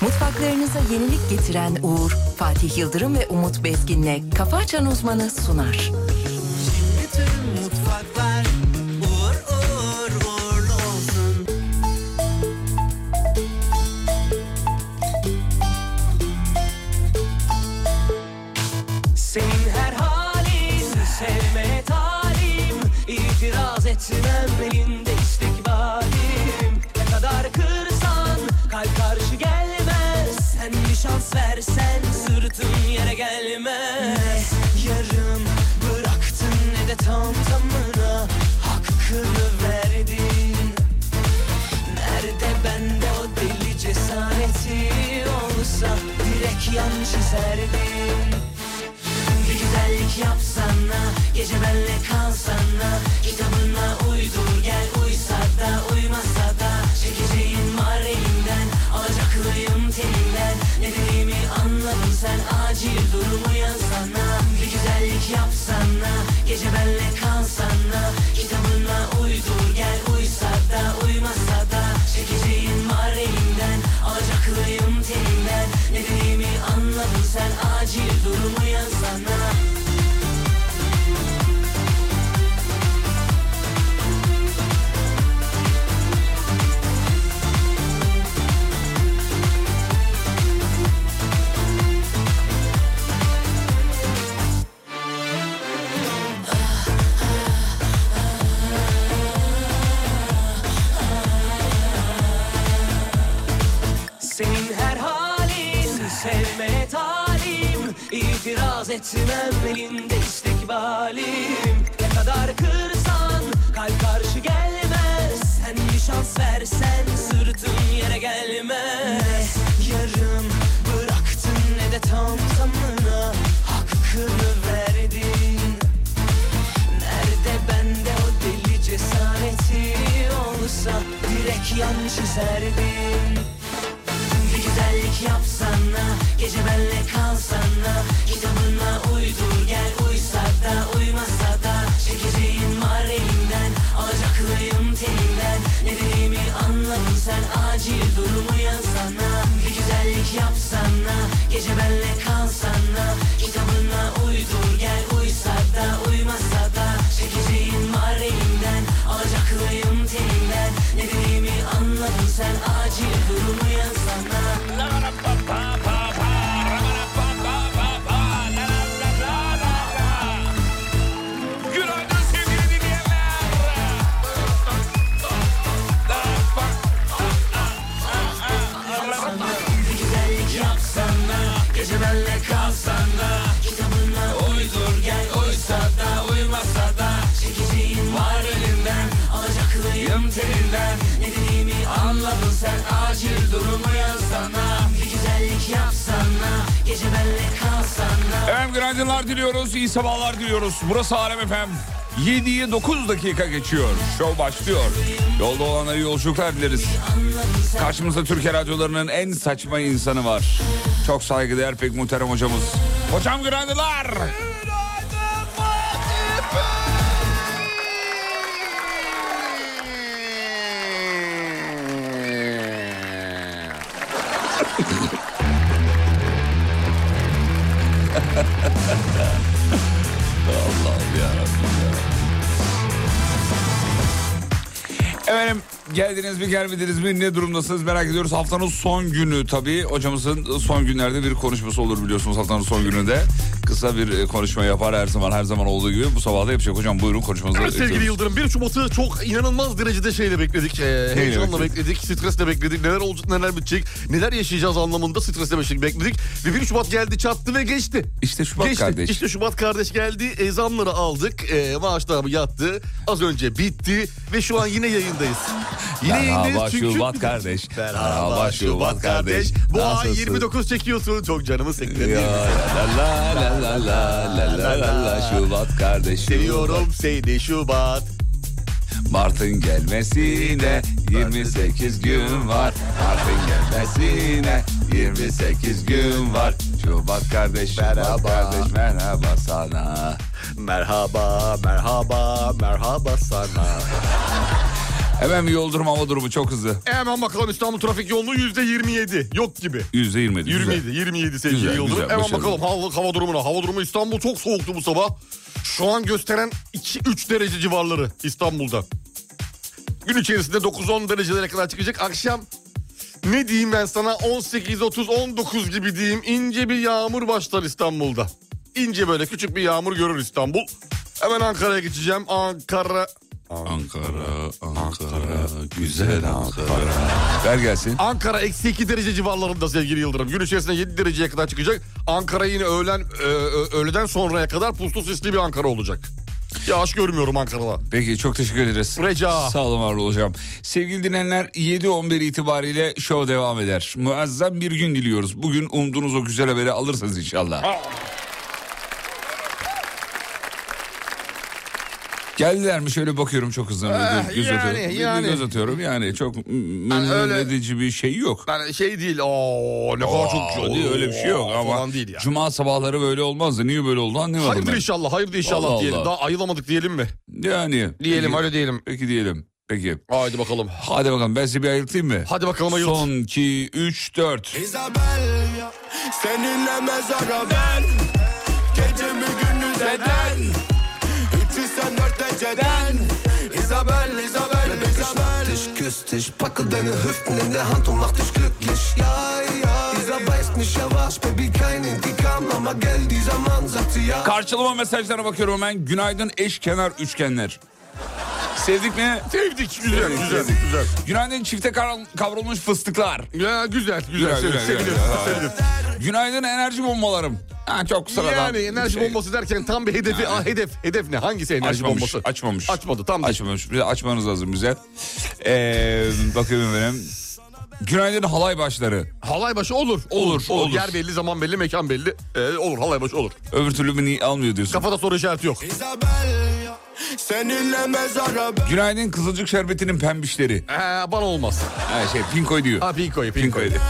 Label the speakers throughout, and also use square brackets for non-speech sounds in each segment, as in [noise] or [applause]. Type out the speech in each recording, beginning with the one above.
Speaker 1: Mutfaklarınıza yenilik getiren Uğur, Fatih Yıldırım ve Umut Bezgin'le Kafa Açan Uzmanı sunar.
Speaker 2: Bütün mutfaklar uğur uğur uğurlu olsun. Senin her halin sevmeye talim İtiraz etmem elinde istikbalim Ne kadar kırsan kalp karşı gelmez Sen bir şans versen sırtım yere gelmez Ne yarım bıraktın ne de tam tamına Hakkını verdin Nerede bende o deli cesareti olsa Direkt yan çizerdin bir güzellik yapsana Gece benle kalsana Kitabına uydur gel Uysa da uymasa da Çekeceğin var elimden Alacaklıyım telinden Ne dediğimi anladın sen Acil durum uyansana Bir güzellik yapsana Gece benle kalsana Kitabına uydur gel Uysa da uymasa da Çekeceğin var elimden Alacaklıyım telinden Ne dediğimi anladın sen Acil durum uyansana Senin her halin sevmeye talim İtiraz etmem elinde istikbalim Ne kadar kırsan kalp karşı gelmez Sen bir şans versen sırtım yere gelmez Yarım bıraktın ne de tam tamına Hakkını verdin Nerede bende o deli cesareti olsa Direkt yan çizerdin bir güzellik yapsana Gece benle kalsana Kitabına uydur gel Uysa da uymasa da Çekeceğin var elimden Alacaklıyım telinden Ne dediğimi anladın sen Acil durum uyansana Bir güzellik yapsana Gece benle kalsana Kitabına uydur gel Uysa da uymasa da Çekeceğin var elimden Alacaklıyım telinden Ne dediğimi anladın sen Acil durum uyansana
Speaker 3: Günaydın sevgili dinleyenler. Efendim günaydınlar diliyoruz, iyi sabahlar diliyoruz. Burası Alem Efem. 7'ye 9 dakika geçiyor. Şov başlıyor. Yolda olanlara iyi yolculuklar dileriz. Karşımızda Türkiye radyolarının en saçma insanı var. Çok saygıdeğer pek muhterem hocamız. Hocam günaydınlar. Efendim geldiniz mi gelmediniz mi ne durumdasınız merak ediyoruz. Haftanın son günü tabii hocamızın son günlerde bir konuşması olur biliyorsunuz haftanın son gününde. Kısa bir e, konuşma yapar her zaman her zaman olduğu gibi bu sabah da yapacak. Hocam buyurun konuşmanızı.
Speaker 4: Evet sevgili
Speaker 3: bekliyoruz.
Speaker 4: Yıldırım 1 Şubat'ı çok inanılmaz derecede şeyle bekledik. Ee, heyecanla
Speaker 3: bekledin?
Speaker 4: bekledik, stresle bekledik. Neler olacak, neler bitecek, neler yaşayacağız anlamında stresle beşik- bekledik. Ve 1 Şubat geldi çattı ve geçti.
Speaker 3: İşte Şubat
Speaker 4: geçti.
Speaker 3: kardeş.
Speaker 4: İşte Şubat kardeş geldi. E, zamları aldık. E, maaşlar yattı. Az önce bitti. Ve şu an yine yayındayız. Yine
Speaker 3: Merhaba
Speaker 4: yayındayız çünkü...
Speaker 3: Şubat kardeş.
Speaker 4: Merhaba Şubat kardeş. Bu ay
Speaker 3: Nasılsın?
Speaker 4: 29 çekiyorsun. Çok canımı sıktı.
Speaker 3: Ya, la la la la la la la la la Şubat kardeş.
Speaker 4: Seviyorum seni Şubat.
Speaker 3: Mart'ın gelmesine 28 gün var. Mart'ın gelmesine 28 gün var. Şubat kardeş, Şubat
Speaker 4: Merhaba.
Speaker 3: kardeş merhaba sana.
Speaker 4: Merhaba, merhaba, merhaba sana.
Speaker 3: Hemen bir yol durumu hava durumu çok hızlı.
Speaker 4: Hemen bakalım İstanbul trafik yoğunluğu yüzde 27. Yok gibi.
Speaker 3: Yüzde yirmi.
Speaker 4: 27, 27 sevgili
Speaker 3: Güzel,
Speaker 4: Yıldırım.
Speaker 3: güzel,
Speaker 4: Hemen
Speaker 3: başarılı.
Speaker 4: bakalım hava, hava durumuna. Hava durumu İstanbul çok soğuktu bu sabah. Şu an gösteren 2-3 derece civarları İstanbul'da. Gün içerisinde 9-10 derecelere kadar çıkacak. Akşam ne diyeyim ben sana 18-30-19 gibi diyeyim. ince bir yağmur başlar İstanbul'da. İnce böyle küçük bir yağmur görür İstanbul. Hemen Ankara'ya geçeceğim. Ankara...
Speaker 3: Ankara, Ankara, güzel Ankara. Ver gelsin.
Speaker 4: Ankara eksi 2 derece civarlarında sevgili Yıldırım. Gün içerisinde 7 dereceye kadar çıkacak. Ankara yine öğlen e, ö- öğleden sonraya kadar puslu sisli bir Ankara olacak. Yağış görmüyorum Ankara'da.
Speaker 3: Peki çok teşekkür ederiz.
Speaker 4: Rica.
Speaker 3: Sağ olun var olun hocam. Sevgili dinleyenler 7.11 itibariyle şov devam eder. Muazzam bir gün diliyoruz. Bugün umduğunuz o güzel haberi alırsınız inşallah. Geldiler mi şöyle bakıyorum çok hızlı.
Speaker 4: Eh,
Speaker 3: göz, göz
Speaker 4: yani,
Speaker 3: atıyorum. Bir- bir
Speaker 4: yani.
Speaker 3: göz atıyorum yani çok m- memnun
Speaker 4: öyle-
Speaker 3: edici bir şey yok.
Speaker 4: Yani şey değil. Oo ne kadar çok
Speaker 3: Aa, değil, öyle bir şey yok ama
Speaker 4: Falan değil ya.
Speaker 3: cuma sabahları böyle olmazdı. Niye böyle oldu anlamadım
Speaker 4: Hayırdır
Speaker 3: ben.
Speaker 4: inşallah, hayırdır inşallah
Speaker 3: Allah
Speaker 4: diyelim.
Speaker 3: Allah.
Speaker 4: Daha ayılamadık diyelim mi?
Speaker 3: Yani.
Speaker 4: Diyelim,
Speaker 3: peki,
Speaker 4: öyle diyelim.
Speaker 3: Peki diyelim. Peki.
Speaker 4: Haydi bakalım.
Speaker 3: Hadi bakalım ben size bir ayırtayım mı?
Speaker 4: Hadi bakalım ayılt.
Speaker 3: Son 2, 3, 4.
Speaker 5: Isabella Seninle mezara ben Gecemi gündüz eden Üçü sen dört eceden Isabel, Isabel, Isabel
Speaker 6: dich, küss dich, packe deine Hüften in der Hand und mach dich glücklich. Ja, ja, dieser weiß nicht, er war's, Baby, kein Intikam, aber gell, dieser Mann sagt sie ja.
Speaker 3: Karşılama mesajlara bakıyorum hemen. Günaydın eşkenar üçgenler. Sevdik mi?
Speaker 4: Sevdik. Güzel, güzel, güzel.
Speaker 3: Günaydın çifte kar- kavrulmuş fıstıklar.
Speaker 4: Ya güzel,
Speaker 3: Güzel,
Speaker 4: güzel. sevdik,
Speaker 3: güzel,
Speaker 4: seviniriz,
Speaker 3: güzel.
Speaker 4: seviniriz.
Speaker 3: Günaydın enerji bombalarım. Ha, çok sıradan.
Speaker 4: Yani enerji
Speaker 3: Şey,
Speaker 4: bombası derken tam bir hedefi. Aa, hedef, hedef ne? Hangisi enerji
Speaker 3: Açmamış,
Speaker 4: bombası?
Speaker 3: açmamış.
Speaker 4: Açmadı, tam değil.
Speaker 3: Açmamış. Bir de açmanız lazım bize. Ee, bakıyorum benim. Günaydın halay başları.
Speaker 4: Halay başı olur.
Speaker 3: Olur, olur.
Speaker 4: Yer belli, zaman belli, mekan belli. Ee, olur, halay başı olur.
Speaker 3: Öbür türlü beni almıyor diyorsun.
Speaker 4: Kafada soru işareti yok.
Speaker 5: Isabella Seninle mezara ben
Speaker 3: Günaydın kızılcık şerbetinin pembişleri.
Speaker 4: Ee, bana olmaz.
Speaker 3: Ha, şey pinkoy diyor.
Speaker 4: Ha Pinko'yu, Pinko'yu.
Speaker 3: Pinkoy diyor.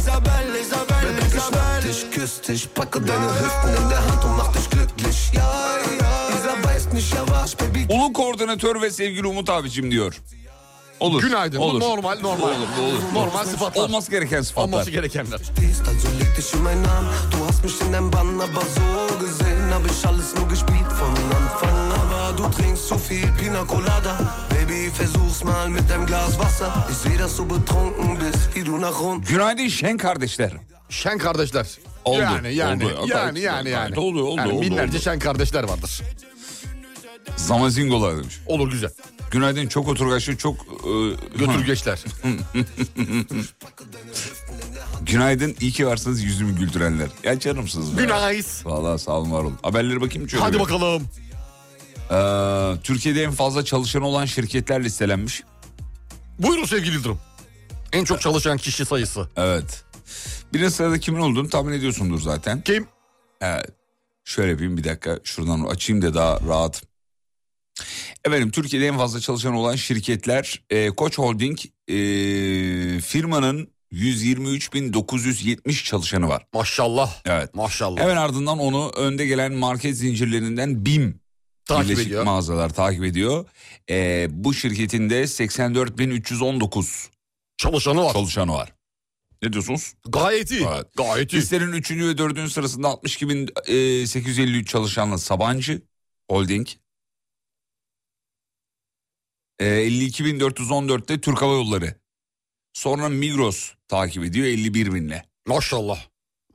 Speaker 5: Isabel, Isabel, Isabel
Speaker 6: Dich, küss dich, packe deine Hüften in der Hand und mach dich glücklich. Ja, ja, dieser weiß nicht, er war's, Baby,
Speaker 3: Ulu koordinatör ve sevgili Umut abicim diyor. Olur.
Speaker 4: Günaydın. Bu
Speaker 3: Olur.
Speaker 4: normal, normal.
Speaker 3: Olur, olur.
Speaker 4: Normal sıfatlar.
Speaker 3: Olması gereken sıfatlar.
Speaker 4: Olması gerekenler.
Speaker 6: stehst, also leg dich in meinen Arm. Du hast mich in deinem Bann, aber so gesehen hab ich alles nur gespielt von Anfang. Aber du trinkst zu viel Pina Colada. Baby, versuch's mal mit deinem Glas Wasser. Ich seh, dass du betrunken bist, wie du nach unten.
Speaker 3: Günaydın Şen kardeşler.
Speaker 4: Şen kardeşler.
Speaker 3: Oldu,
Speaker 4: Yani yani
Speaker 3: oldu.
Speaker 4: yani yani yani.
Speaker 3: Oldu, oldu,
Speaker 4: Yani
Speaker 3: oldu,
Speaker 4: binlerce
Speaker 3: oldu.
Speaker 4: şen kardeşler vardır.
Speaker 3: Zamazingolar demiş.
Speaker 4: Olur güzel.
Speaker 3: Günaydın çok oturgaçlı çok... e,
Speaker 4: Götürgeçler. [laughs]
Speaker 3: Günaydın iyi ki varsınız yüzümü güldürenler. Ya canımsınız. be.
Speaker 4: Günaydın.
Speaker 3: Vallahi sağ olun var olun. Haberlere bakayım şöyle.
Speaker 4: Hadi
Speaker 3: bir.
Speaker 4: bakalım.
Speaker 3: Ee, Türkiye'de en fazla çalışan olan şirketler listelenmiş.
Speaker 4: Buyurun sevgili Yıldırım. En çok çalışan kişi sayısı.
Speaker 3: Evet. Birinci sırada kimin olduğunu tahmin ediyorsundur zaten.
Speaker 4: Kim?
Speaker 3: Evet. Şöyle yapayım bir dakika şuradan açayım da daha rahat. Efendim Türkiye'de en fazla çalışan olan şirketler e, Koç Holding e, firmanın 123.970 çalışanı var.
Speaker 4: Maşallah.
Speaker 3: Evet.
Speaker 4: Maşallah.
Speaker 3: Hemen ardından onu önde gelen market zincirlerinden BİM
Speaker 4: Takip
Speaker 3: Birleşik
Speaker 4: ediyor.
Speaker 3: Mağazalar takip ediyor. E, bu şirketin de 84.319
Speaker 4: Çalışanı var.
Speaker 3: çalışanı var. Ne diyorsunuz?
Speaker 4: Gayet iyi.
Speaker 3: Evet.
Speaker 4: Gayet iyi.
Speaker 3: Listenin 3. ve 4. sırasında e, 62.853 çalışanla Sabancı Holding. E, 52.414'te Türk Hava Yolları. Sonra Migros takip ediyor 51 binle.
Speaker 4: Maşallah.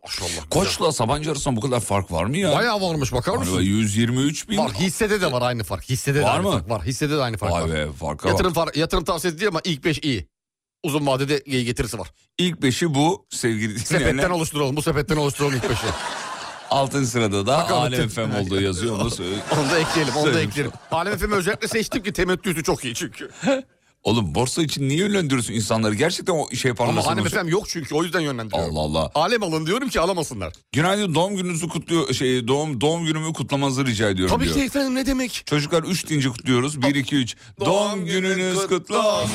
Speaker 4: Maşallah.
Speaker 3: Koç'la Sabancı arasında bu kadar fark var mı ya?
Speaker 4: Bayağı varmış bakar
Speaker 3: Vay be,
Speaker 4: mısın?
Speaker 3: 123 bin.
Speaker 4: Var hissede de var aynı fark. Hissede de
Speaker 3: Var
Speaker 4: aynı
Speaker 3: mı?
Speaker 4: fark var. Hissede de aynı fark
Speaker 3: Vay
Speaker 4: var.
Speaker 3: be farka bak.
Speaker 4: Yatırım, far, yatırım tavsiyesi değil ama ilk 5 iyi. Uzun vadede iyi getirisi var.
Speaker 3: İlk beşi bu sevgili
Speaker 4: Sepetten
Speaker 3: dinleyenler.
Speaker 4: oluşturalım. Bu sepetten oluşturalım
Speaker 3: [laughs]
Speaker 4: ilk 5'i.
Speaker 3: Altın sırada da
Speaker 4: Bakalım.
Speaker 3: Alem FM olduğu yazıyor. Onu, söyle-
Speaker 4: Onu da ekleyelim. Onu da
Speaker 3: Söylemiş
Speaker 4: ekleyelim. Alem Efem'i özellikle seçtim ki temettüsü çok iyi çünkü.
Speaker 3: Oğlum borsa için niye yönlendiriyorsun insanları? Gerçekten o şey yapar
Speaker 4: Ama hani
Speaker 3: mısın?
Speaker 4: Alem Efem yok çünkü o yüzden yönlendiriyorum.
Speaker 3: Allah Allah.
Speaker 4: Alem alın diyorum ki alamasınlar.
Speaker 3: Günaydın doğum gününüzü kutluyor şey doğum doğum günümü kutlamanızı rica ediyorum
Speaker 4: Tabii
Speaker 3: diyor.
Speaker 4: ki efendim ne demek?
Speaker 3: Çocuklar 3 deyince kutluyoruz. 1 2 3. Doğum gününüz kutlu olsun.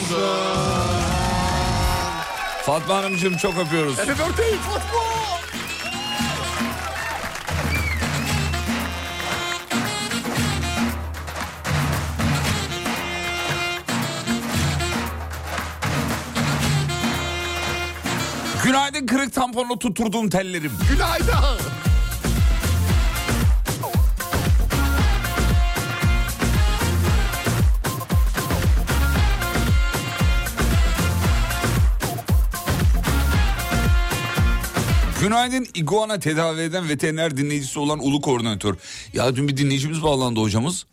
Speaker 3: Fatma Hanımcığım çok öpüyoruz.
Speaker 4: Happy birthday Fatma!
Speaker 3: Günaydın kırık tamponla tutturduğum tellerim.
Speaker 4: Günaydın.
Speaker 3: Günaydın iguana tedavi eden veteriner dinleyicisi olan ulu koordinatör. Ya dün bir dinleyicimiz bağlandı hocamız.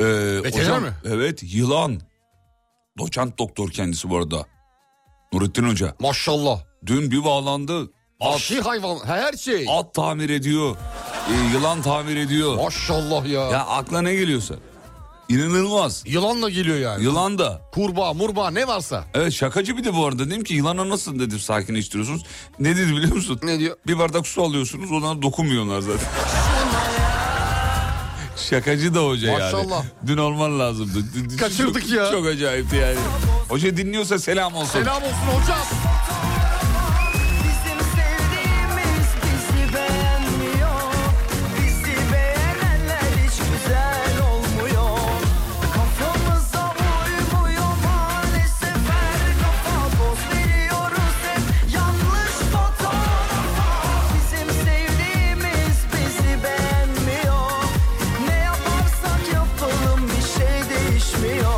Speaker 3: Ee,
Speaker 4: mi?
Speaker 3: Evet yılan. Doçent doktor kendisi bu arada. Nurettin Hoca.
Speaker 4: Maşallah.
Speaker 3: Dün bir bağlandı. At,
Speaker 4: Vahşi hayvan her şey.
Speaker 3: at tamir ediyor. Ee, yılan tamir ediyor.
Speaker 4: Maşallah ya.
Speaker 3: Ya akla ne geliyorsa. İnanılmaz.
Speaker 4: Yılanla geliyor yani.
Speaker 3: Yılan da.
Speaker 4: Kurbağa, murbağa ne varsa.
Speaker 3: Evet şakacı bir de bu arada. Dedim ki yılana nasıl dedim sakinleştiriyorsunuz. Ne dedi biliyor musun?
Speaker 4: Ne diyor?
Speaker 3: Bir bardak su alıyorsunuz ona dokunmuyorlar zaten. [laughs] Şakacı da hoca yani.
Speaker 4: Maşallah.
Speaker 3: Dün olman lazımdı. Dün- dün-
Speaker 4: Kaçırdık
Speaker 3: çok-
Speaker 4: ya.
Speaker 3: Çok acayipti yani. Hoca dinliyorsa selam olsun.
Speaker 4: Selam olsun hocam.
Speaker 7: Bizim sevdiğimiz bizi beğenmiyor Bizi beğenenler hiç güzel olmuyor Kafamıza uymuyor maalesef her kafa boz veriyoruz hep yanlış fotoğrafa Bizim sevdiğimiz bizi beğenmiyor Ne yaparsak yapalım bir şey değişmiyor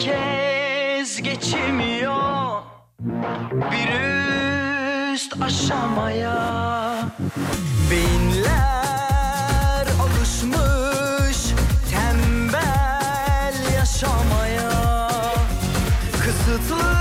Speaker 7: Herkes geçemiyor bir üst aşamaya Beyinler alışmış tembel yaşamaya Kısıtlı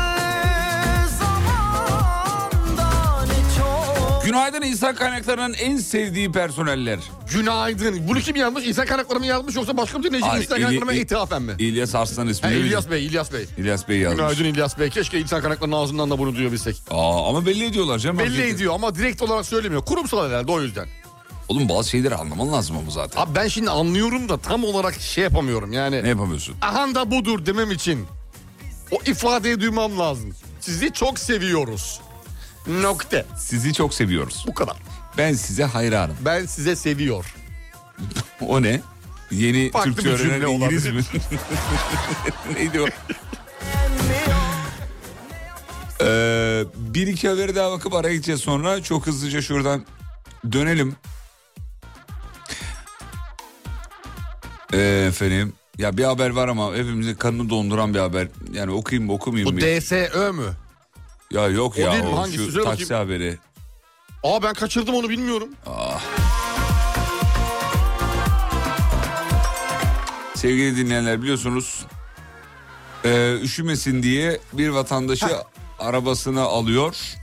Speaker 7: zamanda ne çok
Speaker 3: Günaydın insan kaynaklarının en sevdiği personeller.
Speaker 4: Günaydın. Bunu kim yazmış? İsa Karakları mı yazmış yoksa başka bir şey dinleyici
Speaker 3: Hayır,
Speaker 4: İsa
Speaker 3: İli-
Speaker 4: Karakları mı
Speaker 3: İ-
Speaker 4: ithafen mi?
Speaker 3: İlyas Arslan ismi.
Speaker 4: He,
Speaker 3: değil mi?
Speaker 4: İlyas Bey, İlyas Bey.
Speaker 3: İlyas Bey yazmış.
Speaker 4: Günaydın İlyas Bey. Keşke İsa Karakları'nın ağzından da bunu duyabilsek.
Speaker 3: Aa, ama belli ediyorlar canım.
Speaker 4: Belli
Speaker 3: Hakikaten.
Speaker 4: ediyor ama direkt olarak söylemiyor. Kurumsal herhalde o yüzden.
Speaker 3: Oğlum bazı şeyleri anlaman lazım ama zaten.
Speaker 4: Abi ben şimdi anlıyorum da tam olarak şey yapamıyorum yani.
Speaker 3: Ne yapamıyorsun?
Speaker 4: Ahan da budur demem için o ifadeyi duymam lazım. Sizi çok seviyoruz. Nokta.
Speaker 3: Sizi çok seviyoruz.
Speaker 4: Bu kadar.
Speaker 3: Ben size hayranım.
Speaker 4: Ben size seviyor.
Speaker 3: O ne? Yeni
Speaker 4: Farklı
Speaker 3: Türkçe
Speaker 4: bir cümle
Speaker 3: öğrenen İngiliz mi?
Speaker 4: [laughs]
Speaker 3: Neydi o? Ee, bir iki haberi daha bakıp araya gideceğiz sonra. Çok hızlıca şuradan dönelim. Ee, efendim. Ya bir haber var ama hepimizin kanını donduran bir haber. Yani okuyayım mı okumayayım
Speaker 4: Bu
Speaker 3: mı?
Speaker 4: DSÖ mü?
Speaker 3: ya yok
Speaker 4: O
Speaker 3: ya
Speaker 4: değil mi?
Speaker 3: o,
Speaker 4: Hangisi?
Speaker 3: şu
Speaker 4: Söyle
Speaker 3: taksi haberi.
Speaker 4: Aa ben kaçırdım onu bilmiyorum.
Speaker 3: Sevgili dinleyenler biliyorsunuz e, üşümesin diye bir vatandaşı arabasına alıyor.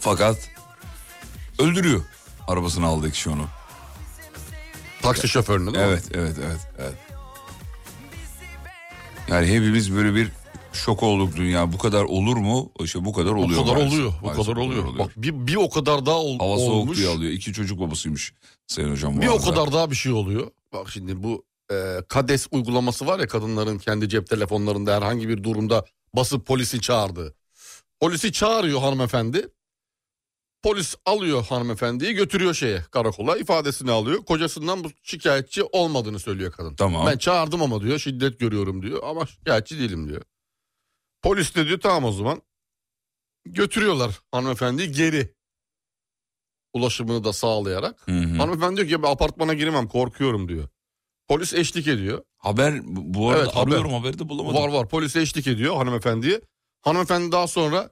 Speaker 3: Fakat öldürüyor arabasına aldığı kişi onu.
Speaker 4: Taksi şoförünü değil mi?
Speaker 3: Evet, evet, evet, evet. Yani hepimiz böyle bir şok olduk dünya. Bu kadar olur mu? İşte bu kadar
Speaker 4: Bu
Speaker 3: oluyor.
Speaker 4: kadar
Speaker 3: maalesef.
Speaker 4: oluyor. Bu
Speaker 3: Maalesef
Speaker 4: kadar oluyor. Bak bir, bir o kadar daha ol-
Speaker 3: Hava soğuk
Speaker 4: olmuş.
Speaker 3: diye alıyor. İki çocuk babasıymış Sayın Hocam. bu
Speaker 4: Bir o
Speaker 3: arada.
Speaker 4: kadar daha bir şey oluyor. Bak şimdi bu e, KADES uygulaması var ya kadınların kendi cep telefonlarında herhangi bir durumda basıp polisi çağırdı. Polisi çağırıyor hanımefendi. Polis alıyor hanımefendiyi götürüyor şeye karakola ifadesini alıyor. Kocasından bu şikayetçi olmadığını söylüyor kadın.
Speaker 3: Tamam.
Speaker 4: Ben çağırdım ama diyor şiddet görüyorum diyor ama şikayetçi değilim diyor. Polis de diyor tamam o zaman. Götürüyorlar hanımefendiyi geri. Ulaşımını da sağlayarak.
Speaker 3: Hı hı.
Speaker 4: Hanımefendi diyor ki ya ben apartmana giremem korkuyorum diyor. Polis eşlik ediyor.
Speaker 3: Haber bu bu arada
Speaker 4: Evet, haber.
Speaker 3: arıyorum haberi de bulamadım.
Speaker 4: Var var polis eşlik ediyor hanımefendiye. Hanımefendi daha sonra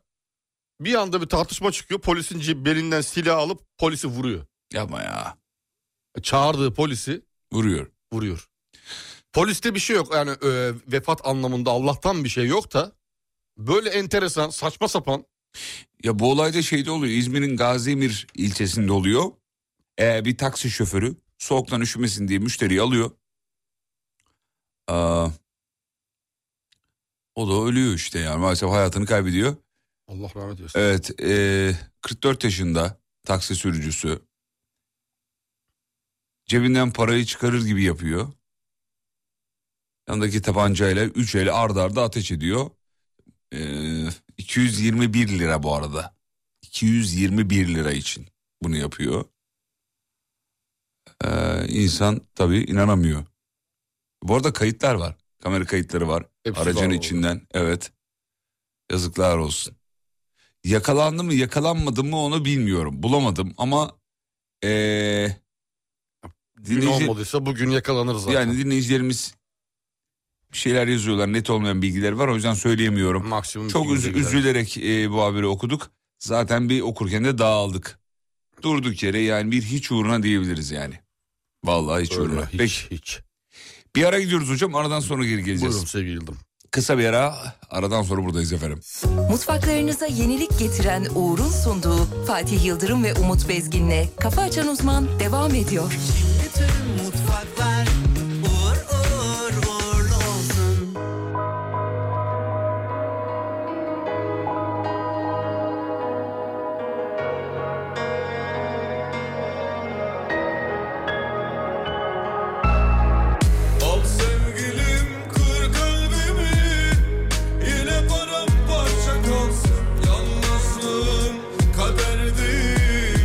Speaker 4: bir anda bir tartışma çıkıyor. Polisin cib- belinden silah alıp polisi vuruyor. E,
Speaker 3: Yapma ya.
Speaker 4: Çağırdığı polisi
Speaker 3: Vuruyor.
Speaker 4: vuruyor. Poliste bir şey yok yani e, vefat anlamında Allah'tan bir şey yok da böyle enteresan saçma sapan
Speaker 3: Ya bu olayda şeyde oluyor. İzmir'in Gazimir ilçesinde oluyor. Ee, bir taksi şoförü soğuktan üşümesin diye müşteriyi alıyor. Aa, o da ölüyor işte yani maalesef hayatını kaybediyor.
Speaker 4: Allah rahmet eylesin.
Speaker 3: Evet ee, 44 yaşında taksi sürücüsü. Cebinden parayı çıkarır gibi yapıyor. Yanındaki tabancayla üç el ardarda arda ateş ediyor. Ee, 221 lira bu arada. 221 lira için bunu yapıyor. Ee, insan tabii inanamıyor. Bu arada kayıtlar var. Kamera kayıtları var.
Speaker 4: Hepsi var
Speaker 3: Aracın
Speaker 4: orada.
Speaker 3: içinden. Evet. Yazıklar olsun. Yakalandı mı yakalanmadı mı onu bilmiyorum. Bulamadım ama ee,
Speaker 4: Dün
Speaker 3: dinleyici-
Speaker 4: olmadıysa bugün yakalanır zaten.
Speaker 3: yani dinleyicilerimiz bir şeyler yazıyorlar. Net olmayan bilgiler var. O yüzden söyleyemiyorum.
Speaker 4: maksimum
Speaker 3: Çok
Speaker 4: iki
Speaker 3: üz-
Speaker 4: yüze gider.
Speaker 3: üzülerek e, bu haberi okuduk. Zaten bir okurken de dağıldık. Durduk yere yani bir hiç uğruna diyebiliriz yani. Vallahi hiç
Speaker 4: Öyle,
Speaker 3: uğruna.
Speaker 4: hiç,
Speaker 3: Peki
Speaker 4: hiç.
Speaker 3: bir ara gidiyoruz hocam. Aradan sonra geri geleceğiz.
Speaker 4: Buyurun sevgili Yıldırım.
Speaker 3: Kısa bir ara. Aradan sonra buradayız efendim.
Speaker 1: Mutfaklarınıza yenilik getiren Uğur'un sunduğu Fatih Yıldırım ve Umut Bezgin'le Kafa Açan Uzman devam ediyor.
Speaker 5: Al sevgilim kır kalbimi Yine paramparça kalsın Yalnızlığım kader değil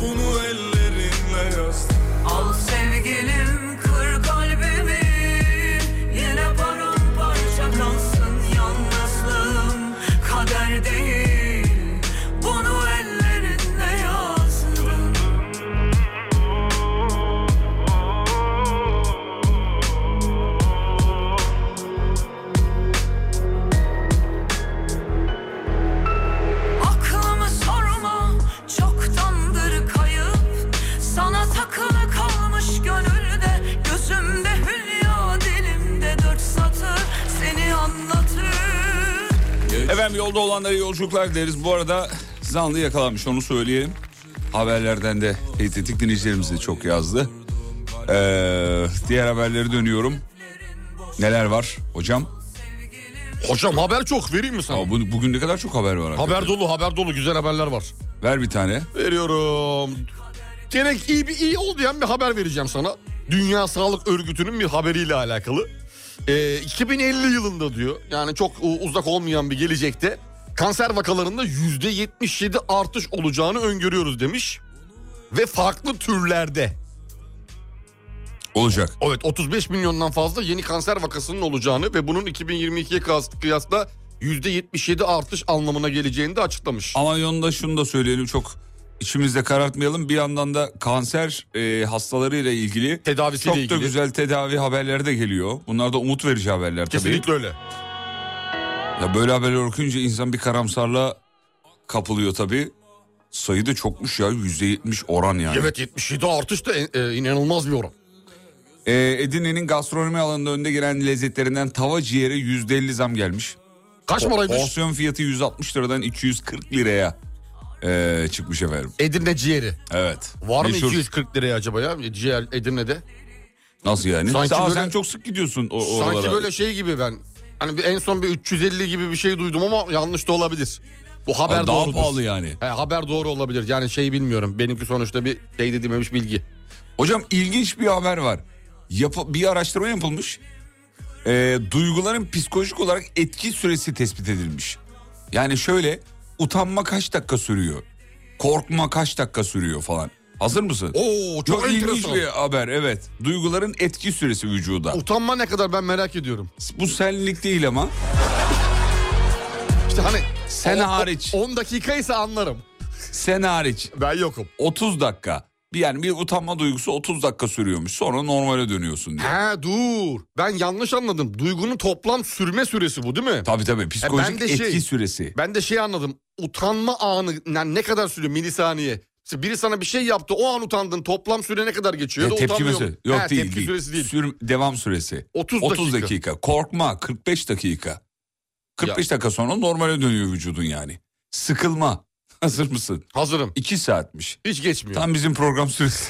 Speaker 5: Bunu ellerinle yaz
Speaker 7: Al sevgilim kır kalbimi Yine paramparça kalsın yalnızlığım Kader değil bunu ellerinle yazdın Aklımı sorma çoktandır kayıp Sana takılı kalmış gönülde Gözümde hülya dilimde dört satır Seni anlatır
Speaker 3: Efendim yolda olanlara yolculuklar deriz. Bu arada zanlı yakalanmış onu söyleyelim. Haberlerden de teyit ettik. Dinleyicilerimiz de çok yazdı. Ee, diğer haberlere dönüyorum. Neler var hocam?
Speaker 4: Hocam haber çok vereyim mi sana?
Speaker 3: Ama bu, bugün ne kadar çok haber var. hakikaten.
Speaker 4: haber dolu haber dolu güzel haberler var.
Speaker 3: Ver bir tane.
Speaker 4: Veriyorum. Gerek iyi bir iyi olmayan bir haber vereceğim sana. Dünya Sağlık Örgütü'nün bir haberiyle alakalı. Ee, 2050 yılında diyor yani çok e, uzak olmayan bir gelecekte kanser vakalarında %77 artış olacağını öngörüyoruz demiş. Ve farklı türlerde.
Speaker 3: Olacak.
Speaker 4: Evet 35 milyondan fazla yeni kanser vakasının olacağını ve bunun 2022'ye kıyas- kıyasla %77 artış anlamına geleceğini de açıklamış.
Speaker 3: Ama yanında şunu da söyleyelim çok içimizde karartmayalım. Bir yandan da kanser e, hastalarıyla ilgili
Speaker 4: Tedavisiyle
Speaker 3: çok
Speaker 4: ilgili.
Speaker 3: da güzel tedavi haberleri de geliyor. Bunlar da umut verici haberler
Speaker 4: Kesinlikle öyle.
Speaker 3: tabii. Ya böyle haberler okuyunca insan bir karamsarlığa kapılıyor tabii. Sayı da çokmuş ya %70 oran yani.
Speaker 4: Evet 77 artış da e, e, inanılmaz bir oran.
Speaker 3: E, Edirne'nin gastronomi alanında önde gelen lezzetlerinden tava ciğeri %50 zam gelmiş.
Speaker 4: Kaç paraymış?
Speaker 3: Porsiyon fiyatı 160 liradan 240 liraya e, çıkmış efendim.
Speaker 4: Edirne ciğeri.
Speaker 3: Evet.
Speaker 4: Var mı
Speaker 3: Meşhur.
Speaker 4: 240 liraya acaba ya ciğer Edirne'de?
Speaker 3: Nasıl yani?
Speaker 4: Sanki
Speaker 3: Sen,
Speaker 4: böyle-
Speaker 3: sen çok sık gidiyorsun o, oralara.
Speaker 4: Sanki böyle şey gibi ben. Hani bir, en son bir 350 gibi bir şey duydum ama yanlış da olabilir. Bu haber
Speaker 3: Ha, daha
Speaker 4: doğrudur.
Speaker 3: pahalı yani.
Speaker 4: He, haber doğru olabilir. Yani şey bilmiyorum. Benimki sonuçta bir şey dedimemiş bilgi.
Speaker 3: Hocam ilginç bir haber var. Yapı- bir araştırma yapılmış. Ee, duyguların psikolojik olarak etki süresi tespit edilmiş. Yani şöyle utanma kaç dakika sürüyor? Korkma kaç dakika sürüyor falan. Hazır mısın?
Speaker 4: Oo çok
Speaker 3: Çok ilginç
Speaker 4: enteresan.
Speaker 3: bir haber evet. Duyguların etki süresi vücuda.
Speaker 4: Utanma ne kadar ben merak ediyorum.
Speaker 3: Bu senlik değil ama.
Speaker 4: İşte hani
Speaker 3: Sen
Speaker 4: o- o-
Speaker 3: hariç.
Speaker 4: 10 dakika ise anlarım.
Speaker 3: Sen hariç
Speaker 4: Ben yokum.
Speaker 3: 30 dakika. Bir yani bir utanma duygusu 30 dakika sürüyormuş. Sonra normale dönüyorsun diye.
Speaker 4: He dur. Ben yanlış anladım. Duygunun toplam sürme süresi bu değil mi?
Speaker 3: Tabii tabii psikolojik
Speaker 4: de
Speaker 3: etki
Speaker 4: şey-
Speaker 3: süresi.
Speaker 4: Ben de şey anladım. Utanma anı yani ne kadar sürüyor milisaniye? İşte biri sana bir şey yaptı o an utandın toplam süre ne kadar geçiyor?
Speaker 3: Ya
Speaker 4: Ya da
Speaker 3: E, tepki
Speaker 4: utanmıyor
Speaker 3: süresi.
Speaker 4: mu?
Speaker 3: Yok
Speaker 4: He,
Speaker 3: değil.
Speaker 4: Tepki
Speaker 3: değil.
Speaker 4: süresi değil.
Speaker 3: Sürüm- devam süresi.
Speaker 4: 30,
Speaker 3: 30
Speaker 4: dakika.
Speaker 3: dakika. Korkma 45 dakika. 45 dakika sonra normale dönüyor vücudun yani. Sıkılma. [laughs] Hazır mısın?
Speaker 4: Hazırım.
Speaker 3: 2 saatmiş.
Speaker 4: Hiç geçmiyor.
Speaker 3: Tam bizim program süresi.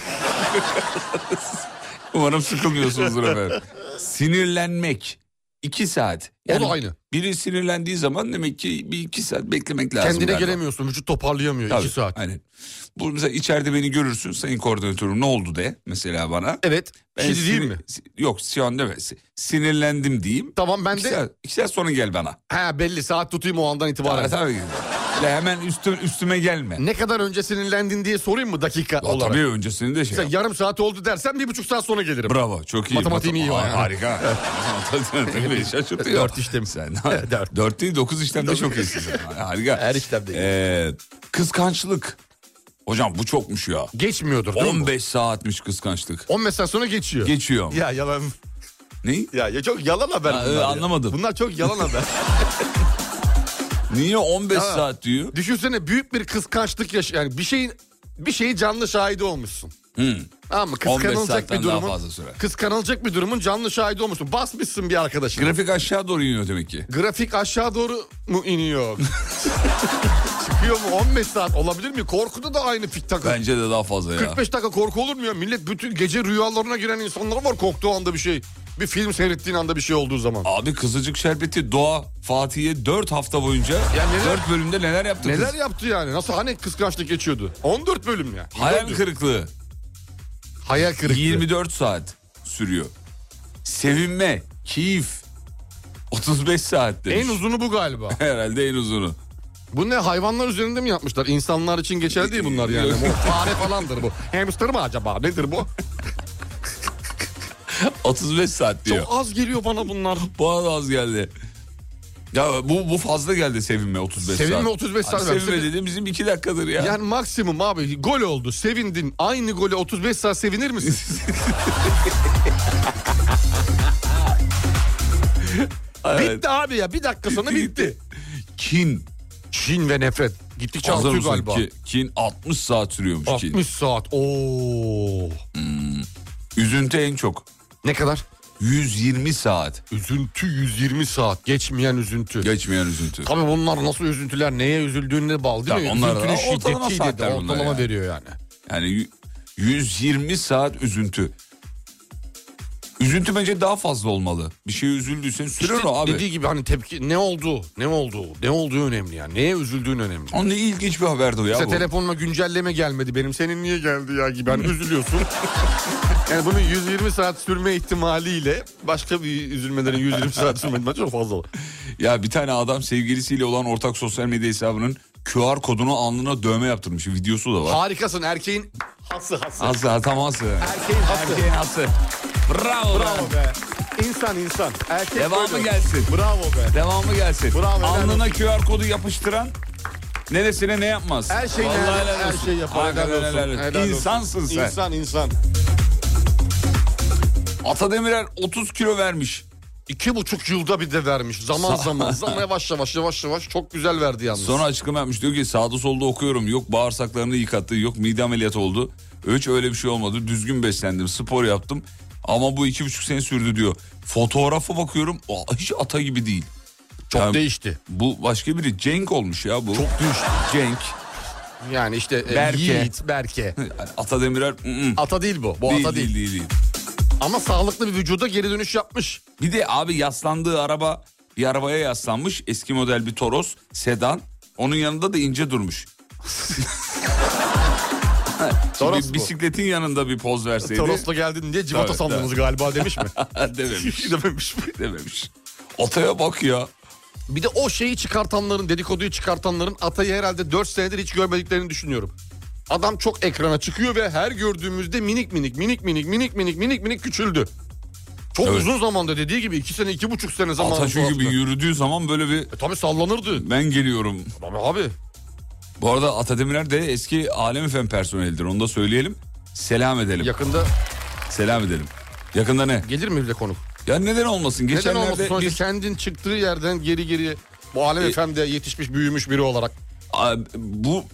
Speaker 3: [laughs] Umarım sıkılmıyorsunuzdur efendim. Sinirlenmek. İki saat.
Speaker 4: O da aynı.
Speaker 3: Biri sinirlendiği zaman demek ki bir iki saat beklemek lazım.
Speaker 4: Kendine
Speaker 3: galiba.
Speaker 4: gelemiyorsun. Vücut toparlayamıyor
Speaker 3: Tabii,
Speaker 4: iki saat.
Speaker 3: Aynen. Bu mesela içeride beni görürsün sayın koordinatörüm ne oldu de mesela bana.
Speaker 4: Evet.
Speaker 3: Ben
Speaker 4: Şimdi değil
Speaker 3: sinir-
Speaker 4: mi?
Speaker 3: si- Yok şu an deme. Si- Sinirlendim diyeyim.
Speaker 4: Tamam ben
Speaker 3: İki
Speaker 4: de
Speaker 3: saat, iki saat sonra gel bana.
Speaker 4: ha belli saat tutayım o andan
Speaker 3: Bana
Speaker 4: itibaren.
Speaker 3: tabii. Öyle hemen üstü, üstüme gelme.
Speaker 4: Ne kadar önce sinirlendin diye sorayım mı dakika
Speaker 3: Ya
Speaker 4: olarak?
Speaker 3: Tabii öncesini de şey.
Speaker 4: Mesela yarım saat oldu dersen bir buçuk saat sonra gelirim.
Speaker 3: Bravo çok iyi.
Speaker 4: Matematiğim iyi var
Speaker 3: Aa,
Speaker 4: yani. [laughs]
Speaker 3: Harika. Tabii şaşırtıyor.
Speaker 4: Dört işlem.
Speaker 3: Sen,
Speaker 4: [laughs] Evet, dört.
Speaker 3: dört. değil dokuz işlemde çok iyisin.
Speaker 4: [laughs]
Speaker 3: sen. Harika.
Speaker 4: Her işlemde iyi.
Speaker 3: Ee, kıskançlık. Hocam bu çokmuş ya.
Speaker 4: Geçmiyordur değil mi?
Speaker 3: 15 saatmiş kıskançlık.
Speaker 4: 15 saat sonra geçiyor.
Speaker 3: Geçiyor.
Speaker 4: ya yalan.
Speaker 3: Ne?
Speaker 4: Ya, ya çok yalan haber
Speaker 3: Ha,
Speaker 4: bunlar.
Speaker 3: e,
Speaker 4: ya.
Speaker 3: anlamadım.
Speaker 4: Bunlar çok yalan
Speaker 3: [laughs]
Speaker 4: haber.
Speaker 3: Niye 15
Speaker 4: Ya.
Speaker 3: saat diyor?
Speaker 4: Düşünsene büyük bir kıskançlık yaş yani bir şeyin bir şeyi canlı şahidi olmuşsun. Tamam mı?
Speaker 3: 15
Speaker 4: Kıskanılacak
Speaker 3: Hmm. saatten
Speaker 4: bir
Speaker 3: daha
Speaker 4: durumun.
Speaker 3: fazla sürer.
Speaker 4: Kıskanılacak bir durumun canlı şahidi olmuşsun. Basmışsın bir arkadaşına.
Speaker 3: Grafik aşağı doğru iniyor demek ki.
Speaker 4: Grafik aşağı doğru mu
Speaker 3: [laughs]
Speaker 4: iniyor? Çıkıyor mu? 15 saat olabilir mi? Korkuda da aynı fik takı.
Speaker 3: Bence de daha fazla ya.
Speaker 4: 45 dakika korku olur mu ya? Millet bütün gece rüyalarına giren insanlar var korktuğu anda bir şey. Bir film seyrettiğin anda bir şey olduğu zaman.
Speaker 3: Abi Kızılcık Şerbeti Doğa Fatih'e 4 hafta boyunca
Speaker 4: Ya neler-
Speaker 3: 4 bölümde neler yaptı kız?
Speaker 4: Neler yaptı yani? Nasıl hani kıskançlık geçiyordu? 14 bölüm ya.
Speaker 3: Hayal
Speaker 4: Dördü.
Speaker 3: kırıklığı.
Speaker 4: Hayal kırıklığı.
Speaker 3: 24 saat sürüyor. Sevinme, keyif 35 saat demiş.
Speaker 4: En uzunu
Speaker 3: [laughs]
Speaker 4: bu galiba.
Speaker 3: Herhalde en uzunu.
Speaker 4: Bu ne hayvanlar üzerinde mi yapmışlar? İnsanlar için geçerli değil bunlar yani. Bu fare falandır bu. Hamster mı acaba?
Speaker 3: [laughs]
Speaker 4: Nedir bu?
Speaker 3: 35 saat diyor.
Speaker 4: Çok az geliyor bana bunlar.
Speaker 3: Bana da az geldi. Ya bu bu fazla geldi sevinme 35 saat.
Speaker 4: Sevinme 35 saat
Speaker 3: Hani
Speaker 4: vermiş.
Speaker 3: Sevinme dedim bizim 2 dakikadır ya.
Speaker 4: Yani maksimum abi gol oldu. Sevindin. Aynı gole 35 saat
Speaker 3: [laughs]
Speaker 4: sevinir misin?
Speaker 3: Evet.
Speaker 4: Bitti abi ya. Bir
Speaker 3: [laughs]
Speaker 4: dakika sonra bitti.
Speaker 3: Kin.
Speaker 4: Çin ve nefret. Gittikçe
Speaker 3: Hazır
Speaker 4: artıyor
Speaker 3: mısın
Speaker 4: galiba.
Speaker 3: ki? Kin 60 saat sürüyormuş kin.
Speaker 4: 60 saat. Oo.
Speaker 3: Üzüntü en çok.
Speaker 4: Ne kadar?
Speaker 3: 120 saat.
Speaker 4: Üzüntü 120 saat. Geçmeyen üzüntü.
Speaker 3: Geçmeyen üzüntü.
Speaker 4: Tabii bunlar nasıl üzüntüler, neye üzüldüğüne bağlı değil
Speaker 3: Tabii
Speaker 4: mi?
Speaker 3: onlar da
Speaker 4: Üzüntünün
Speaker 3: ortalama
Speaker 4: şiddetiyle de
Speaker 3: saatler bunlar
Speaker 4: ortalama
Speaker 3: yani.
Speaker 4: veriyor yani.
Speaker 3: Yani y- 120 saat üzüntü. Üzüntü bence daha fazla olmalı. Bir şeye üzüldüysen sürer
Speaker 4: İşte
Speaker 3: o abi.
Speaker 4: Dediği gibi hani tepki ne oldu, ne oldu, ne olduğu önemli yani. Neye üzüldüğün önemli.
Speaker 3: Onun ne ilginç bir haberdi o ya
Speaker 4: Mesela
Speaker 3: bu.
Speaker 4: telefonuma güncelleme gelmedi benim. Senin niye geldi ya gibi. Hani üzülüyorsun. [laughs] yani bunun 120 saat sürme ihtimaliyle başka bir üzülmelerin 120 saat sürme ihtimali çok fazla.
Speaker 3: Ya bir tane adam sevgilisiyle olan ortak sosyal medya hesabının QR kodunu alnına dövme yaptırmış. Videosu da var.
Speaker 4: Harikasın erkeğin hası hası.
Speaker 3: Aslı tam Aslı.
Speaker 4: Erkeğin hası.
Speaker 3: Erkeğin Aslı. Bravo. Bravo.
Speaker 4: Bravo be. İnsan insan. Erkek
Speaker 3: Devamı
Speaker 4: böyle.
Speaker 3: gelsin.
Speaker 4: Bravo be.
Speaker 3: Devamı gelsin.
Speaker 4: Bravo, helal
Speaker 3: Alnına QR kodu yapıştıran neresine ne yapmaz?
Speaker 4: Her şey
Speaker 3: Vallahi
Speaker 4: helal-
Speaker 3: helal
Speaker 4: her
Speaker 3: olsun.
Speaker 4: şey yapar.
Speaker 3: Hakikaten
Speaker 4: Helal olsun.
Speaker 3: helal olsun.
Speaker 4: Helal olsun.
Speaker 3: İnsansın sen.
Speaker 4: İnsan insan.
Speaker 3: Ata Demirer 30 kilo vermiş.
Speaker 4: İki buçuk yılda bir de vermiş.
Speaker 3: [laughs]
Speaker 4: Zaman zaman. zaman yavaş yavaş yavaş yavaş çok güzel verdi yalnız.
Speaker 3: Sonra açıklama yapmış diyor ki sağda solda okuyorum. Yok bağırsaklarını yıkattı, yok mide ameliyatı oldu. Hiç öyle bir şey olmadı. Düzgün beslendim, spor yaptım. Ama bu iki buçuk sene sürdü diyor. Fotoğrafa bakıyorum o hiç ata gibi değil.
Speaker 4: çok
Speaker 3: Yani
Speaker 4: değişti.
Speaker 3: Bu başka biri Cenk olmuş ya bu.
Speaker 4: Çok düştü.
Speaker 3: Cenk.
Speaker 4: Yani işte e,
Speaker 3: Berke. [laughs]
Speaker 4: Yiğit, Berke.
Speaker 3: Ata Demirer ı-ı.
Speaker 4: Ata değil bu. Bu
Speaker 3: değil,
Speaker 4: ata değil.
Speaker 3: değil, değil, değil.
Speaker 4: Ama sağlıklı bir vücuda geri dönüş yapmış.
Speaker 3: Bir de abi yaslandığı araba bir arabaya yaslanmış. Eski model bir Toros sedan. Onun yanında da ince durmuş. Şimdi
Speaker 4: Toros bu.
Speaker 3: bisikletin yanında bir poz verseydi.
Speaker 4: Toros'la geldin diye civata
Speaker 3: Tabii,
Speaker 4: sandınız galiba demiş mi?
Speaker 3: [laughs] dememiş.
Speaker 4: [laughs] Dememiş mi?
Speaker 3: Dememiş. Ataya bak ya.
Speaker 4: Bir de o şeyi çıkartanların, dedikoduyu çıkartanların Atay'ı herhalde 4 senedir hiç görmediklerini düşünüyorum. Adam çok ekrana çıkıyor ve her gördüğümüzde minik minik minik minik minik minik minik minik küçüldü. Çok
Speaker 3: Evet.
Speaker 4: uzun zamanda dediği gibi 2 sene 2,5 sene zaman.
Speaker 3: Ata çünkü bir yürüdüğü zaman böyle bir
Speaker 4: E tabii sallanırdı.
Speaker 3: ben geliyorum.
Speaker 4: Abi, abi
Speaker 3: Bu arada Ata Demirer de eski Alem Efem personelidir. Onu da söyleyelim. Selam edelim.
Speaker 4: yakında
Speaker 3: Selam edelim. Yakında ne?
Speaker 4: gelir mi bize konuk?
Speaker 3: Ya neden olmasın?
Speaker 4: Neden olmasın?
Speaker 3: Geçenlerde
Speaker 4: Sonuçta
Speaker 3: biz
Speaker 4: kendin çıktığı yerden geri geri bu Alem
Speaker 3: E-
Speaker 4: Efendi yetişmiş büyümüş biri olarak.
Speaker 3: Aa, bu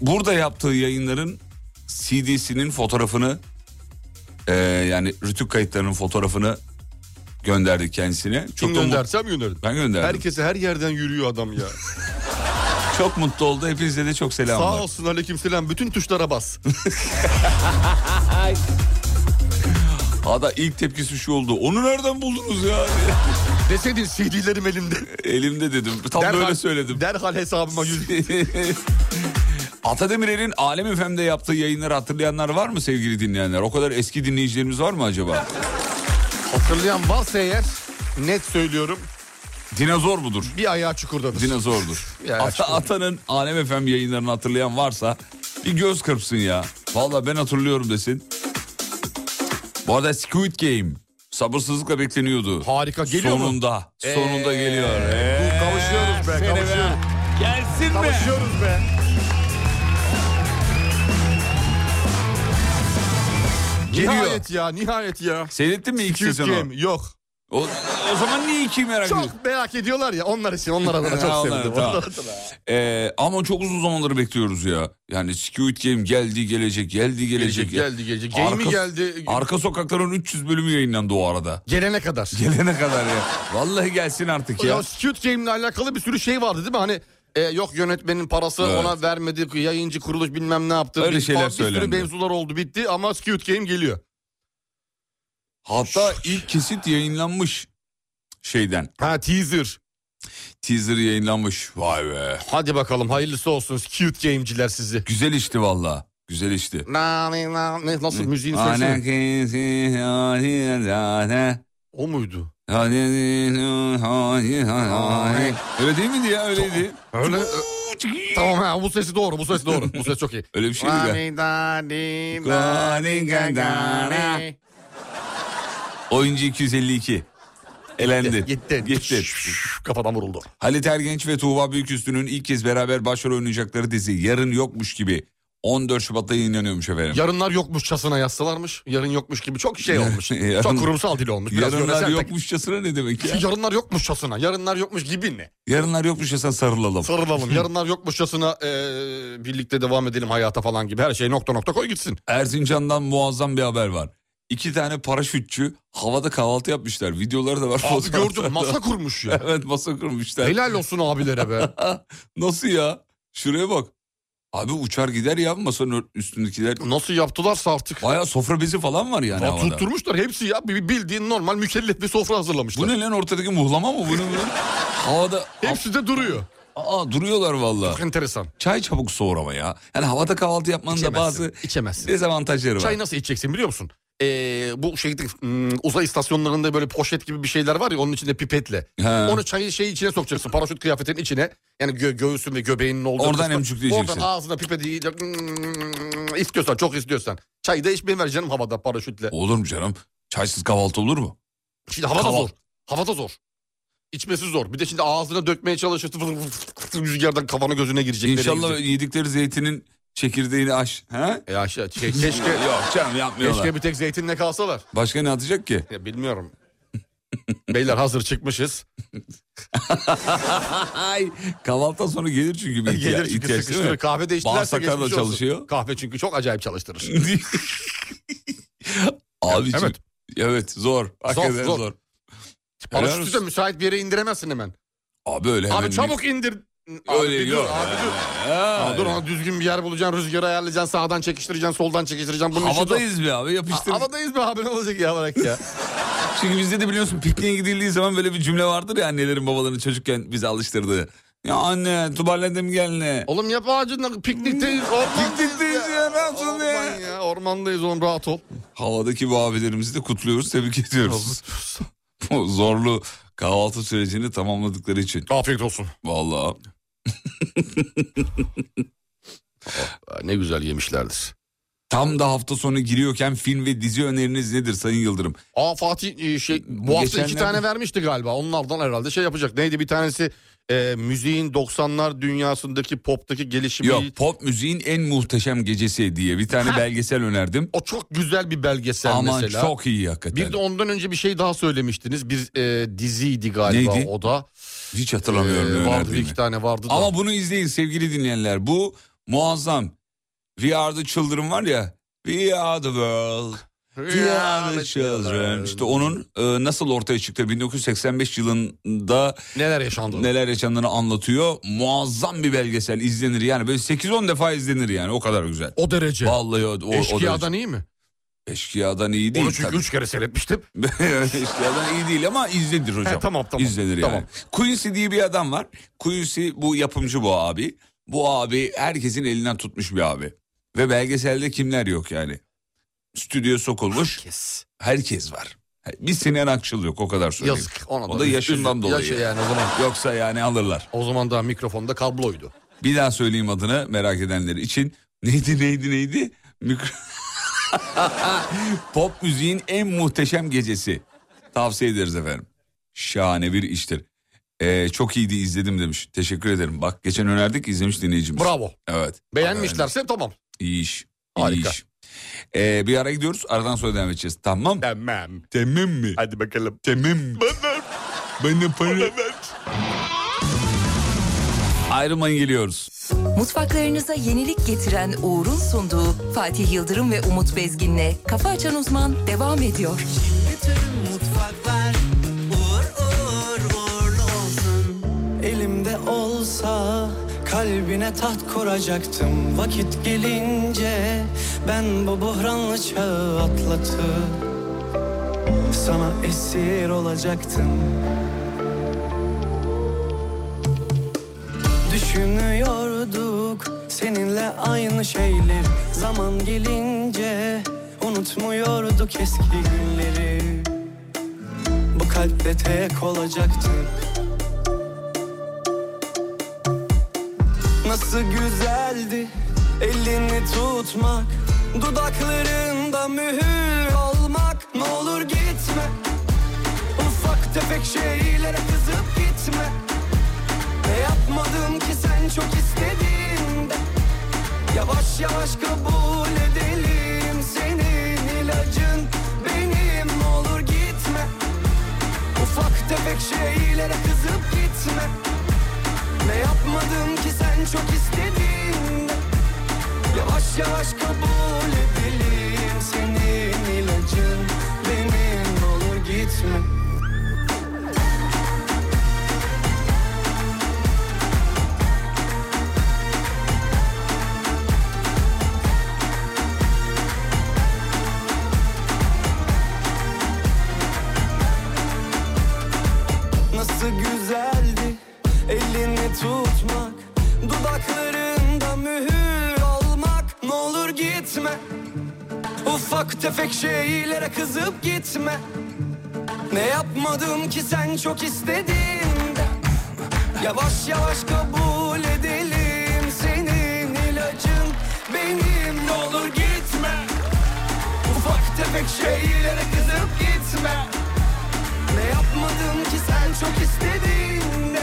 Speaker 3: burada yaptığı yayınların CD'sinin fotoğrafını eee, yani rütük kayıtlarının fotoğrafını gönderdik kendisine.
Speaker 4: Kim
Speaker 3: Çok da mut-
Speaker 4: göndersem gönderin.
Speaker 3: ben gönderdim.
Speaker 4: Herkese her yerden yürüyor
Speaker 3: [laughs]
Speaker 4: adam ya.
Speaker 3: Çok mutlu oldu. Hepinize de çok selamlar.
Speaker 4: Sağ olsun aleykümselam bütün tuşlara bas.
Speaker 3: Hatta ilk tepkisi şu oldu. Onu nereden buldunuz ya? [laughs]
Speaker 4: Deseydin CD'lerim elimde.
Speaker 3: Elimde dedim. Tam böyle
Speaker 4: [laughs]
Speaker 3: söyledim.
Speaker 4: Derhal hesabıma yüz...
Speaker 3: Atademirer'in Alem FM'de yaptığı yayınları hatırlayanlar var mı sevgili dinleyenler? O kadar eski dinleyicilerimiz var mı acaba?
Speaker 4: Hatırlayan varsa eğer net söylüyorum
Speaker 3: Dinozor mudur?
Speaker 4: bir ayağı çukurdadır.
Speaker 3: Dinozordur.
Speaker 4: Ya,
Speaker 3: Ata,
Speaker 4: açıkçası.
Speaker 3: Ata'nın Alem FM yayınlarını hatırlayan varsa bir göz kırpsın ya. Valla ben hatırlıyorum desin. Bu arada Squid Game sabırsızlıkla bekleniyordu.
Speaker 4: Harika, geliyor mu?
Speaker 3: sonunda, Sonunda, geliyor. Ee,
Speaker 4: Dur, kavuşuyoruz be
Speaker 3: seni be.
Speaker 4: kavuşuyoruz.
Speaker 3: Gelsin be.
Speaker 4: Kavuşuyoruz be.
Speaker 3: Geliyor.
Speaker 4: Nihayet ya nihayet ya.
Speaker 3: Seyrettin mi ilk
Speaker 4: Cute
Speaker 3: sezonu?
Speaker 4: Game, yok.
Speaker 3: O, o zaman niye ikiyi merak ediyorsun?
Speaker 4: Çok merak ediyorlar ya onlar için onlar adına
Speaker 3: Ha,
Speaker 4: çok
Speaker 3: onlar,
Speaker 4: sevindim.
Speaker 3: tamam.
Speaker 4: Onlar adına.
Speaker 3: Ee, ama çok uzun zamanları bekliyoruz ya. Yani Squid Game geldi gelecek, geldi gelecek.
Speaker 4: Gelecek geldi gelecek. Game mi
Speaker 3: Arka-
Speaker 4: geldi?
Speaker 3: Arka Sokakların 300 bölümü yayınlandı o arada.
Speaker 4: Gelene kadar.
Speaker 3: Gelene kadar ya. Vallahi gelsin artık ya.
Speaker 4: Ya Squid Game'le alakalı bir sürü şey vardı değil mi? Hani e, yok yönetmenin parası
Speaker 3: Evet.
Speaker 4: ona vermedi, yayıncı kuruluş bilmem ne yaptı.
Speaker 3: Öyle
Speaker 4: bir,
Speaker 3: şeyler
Speaker 4: bir sürü
Speaker 3: söylendi.
Speaker 4: mevzular oldu bitti ama Squid Game geliyor.
Speaker 3: Hatta ilk kesit yayınlanmış şeyden.
Speaker 4: Ha teaser.
Speaker 3: Teaser yayınlanmış. Vay be.
Speaker 4: Hadi bakalım hayırlısı olsun Squid Game'ciler sizi.
Speaker 3: Güzel işti valla. Güzel işti.
Speaker 4: Na, ne, na, ne, nasıl müziğin sesi?
Speaker 3: Öyle
Speaker 4: O muydu?
Speaker 3: değil miydi ya? Öyleydi.
Speaker 4: Öyle. e, tamam ha bu sesi doğru bu ses doğru. Bu ses çok [laughs] iyi.
Speaker 3: Öyle bir şeydi ya. Oyuncu 252. Elendi.
Speaker 4: Gitti.
Speaker 3: Gitti.
Speaker 4: Kafadan vuruldu.
Speaker 3: Halit Ergenç ve Tuğba Büyüküstü'nün ilk kez beraber başrol oynayacakları dizi Yarın Yokmuş gibi 14 Şubat'ta yayınlanıyormuş efendim.
Speaker 4: Yarınlar yokmuşçasına yazsalarmış. Yarın yokmuş gibi çok şey [laughs] olmuş.
Speaker 3: Yarın-
Speaker 4: Çok kurumsal dil olmuş. Biraz
Speaker 3: Yarınlar
Speaker 4: yöresel tek-
Speaker 3: yokmuşçasına ne demek ya?
Speaker 4: Yarınlar yokmuşçasına. Yarınlar yokmuş gibi ne?
Speaker 3: Yarınlar yokmuşçasına sarılalım.
Speaker 4: Sarılalım. Yarınlar yokmuşçasına eee, birlikte devam edelim hayata falan gibi. Her şey nokta nokta koy gitsin.
Speaker 3: Erzincan'dan muazzam bir haber var. İki tane paraşütçü havada kahvaltı yapmışlar. Videoları da var.
Speaker 4: Abi
Speaker 3: fotoğrafları da
Speaker 4: gördüm masa
Speaker 3: var.
Speaker 4: kurmuş [laughs] ya.
Speaker 3: [laughs] Evet masa kurmuşlar.
Speaker 4: Helal olsun abilere be.
Speaker 3: Nasıl ya? Şuraya bak. Abi uçar gider ya masanın ör- üstündekiler.
Speaker 4: Nasıl yaptılarsa artık.
Speaker 3: Baya sofra bezi falan var yani
Speaker 4: Ya
Speaker 3: Hani havada.
Speaker 4: tutturmuşlar hepsi ya. Bir- Bildiğin normal mükellef bir sofra hazırlamışlar.
Speaker 3: Bu ne lan ortadaki muhlama mı? Bu ne bu? havada
Speaker 4: Hepsi de duruyor.
Speaker 3: Aa, duruyorlar valla.
Speaker 4: Çok enteresan.
Speaker 3: Çay çabuk soğur ama ya. Yani havada kahvaltı yapmanın da bazı
Speaker 4: içemezsin.
Speaker 3: dezavantajları var.
Speaker 4: Çay nasıl içeceksin biliyor musun? Ee, bu şeyde hmm, uzay istasyonlarında böyle poşet gibi bir şeyler var ya onun içinde pipetle.
Speaker 3: He.
Speaker 4: Onu çayı şeyi içine sokacaksın paraşüt kıyafetinin içine. Yani gö- göğsün ve göbeğinin olduğu.
Speaker 3: Oradan
Speaker 4: kısma.
Speaker 3: emçükleyeceksin.
Speaker 4: Oradan ağzına pipeti yiyecek. Hmm, istiyorsan çok istiyorsan. Çayı da içmeyi ver canım havada paraşütle.
Speaker 3: Olur mu canım? Çaysız kahvaltı olur mu?
Speaker 4: Şimdi havada
Speaker 3: Kahvaltı.
Speaker 4: zor. Havada zor. İçmesi zor. Bir de şimdi ağzına dökmeye çalışırsın. Fır- fır- fır- Rüzgardan kafana gözüne girecek. nereye
Speaker 3: İnşallah
Speaker 4: gidecek?
Speaker 3: yedikleri zeytinin çekirdeğini aş. He?
Speaker 4: Ya şey, şey- [laughs] keşke,
Speaker 3: Yok canım yapmıyorlar.
Speaker 4: keşke bir tek zeytinle kalsalar.
Speaker 3: Başka ne atacak ki?
Speaker 4: Ya bilmiyorum. [laughs] Beyler hazır çıkmışız.
Speaker 3: [laughs] Ay kahvaltıdan sonra gelir çünkü bir ihtiya-
Speaker 4: Gelir çünkü
Speaker 3: ihtiyaç değil
Speaker 4: sıkıştırır.
Speaker 3: mi?
Speaker 4: Kahve de içtilerse
Speaker 3: Bağırsaklar da
Speaker 4: geçmiş olsun.
Speaker 3: çalışıyor.
Speaker 4: Kahve çünkü çok acayip çalıştırır.
Speaker 3: Abi
Speaker 4: Evet.
Speaker 3: evet. evet zor. Hakikaten zor.
Speaker 4: zor.
Speaker 3: Helal
Speaker 4: Paraşütü de
Speaker 3: olsun.
Speaker 4: müsait bir yere indiremezsin hemen.
Speaker 3: Abi öyle hemen.
Speaker 4: abi çabuk indir. Abi
Speaker 3: Öyle
Speaker 4: bir dur,
Speaker 3: yok.
Speaker 4: Abi dur.
Speaker 3: Ha,
Speaker 4: Abi dur ona düzgün bir yer bulacaksın, rüzgarı ayarlayacaksın, sağdan çekiştireceksin, soldan çekiştireceksin. Bunun işi zor.
Speaker 3: Havadayız be abi yapıştır.
Speaker 4: Ha- Havadayız be abi ne olacak ya bırak ya.
Speaker 3: Çünkü bizde de biliyorsun pikniğe gidildiği zaman böyle bir cümle vardır ya annelerin babaların çocukken bize alıştırdığı. Ya anne tubarlandım gelme.
Speaker 4: Oğlum yap ağacında piknikteyiz, ormandayız
Speaker 3: Piknikteyiz ya, ne yapsın
Speaker 4: Orman
Speaker 3: ya?
Speaker 4: ya, Ormandayız oğlum rahat ol.
Speaker 3: Havadaki bu abilerimizi de kutluyoruz tebrik ediyoruz. [laughs] Bu zorlu kahvaltı sürecini tamamladıkları için.
Speaker 4: Afiyet olsun.
Speaker 3: Vallahi
Speaker 4: Ne güzel yemişlerdir.
Speaker 3: tam da hafta sonu giriyorken film ve dizi öneriniz nedir Sayın Yıldırım?
Speaker 4: Aa Fatih e, şey bu hafta iki
Speaker 3: Geçenlerde-
Speaker 4: tane vermişti galiba. Onlardan herhalde şey yapacak. Neydi bir tanesi e, müziğin 90'lar dünyasındaki poptaki gelişimi.
Speaker 3: Yok pop müziğin en muhteşem gecesi diye bir tane belgesel önerdim.
Speaker 4: O çok güzel bir belgesel
Speaker 3: Ama
Speaker 4: mesela.
Speaker 3: çok iyi hakikaten.
Speaker 4: Bir de ondan önce bir şey daha söylemiştiniz. Bir e, diziydi galiba
Speaker 3: Neydi?
Speaker 4: o da.
Speaker 3: Hiç hatırlamıyorum ne
Speaker 4: E, vardı
Speaker 3: önerdiğimi.
Speaker 4: iki tane vardı da.
Speaker 3: Ama bunu izleyin sevgili dinleyenler. Bu muazzam. We are the children var ya. We are the world. We are the children. İşte onun e, nasıl ortaya çıktı 1985 yılında
Speaker 4: Neler yaşandı?
Speaker 3: neler yaşandığını anlatıyor. Muazzam bir belgesel izlenir yani böyle 8-10 defa izlenir yani o kadar güzel.
Speaker 4: O derece.
Speaker 3: Vallahi o, o, o derece.
Speaker 4: Eşkıya'dan iyi mi?
Speaker 3: Eşkıyadan iyi değil
Speaker 4: Onu çünkü
Speaker 3: tabii.
Speaker 4: üç kere seyretmiştim.
Speaker 3: [laughs] Eşkıyadan iyi değil ama izlenir hocam.
Speaker 4: He, tamam, tamam.
Speaker 3: İzlenir
Speaker 4: Tamam.
Speaker 3: yani. Quincy diye bir adam var. Quincy bu yapımcı bu abi. Bu abi herkesin elinden tutmuş bir abi. Ve belgeselde kimler yok yani. Stüdyo sokulmuş.
Speaker 4: Kes.
Speaker 3: Herkes var. Bir Sinan Akçıl yok o kadar söyleyeyim.
Speaker 4: Yazık. Ona
Speaker 3: O da yaşından
Speaker 4: Üzü-
Speaker 3: dolayı.
Speaker 4: Yaşı yani o zaman.
Speaker 3: Yoksa yani alırlar.
Speaker 4: O zaman daha mikrofonda kabloydu.
Speaker 3: Bir daha söyleyeyim adını merak edenler için. [laughs] Neydi neydi neydi? Mikro... [laughs] Pop müziğin en muhteşem gecesi. Tavsiye ederiz efendim. Şahane bir iştir. Ee, çok iyiydi izledim demiş. Teşekkür ederim. Bak geçen önerdik izlemiş dinleyicimiz.
Speaker 4: Bravo.
Speaker 3: Evet.
Speaker 4: Beğenmişlerse tamam.
Speaker 3: İyi iş. iyi
Speaker 4: Harika.
Speaker 3: iş. Ee, bir ara gidiyoruz. Aradan sonra devam edeceğiz. Tamam.
Speaker 4: Demem.
Speaker 3: Tamam mı?
Speaker 4: Hadi bakalım.
Speaker 3: Tamam mı? Bana para. Ayrılmayın geliyoruz.
Speaker 1: Mutfaklarınıza yenilik getiren Uğur'un sunduğu Fatih Yıldırım ve Umut Bezgin'le Kafa Açan Uzman devam ediyor.
Speaker 7: mutfaklar uğur uğur uğurlu olsun Elimde olsa kalbine taht kuracaktım Vakit gelince ben bu buhranlı çağı atlatıp Sana esir olacaktım Düşünüyorduk seninle aynı şeyleri Zaman gelince unutmuyorduk eski günleri bu kalpte tek olacaktır Nasıl güzeldi elini tutmak Dudaklarında mühür olmak Ne olur gitme Ufak tefek şeylere kızıp gitme Ne yapmadım ki sen çok istediğinde Yavaş yavaş kabul edelim Senin ilacın benim Ne olur gitme Ufak tefek şeylere kızıp gitme Ne yapmadım ki sen çok istedin Yavaş yavaş kabul edelim Senin ilacın benim olur gitme Nasıl güzeldi elini tutmak Dudaklarında mühür olmak Ne olur gitme Ufak tefek şeylere kızıp gitme Ne yapmadım ki sen çok istediğinde Yavaş yavaş kabul edelim Senin ilacın benim Ne olur gitme Ufak tefek şeylere kızıp gitme ne yapmadım ki sen çok istediğinde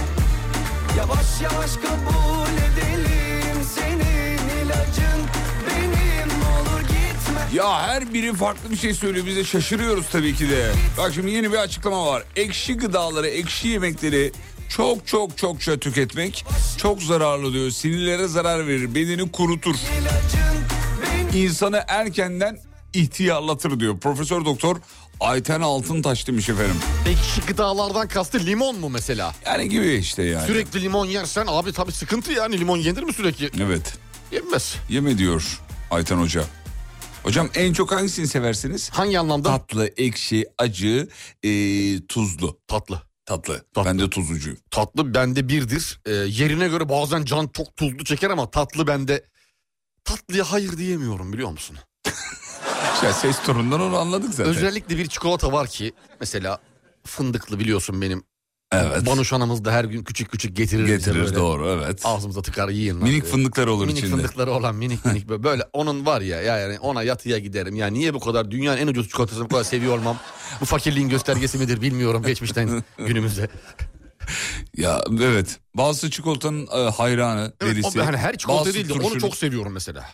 Speaker 7: Yavaş yavaş kabul edelim Senin ilacın benim Ne olur gitme
Speaker 3: Ya her biri farklı bir şey söylüyor. Biz de şaşırıyoruz tabii ki de. Bak şimdi yeni bir açıklama var. Ekşi gıdaları, ekşi yemekleri çok çok çokça tüketmek çok zararlı diyor. Sinirlere zarar verir, bedeni kurutur.
Speaker 7: ilacın benim
Speaker 3: İnsanı erkenden ihtiyarlatır diyor. Profesör Doktor Ayten Altıntaş demiş efendim.
Speaker 4: Ekşi gıdalardan kastı limon mu mesela?
Speaker 3: Yani gibi işte yani.
Speaker 4: Sürekli limon yersen abi tabii sıkıntı yani limon yenir mi sürekli?
Speaker 3: Evet.
Speaker 4: Yenmez.
Speaker 3: Yeme diyor Ayten Hoca. Hocam en çok hangisini seversiniz?
Speaker 4: Hangi anlamda?
Speaker 3: Tatlı, ekşi, acı, ee, tuzlu.
Speaker 4: tatlı.
Speaker 3: Tatlı.
Speaker 4: Tatlı.
Speaker 3: Ben de tuzlucuyum.
Speaker 4: Tatlı bende birdir. Ee, yerine göre bazen can çok tuzlu çeker ama tatlı bende... Tatlıya hayır diyemiyorum biliyor musun?
Speaker 3: Ya ses tonundan onu anladık zaten.
Speaker 4: Özellikle bir çikolata var ki mesela fındıklı biliyorsun benim.
Speaker 3: evet.
Speaker 4: Banuş anamız da her gün küçük küçük getirir. bize
Speaker 3: getirir
Speaker 4: böyle.
Speaker 3: doğru evet.
Speaker 4: Ağzımıza tıkar yiyin. lan
Speaker 3: Minik
Speaker 4: diye.
Speaker 3: fındıklar olur
Speaker 4: minik
Speaker 3: içinde.
Speaker 4: fındıkları olan minik minik böyle, böyle onun var ya ya yani ona yatıya giderim. Ya niye bu kadar dünyanın en ucuz çikolatasını bu kadar seviyor olmam? Bu fakirliğin göstergesi midir bilmiyorum
Speaker 3: [laughs]
Speaker 4: geçmişten günümüze.
Speaker 3: Ya evet. Bazı çikolatanın e, hayranı
Speaker 4: Evet,
Speaker 3: derisi.
Speaker 4: o- hani her çikolata
Speaker 3: Bazı
Speaker 4: değil de onu
Speaker 3: turşunun-
Speaker 4: çok seviyorum mesela.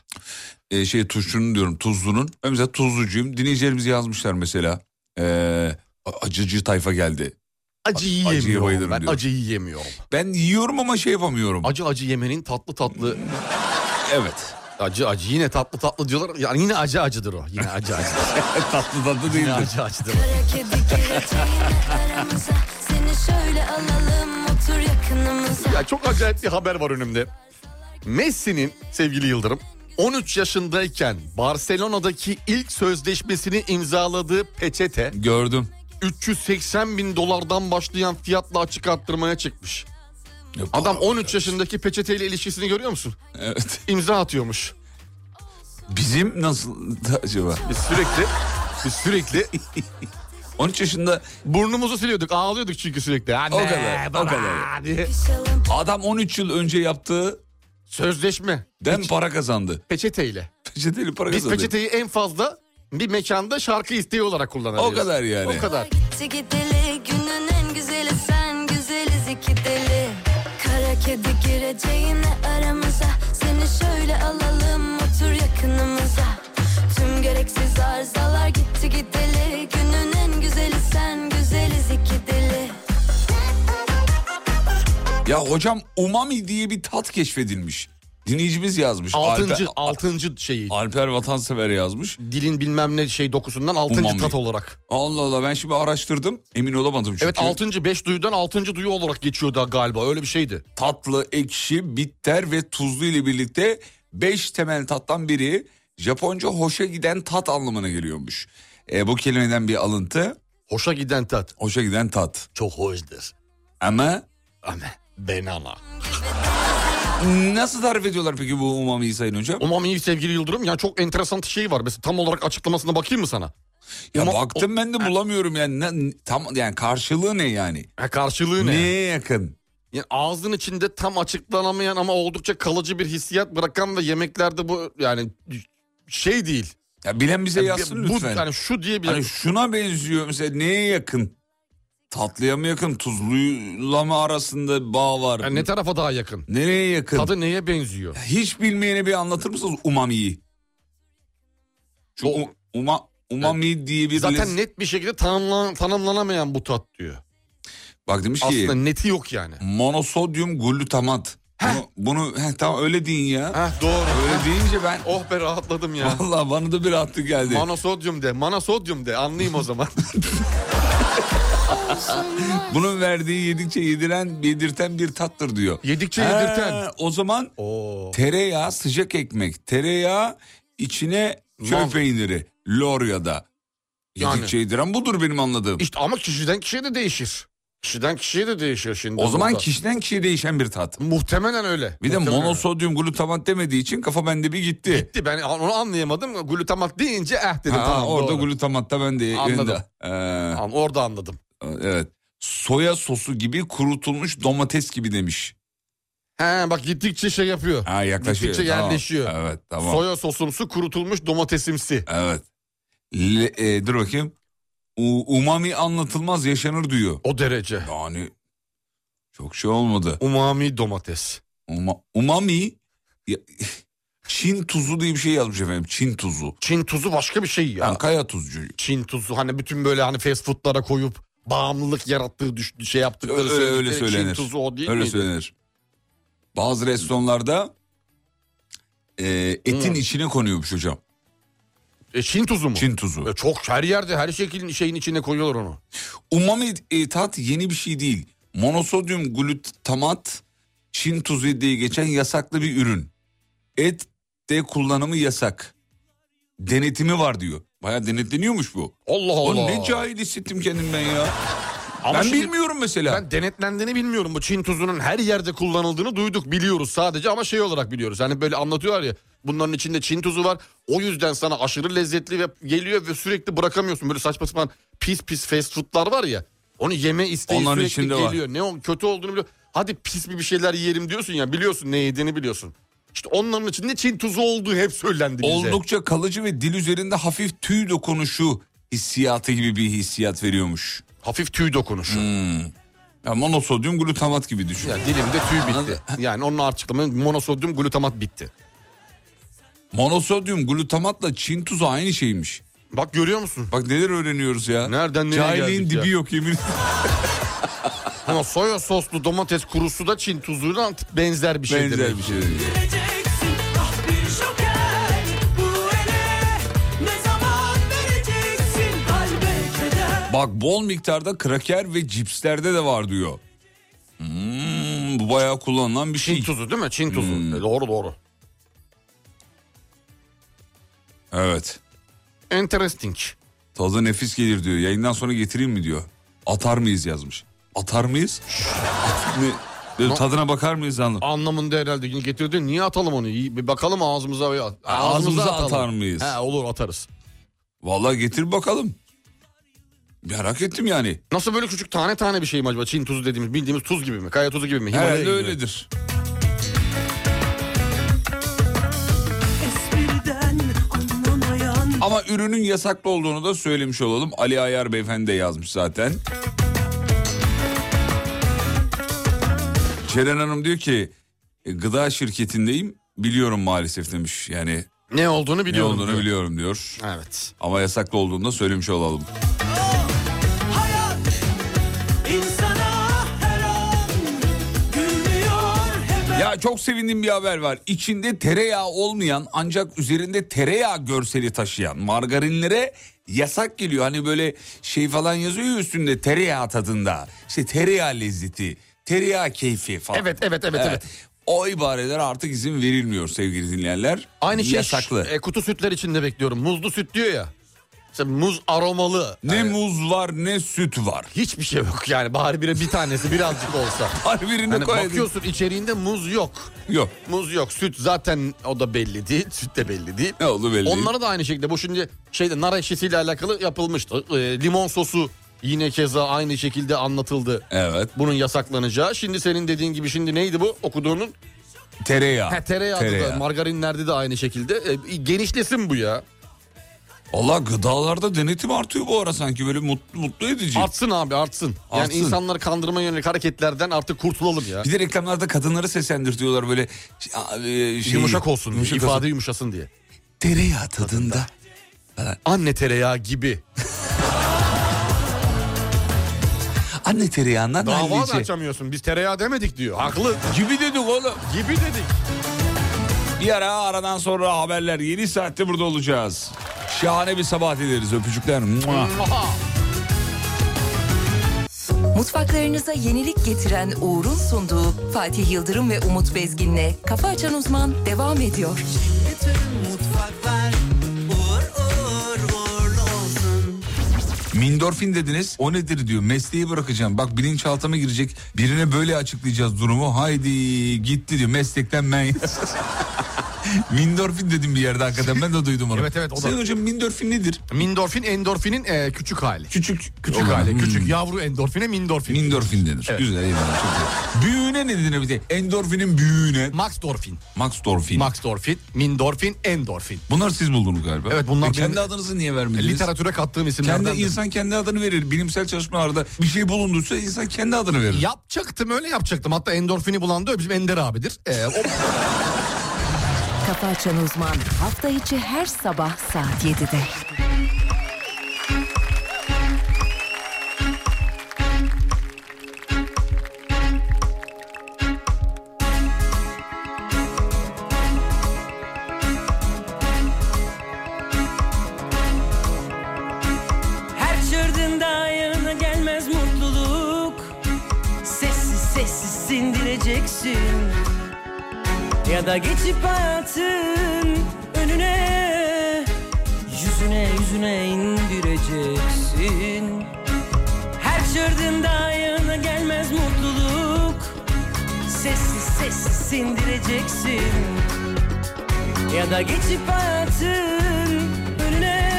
Speaker 3: e, şey turşunun diyorum tuzlunun. Ben mesela tuzlucuyum. Dinleyicilerimiz yazmışlar mesela. E, acıcı tayfa geldi.
Speaker 4: Acı
Speaker 3: acıya
Speaker 4: yiyemiyorum.
Speaker 3: bayılırım
Speaker 4: Ben
Speaker 3: diyorum.
Speaker 4: acı yiyemiyorum.
Speaker 3: Ben yiyorum ama şey yapamıyorum.
Speaker 4: Acı acı yemenin tatlı tatlı
Speaker 3: evet.
Speaker 4: acı acı yine tatlı tatlı diyorlar. Yani yine acı acıdır o. Yine acı acıdır.
Speaker 3: Tatlı tatlı
Speaker 4: yine
Speaker 3: değildir.
Speaker 4: acı acıdır.
Speaker 8: Kara kedi kiretiyle aramıza Seni şöyle alalım otur yakınımıza
Speaker 4: Ya çok acayip bir haber var önümde. Messi'nin sevgili Yıldırım 13 yaşındayken Barcelona'daki ilk sözleşmesini imzaladığı peçete
Speaker 3: Gördüm.
Speaker 4: 380 bin dolardan başlayan fiyatla açık arttırmaya çıkmış. Adam 13 yaşındaki peçeteyle ilişkisini görüyor musun?
Speaker 3: Evet.
Speaker 4: İmza atıyormuş.
Speaker 3: Bizim nasıl acaba?
Speaker 4: Biz sürekli biz
Speaker 3: [laughs]
Speaker 4: sürekli
Speaker 3: 13 yaşında
Speaker 4: burnumuzu siliyorduk, ağlıyorduk çünkü sürekli. Anne,
Speaker 3: o kadar. O
Speaker 4: baba
Speaker 3: kadar.
Speaker 4: diye.
Speaker 3: Adam 13 yıl önce yaptığı
Speaker 4: Sözleşme
Speaker 3: den para kazandı. [laughs]
Speaker 4: peçeteyle.
Speaker 3: Peçeteli para
Speaker 4: Biz
Speaker 3: kazandı.
Speaker 4: peçeteyi en fazla bir mekanda şarkı isteği olarak kullanabiliriz.
Speaker 3: O kadar yani.
Speaker 4: O kadar.
Speaker 9: Gitti gideli günün en güzeli sen güzeliz iki deli Kara kedi gireceğine aramıza Seni şöyle alalım otur yakınımıza Tüm gereksiz arızalar gitti gideli Günün en güzeli sen güzeliz iki deli
Speaker 3: Ya hocam umami diye bir tat keşfedilmiş. Dinleyicimiz yazmış.
Speaker 4: Altıncı,
Speaker 3: Alper,
Speaker 4: altıncı şeyi.
Speaker 3: Alper Vatansever yazmış.
Speaker 4: Dilin bilmem ne şey dokusundan altıncı
Speaker 3: Umami.
Speaker 4: tat olarak.
Speaker 3: Allah Allah ben şimdi araştırdım. Emin olamadım çünkü.
Speaker 4: Evet altıncı beş duyudan altıncı duyu olarak geçiyor da galiba öyle bir şeydi.
Speaker 3: Tatlı, ekşi, bitter ve tuzlu ile birlikte 5 temel tattan biri Japonca hoşa giden tat anlamına geliyormuş. E, bu kelimeden bir alıntı.
Speaker 4: Hoşa giden tat.
Speaker 3: Hoşa giden tat.
Speaker 4: Çok hoşdur.
Speaker 3: Ama
Speaker 4: Ama benana.
Speaker 3: nasıl tarif ediyorlar peki bu umamiyi sayın hocam?
Speaker 4: Umami'yi sevgili Yıldırım yani çok enteresan şey var. Mesela tam olarak açıklamasına bakayım mı sana?
Speaker 3: Ya
Speaker 4: Uma-
Speaker 3: baktım ben de bulamıyorum yani Ne- tam yani karşılığı ne yani?
Speaker 4: Ha, karşılığı ne?
Speaker 3: Neye yakın?
Speaker 4: Yani ağzın içinde tam açıklanamayan ama oldukça kalıcı bir hissiyat bırakan ve yemeklerde bu yani şey değil.
Speaker 3: Ya bilen bize
Speaker 4: Yani
Speaker 3: yazsın
Speaker 4: bu,
Speaker 3: lütfen.
Speaker 4: Yani şu diye bir
Speaker 3: Hani şuna benziyor mesela neye yakın? Tatlıya mı yakın? Tuzluyla mı arasında bağ var?
Speaker 4: yani ne tarafa daha yakın?
Speaker 3: Nereye yakın?
Speaker 4: Tadı neye benziyor?
Speaker 3: Hiç bilmeyene bir anlatır mısınız umamiyi? Şu
Speaker 4: O-
Speaker 3: u- uma, umami diye bir lez-
Speaker 4: Zaten net bir şekilde tanımlan- tanımlanamayan bu tat diyor.
Speaker 3: Bak demiş ki
Speaker 4: Aslında neti yok yani.
Speaker 3: monosodyum glutamat. Bunu, bunu heh, tamam öyle deyin ya.
Speaker 4: Heh, doğru.
Speaker 3: Öyle deyince ben
Speaker 4: [laughs] Oh be rahatladım ya.
Speaker 3: [laughs] vallahi bana da bir rahatlık geldi.
Speaker 4: Monosodyum de, manasodyum de anlayayım
Speaker 3: [laughs]
Speaker 4: o zaman.
Speaker 3: Bunun verdiği yedikçe yediren, yedirten bir tattır diyor.
Speaker 4: Yedikçe
Speaker 3: Ha,
Speaker 4: yedirten.
Speaker 3: O zaman
Speaker 4: Oo.
Speaker 3: tereyağı sıcak ekmek. Tereyağı içine köy
Speaker 4: Mal.
Speaker 3: peyniri. Lorya'da.
Speaker 4: Yani.
Speaker 3: Yedikçe yediren budur benim anladığım.
Speaker 4: İşte ama kişiden kişiye de değişir. Kişiden kişiye de değişir şimdi.
Speaker 3: o zaman
Speaker 4: burada.
Speaker 3: kişiden kişiye değişen bir tat.
Speaker 4: Muhtemelen öyle.
Speaker 3: Bir de
Speaker 4: Muhtemelen
Speaker 3: monosodyum glutamat demediği için kafa bende bir gitti.
Speaker 4: öyle. Gitti, Ben onu anlayamadım. Glutamat deyince eh dedim.
Speaker 3: Ha,
Speaker 4: tamam,
Speaker 3: orada
Speaker 4: doğru.
Speaker 3: glutamatta ben de
Speaker 4: Anladım.
Speaker 3: Ee,
Speaker 4: Tamam, orada anladım.
Speaker 3: evet. Soya sosu gibi kurutulmuş domates gibi demiş.
Speaker 4: He bak gittikçe şey yapıyor.
Speaker 3: Ha yaklaşıyor.
Speaker 4: Gittikçe
Speaker 3: tamam.
Speaker 4: yerleşiyor.
Speaker 3: Evet tamam.
Speaker 4: Soya sosumsu kurutulmuş domatesimsi.
Speaker 3: Evet. Le- e, dur bakayım. U- umami anlatılmaz yaşanır diyor.
Speaker 4: O derece.
Speaker 3: Yani çok şey olmadı.
Speaker 4: Umami domates.
Speaker 3: Uma- umami ya- [laughs] Çin tuzu diye bir şey yazmış efendim. Çin tuzu.
Speaker 4: Çin tuzu başka bir şey ya.
Speaker 3: Yani kaya tuzcu.
Speaker 4: Çin tuzu hani bütün böyle hani fast foodlara koyup bağımlılık yarattığı düş, şey yaptıkları
Speaker 3: Öyle- öyle
Speaker 4: söyledikleri
Speaker 3: söylenir.
Speaker 4: Çin tuzu o değil
Speaker 3: Öyle
Speaker 4: miydi?
Speaker 3: söylenir. Bazı restoranlarda e, etin
Speaker 4: Hmm.
Speaker 3: içine konuyormuş hocam.
Speaker 4: E, Çin tuzu mu?
Speaker 3: Çin tuzu.
Speaker 4: E, çok her yerde her şekilin şeyin içine koyuyorlar onu.
Speaker 3: Umami e, tat yeni bir şey değil. Monosodyum glutamat Çin tuzu diye geçen yasaklı bir ürün. Et de kullanımı yasak. Denetimi var diyor. Baya denetleniyormuş bu.
Speaker 4: Allah
Speaker 3: Oğlum
Speaker 4: Allah.
Speaker 3: ne cahil hissettim kendim ben ya.
Speaker 4: Ama
Speaker 3: ben
Speaker 4: şimdi
Speaker 3: bilmiyorum mesela.
Speaker 4: Ben denetlendiğini bilmiyorum. Bu Çin tuzunun her yerde kullanıldığını duyduk biliyoruz sadece ama şey olarak biliyoruz. Hani böyle anlatıyorlar ya bunların içinde Çin tuzu var. O yüzden sana aşırı lezzetli ve geliyor ve sürekli bırakamıyorsun. Böyle saçma sapan pis pis fast foodlar var ya. Onu yeme isteği
Speaker 3: Onların
Speaker 4: sürekli
Speaker 3: içinde var.
Speaker 4: geliyor. Ne o kötü olduğunu biliyor. Hadi pis bir bir şeyler yiyelim diyorsun ya biliyorsun ne yediğini biliyorsun. İşte onların içinde Çin tuzu olduğu hep söylendi bize.
Speaker 3: Oldukça kalıcı ve dil üzerinde hafif tüy dokunuşu hissiyatı gibi bir hissiyat veriyormuş.
Speaker 4: Hafif tüy dokunuşu.
Speaker 3: Hmm. Ya monosodyum glutamat gibi düşün.
Speaker 4: Yani dilimde tüy bitti. Yani onun açıklaması monosodyum glutamat bitti.
Speaker 3: Monosodyum glutamatla Çin tuzu aynı şeymiş.
Speaker 4: Bak görüyor musun?
Speaker 3: Bak neler öğreniyoruz ya.
Speaker 4: Nereden nereye
Speaker 3: Cahilliğin
Speaker 4: geldik ya?
Speaker 3: dibi yok yemin ederim.
Speaker 4: Ama soya soslu domates kurusu da Çin tuzuyla benzer bir [laughs] şey
Speaker 3: Benzer
Speaker 4: demek.
Speaker 3: bir şey.
Speaker 2: Vereceksin ah bir şoker Bu ele ne zaman vereceksin Kalbe keder
Speaker 3: Bak bol miktarda kraker ve cipslerde de var diyor. Hmm, bu bayağı kullanılan bir
Speaker 4: Çin
Speaker 3: şey.
Speaker 4: tuzu değil mi? Çin tuzu. E, Doğru doğru.
Speaker 3: Evet.
Speaker 4: Interesting.
Speaker 3: Tadı nefis gelir diyor. Yayından sonra getireyim mi diyor. Atar mıyız yazmış. Atar mıyız? At- ne- Dedim, tadına bakar mıyız anladım.
Speaker 4: Anlamında herhalde yine getirdi. Niye atalım onu? İyi, Bir bakalım ağzımıza. Ağzımıza,
Speaker 3: Ağzımıza
Speaker 4: atalım.
Speaker 3: atar mıyız?
Speaker 4: He olur atarız.
Speaker 3: Vallahi getir bakalım. Merak ettim yani.
Speaker 4: Nasıl böyle küçük tane tane bir şey mi acaba? Çin tuzu dediğimiz bildiğimiz tuz gibi mi? Kaya tuzu gibi mi? Himalaya
Speaker 3: Herhalde
Speaker 4: gibi mi?
Speaker 3: öyledir.
Speaker 10: Espriden anlamayan
Speaker 3: Ama ürünün yasaklı olduğunu da söylemiş olalım. Ali Ayar beyefendi de yazmış zaten. Ceren Hanım diyor ki "E, gıda şirketindeyim biliyorum maalesef demiş. Yani
Speaker 4: Ne olduğunu
Speaker 3: ne
Speaker 4: biliyorum.
Speaker 3: olduğunu
Speaker 4: diyor.
Speaker 3: biliyorum diyor.
Speaker 4: Evet.
Speaker 3: Ama yasaklı olduğunu da söylemiş olalım.
Speaker 10: hayat insana her an gülmüyor hep
Speaker 3: Ya çok sevindiğim bir haber var. İçinde tereyağı olmayan ancak üzerinde tereyağı görseli taşıyan margarinlere yasak geliyor. Hani böyle şey falan yazıyor ya üstünde tereyağı tadında. İşte tereyağı lezzeti, tereyağı keyfi falan.
Speaker 4: Evet, evet, evet, evet.
Speaker 3: O ibareler artık izin verilmiyor sevgili dinleyenler.
Speaker 4: Aynı şey
Speaker 3: Yasaklı.
Speaker 4: e, kutu sütler içinde bekliyorum. Muzlu süt diyor ya. Mesela muz aromalı.
Speaker 3: ne
Speaker 4: Yani
Speaker 3: muz var ne süt var.
Speaker 4: Hiçbir şey yok yani. Bari bire bir tanesi birazcık olsa.
Speaker 3: Her birine
Speaker 4: Hani
Speaker 3: koyadın.
Speaker 4: bakıyorsun içeriğinde muz yok.
Speaker 3: Yok.
Speaker 4: Muz yok. Süt zaten o da belli değil. Süt de belli değil.
Speaker 3: Ne oldu belli değil.
Speaker 4: Onlara da aynı şekilde bu şimdi şeyde nar ekşisiyle alakalı yapılmıştı. Ee, limon sosu yine keza aynı şekilde anlatıldı.
Speaker 3: Evet.
Speaker 4: Bunun yasaklanacağı. Şimdi senin dediğin gibi şimdi neydi bu okuduğunun?
Speaker 3: Tereyağı.
Speaker 4: Ha, tereyağı, da margarinlerde de aynı şekilde. Ee, genişlesin bu ya.
Speaker 3: Allah gıdalarda denetim artıyor bu ara sanki böyle mutlu, mutlu edici.
Speaker 4: Artsın abi artsın. Yani
Speaker 3: Artsın.
Speaker 4: insanları kandırma yönelik hareketlerden artık kurtulalım ya.
Speaker 3: Bir de reklamlarda kadınları seslendirtiyorlar böyle şey, şey-
Speaker 4: yumuşak olsun,
Speaker 3: yumuşak
Speaker 4: ifade
Speaker 3: olsun.
Speaker 4: yumuşasın diye.
Speaker 3: Tereyağı tadında.
Speaker 4: Anne tereyağı gibi.
Speaker 3: Anne tereyağından
Speaker 4: Dava da
Speaker 3: hallice.
Speaker 4: açamıyorsun. Biz tereyağı demedik diyor. Haklı.
Speaker 3: Gibi dedik oğlum.
Speaker 4: Gibi dedik.
Speaker 3: Bir ara aradan sonra haberler yeni saatte burada olacağız. Şahane bir sabah dileriz öpücükler. Mua.
Speaker 1: Mutfaklarınıza yenilik getiren Uğur'un sunduğu Fatih Yıldırım ve Umut Bezgin'le Kafa Açan Uzman devam ediyor.
Speaker 10: mutfaklar uğur uğur uğurlu olsun
Speaker 3: Mindorfin dediniz. O nedir diyor. Mesleği bırakacağım. Bak bilinçaltıma girecek. Birine böyle açıklayacağız durumu. Haydi gitti diyor. Meslekten ben [laughs] Mindorfin dedim bir yerde hakikaten. Ben de duydum onu.
Speaker 4: Evet, evet, o da.
Speaker 3: Sayın hocam mindorfin nedir?
Speaker 4: Mindorfin endorfinin e, küçük hali.
Speaker 3: Küçük.
Speaker 4: Küçük
Speaker 3: Olan.
Speaker 4: hali.
Speaker 3: Hmm.
Speaker 4: Küçük yavru endorfine mindorfin.
Speaker 3: Mindorfin denir.
Speaker 4: Evet.
Speaker 3: Güzel eyvallah. Çok güzel. Büyüğüne ne denir bir de? Endorfinin büyüğüne.
Speaker 4: Maxdorfin.
Speaker 3: Maxdorfin.
Speaker 4: Maxdorfin, mindorfin, endorfin.
Speaker 3: Bunlar siz buldunuz galiba.
Speaker 4: Evet, bunlar
Speaker 3: E, kendi
Speaker 4: benim-
Speaker 3: adınızı niye vermediniz?
Speaker 4: Literatüre kattığım isimlerden.
Speaker 3: kendi insan kendi adını verir. Bilimsel çalışmalarda bir şey bulunduysa insan kendi adını verir.
Speaker 4: Yapacaktım öyle yapacaktım. Hatta endorfini bulan da bizim Ender abidir. E, o...
Speaker 1: Kafa Açan Uzman hafta içi her sabah saat 7'de.
Speaker 10: Her çırdığında yanına gelmez mutluluk Sessiz sessiz sindireceksin Ya da geçip hayatın önüne Yüzüne yüzüne indireceksin Her çırdığında yanına gelmez mutluluk Sessiz sessiz sindireceksin Ya da geçip hayatın önüne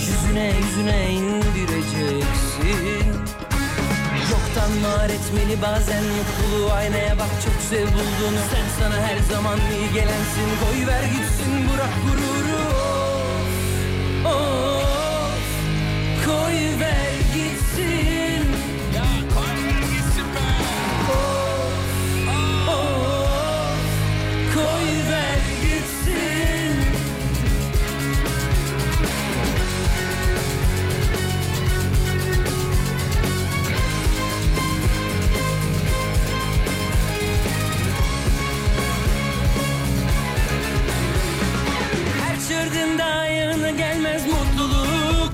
Speaker 10: Yüzüne yüzüne indireceksin Yoktan var etmeli bazen mutluluğu Aynaya bak çok sev bulduğunu Sen sana her zaman iyi gelensin Koy ver gitsin bırak gururu Of, of Koy ver gitsin Ya koy ver gitsin be Of, of Koy ver gitsin Her çırdığında yanına gelmez mutluluk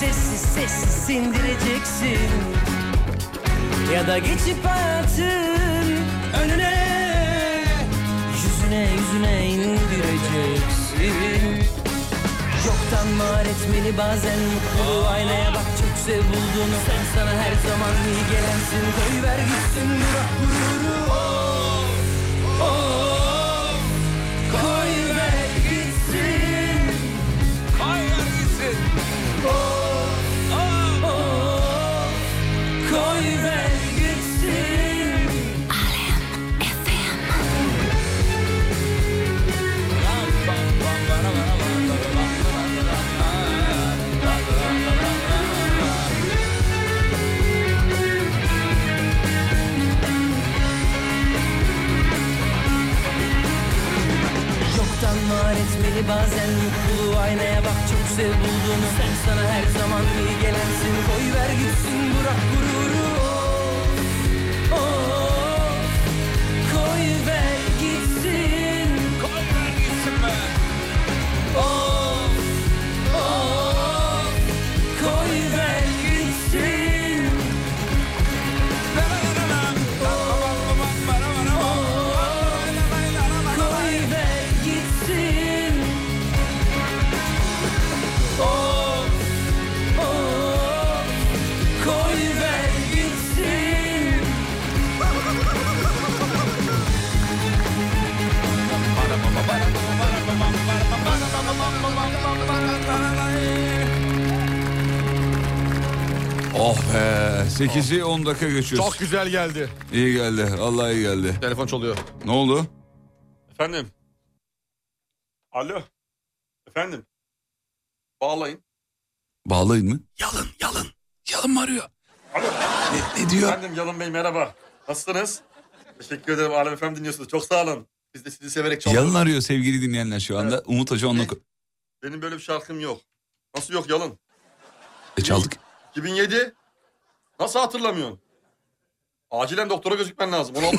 Speaker 10: Sessiz sessiz sindireceksin Ya da geçip hayatın önüne Yüzüne yüzüne indireceksin
Speaker 11: Yoktan var etmeli bazen mutluluğu Aynaya bak çökse bulduğunu Sen sana her zaman iyi gelensin Koyver gitsin bırak gururu Of, of. Koyver gitsin Koyver gitsin Of, of. Koyver gitsin Yoktan var etmeli bazen mutluluğu Aynaya bak çok sev bulduğunu Sen sana her zaman iyi gelensin Koy ver gitsin bırak gururu Oh, oh, Koy ver gitsin Koy ver gitsin be Oh, oh, Koy ver gitsin Koy ver gitsin Oh, oh, koy ver gitsin
Speaker 3: Oh be. 8'i 10 dakika geçiyoruz.
Speaker 4: Çok güzel geldi.
Speaker 3: İyi geldi. Allah iyi geldi.
Speaker 4: Telefon çalıyor.
Speaker 3: Ne oldu?
Speaker 4: Efendim. Alo. Efendim. Bağlayın.
Speaker 3: Bağlayın mı? Yalın yalın. Yalın mı arıyor?
Speaker 4: Alo.
Speaker 3: Ne diyor?
Speaker 4: Efendim Yalın Bey merhaba. Nasılsınız? Teşekkür ederim Alem Efendim dinliyorsunuz. Çok sağ olun. Biz de sizi severek çalıyoruz.
Speaker 3: Yalın arıyor sevgili dinleyenler şu anda. Umut Hoca onunla... ko-
Speaker 4: Benim böyle bir şarkım yok. Nasıl yok Yalın?
Speaker 3: E, çaldık.
Speaker 4: 2007. Nasıl hatırlamıyorsun? Acilen doktora gözükmen lazım. [laughs] Onu...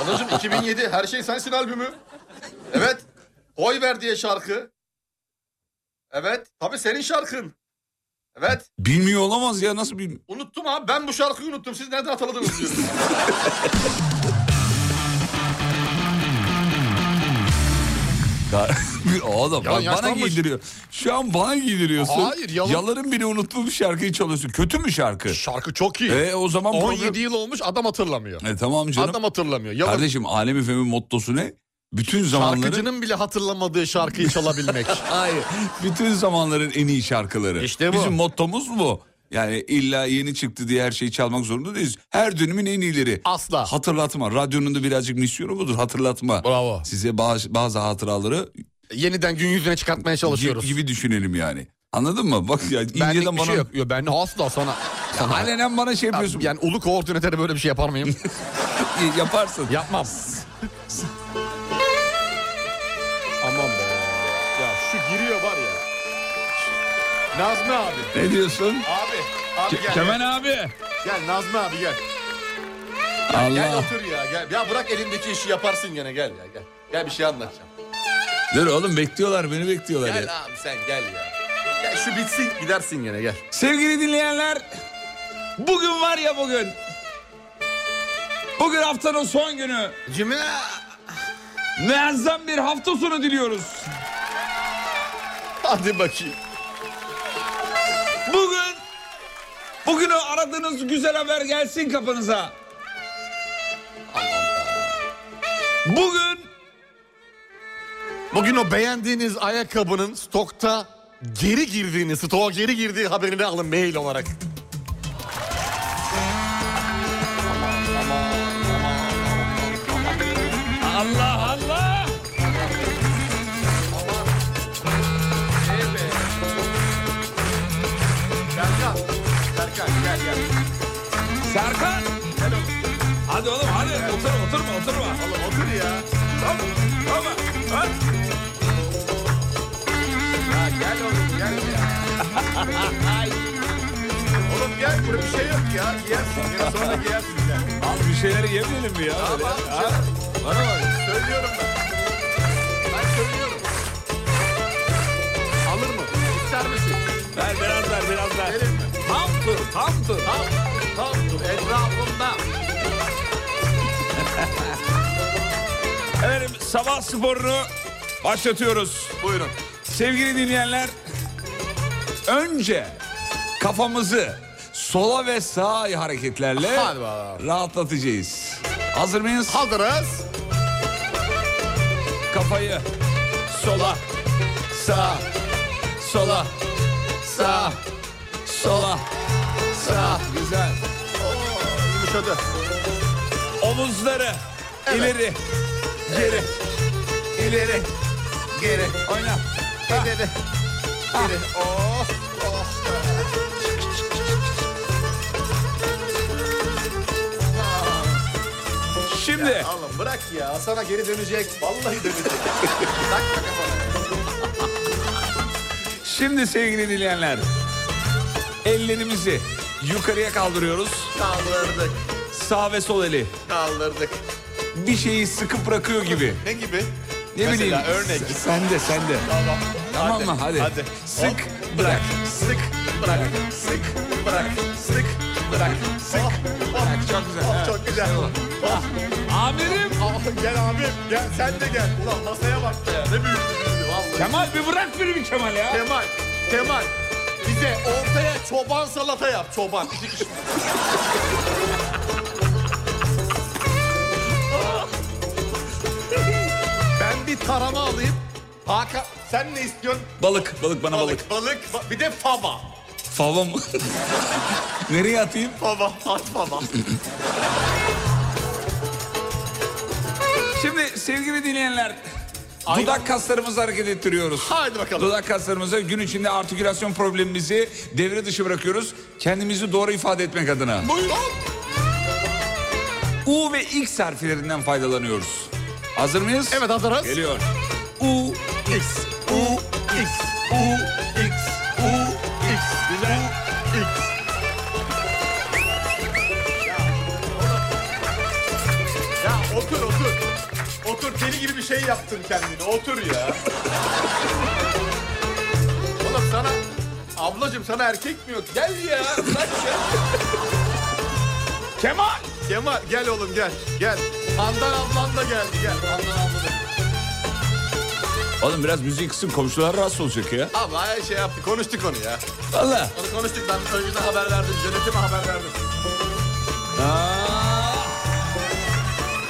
Speaker 4: Anacığım 2007 Her Şey Sensin albümü. Evet. Koy ver diye şarkı. Evet. Tabii senin şarkın. Evet.
Speaker 3: Bilmiyor olamaz ya nasıl bilmiyor?
Speaker 4: Unuttum abi ben bu şarkıyı unuttum. Siz nereden hatırladınız diyorum.
Speaker 3: Ya, [laughs] bir adam bak, bana
Speaker 4: yaşlanmış.
Speaker 3: giydiriyor. Şu an bana giydiriyorsun.
Speaker 4: Hayır, yalın-
Speaker 3: Yaların bile unuttuğum şarkıyı çalıyorsun. Kötü mü şarkı?
Speaker 4: [laughs] Şarkı çok iyi.
Speaker 3: E o zaman program-
Speaker 4: 17 yıl olmuş adam hatırlamıyor.
Speaker 3: E, tamam canım.
Speaker 4: Adam hatırlamıyor. Yalan
Speaker 3: Kardeşim Alem FM'in mottosu ne? Bütün zamanların
Speaker 4: şarkıcının bile hatırlamadığı
Speaker 3: [laughs]
Speaker 4: şarkıyı çalabilmek.
Speaker 3: Hayır. Bütün zamanların en iyi şarkıları.
Speaker 4: İşte bu.
Speaker 3: Bizim mottomuz bu. Yani illa yeni çıktı diye her şeyi çalmak zorunda değiliz. Her dönemin en iyileri.
Speaker 4: Asla.
Speaker 3: Hatırlatma. Radyonun da birazcık misyonu budur. Hatırlatma.
Speaker 4: Bravo.
Speaker 3: Size bazı, bazı hatıraları
Speaker 4: Yeniden gün yüzüne çıkartmaya çalışıyoruz.
Speaker 3: gibi, gibi düşünelim yani. Anladın mı? Bak ya
Speaker 4: Benlik
Speaker 3: inceden
Speaker 4: bir
Speaker 3: bana...
Speaker 4: şey yok. Yo, ben asla sana. sana
Speaker 3: Alenen bana şey yapıyorsun.
Speaker 4: yani ulu koordinatöre böyle bir şey
Speaker 3: [laughs]
Speaker 4: yapar mıyım?
Speaker 3: Yaparsın.
Speaker 4: Yapmam. Aman be. Ya şu giriyor var ya. Nazmi abi.
Speaker 3: Ne diyorsun?
Speaker 4: Abi. Abi gel.
Speaker 3: Kemen abi.
Speaker 4: Gel Nazmi abi gel. Gel
Speaker 3: Allah.
Speaker 4: otur ya gel. Ya bırak elindeki işi yaparsın gene gel ya gel. Gel bir şey anlatacağım.
Speaker 3: Dur oğlum bekliyorlar beni bekliyorlar. ya.
Speaker 4: Gel abi sen gel ya. Gel şu bitsin gidersin gene gel.
Speaker 3: Sevgili dinleyenler, bugün var ya bugün. Bugün haftanın son günü.
Speaker 4: Cuma.
Speaker 3: Muazzam bir hafta sonu diliyoruz.
Speaker 4: Hadi bakayım.
Speaker 3: Bugün, bugün o aradığınız güzel haber gelsin kapınıza. Bugün
Speaker 4: Bugün o beğendiğiniz ayakkabının stokta geri girdiğini, stoğa geri girdiği haberini alın mail olarak.
Speaker 3: Allah Allah.
Speaker 4: Serkan, Serkan gel gel.
Speaker 3: Serkan. Hadi oğlum hadi otur oturma oturma.
Speaker 4: Oğlum otur ya.
Speaker 3: Tamam tamam. hadi.
Speaker 4: Ya gel oğlum gel ya. oğlum gel burada bir şey yok ya. Giyersin gene sonra giyersin sen.
Speaker 3: Al bir şeyleri yemeyelim mi ya? Böyle? Ha?
Speaker 4: Bana bak söylüyorum ben. Ben söylüyorum. Alır mı? İster misin?
Speaker 3: Ver biraz ver biraz ver.
Speaker 4: Verir mi?
Speaker 3: Tam tur tam tur.
Speaker 4: Tam, tam dur etrafımda.
Speaker 3: Efendim sabah sporunu Başlatıyoruz.
Speaker 4: Buyurun.
Speaker 3: Sevgili dinleyenler, önce kafamızı sola ve sağa hareketlerle
Speaker 4: Hadi bakalım.
Speaker 3: rahatlatacağız. Hazır mıyız?
Speaker 4: Hazırız.
Speaker 3: Kafayı sola, sağa, sola, sağa, sola, sağa. Güzel.
Speaker 4: Yumuşadı.
Speaker 3: Omuzları ileri, geri, ileri, geri. Oyna.
Speaker 4: Dedi. Dedi. Oh.
Speaker 3: Şimdi
Speaker 4: Oğlum bırak ya. Sana geri dönecek.
Speaker 3: [laughs]
Speaker 4: Vallahi dönecek. Takma kafana.
Speaker 3: Şimdi sevgili dinleyenler ellerimizi yukarıya kaldırıyoruz.
Speaker 4: Kaldırdık.
Speaker 3: Sağ ve sol eli
Speaker 4: Kaldırdık.
Speaker 3: bir şeyi sıkıp bırakıyor gibi.
Speaker 4: Ne gibi?
Speaker 3: Ne
Speaker 4: Mesela
Speaker 3: bileyim.
Speaker 4: örnek.
Speaker 3: s- Sen de sen de.
Speaker 4: Tamam.
Speaker 3: Tamam mı? Hadi.
Speaker 4: Hadi.
Speaker 3: Sık,
Speaker 4: Hop,
Speaker 3: bırak.
Speaker 4: Sık bırak. Sık bırak. Sık bırak. Sık bırak.
Speaker 3: Çok güzel,
Speaker 4: Oh,
Speaker 3: evet.
Speaker 4: Çok güzel. Oh.
Speaker 3: Amirim.
Speaker 4: Ah, gel abim. Gel sen de gel. Ulan masaya bak ya. Ne büyük bir yüzü vallahi.
Speaker 3: Kemal bir bırak beni bir Kemal ya.
Speaker 4: Kemal. Kemal. Bize ortaya çoban salata yap. Çoban. İki kişi. ben bir tarama alayım. Hakan sen ne istiyorsun?
Speaker 3: Balık. Balık bana balık.
Speaker 4: Balık. Balık. Ba- Bir de fava.
Speaker 3: Fava mı? [laughs] Nereye atayım?
Speaker 4: Fava. At fava.
Speaker 3: Şimdi sevgili dinleyenler Dudak kaslarımızı hareket ettiriyoruz.
Speaker 4: Haydi bakalım.
Speaker 3: Dudak kaslarımızı gün içinde artikülasyon problemimizi devre dışı bırakıyoruz. Kendimizi doğru ifade etmek adına.
Speaker 4: Buyurun.
Speaker 3: U ve X harflerinden faydalanıyoruz. Hazır mıyız?
Speaker 4: Evet hazırız.
Speaker 3: Geliyor. U,
Speaker 4: X, U, X, U, X, U, X. Güzel. U, X. Ya otur otur. Otur deli gibi bir şey yaptın kendini. Otur ya. Oğlum sana... Ablacım sana erkek mi yok? Gel ya. Bırak ya.
Speaker 3: Kemal.
Speaker 4: Kemal gel oğlum gel. Gel. Handan ablan da geldi gel. Handan ablan da.
Speaker 3: Oğlum biraz müziği kısın komşular rahatsız olacak ya.
Speaker 4: Abla her şey yaptı. Konuştuk onu ya.
Speaker 3: Valla.
Speaker 4: Onu konuştuk ben önceden haber verdim. Yönetime haber verdim.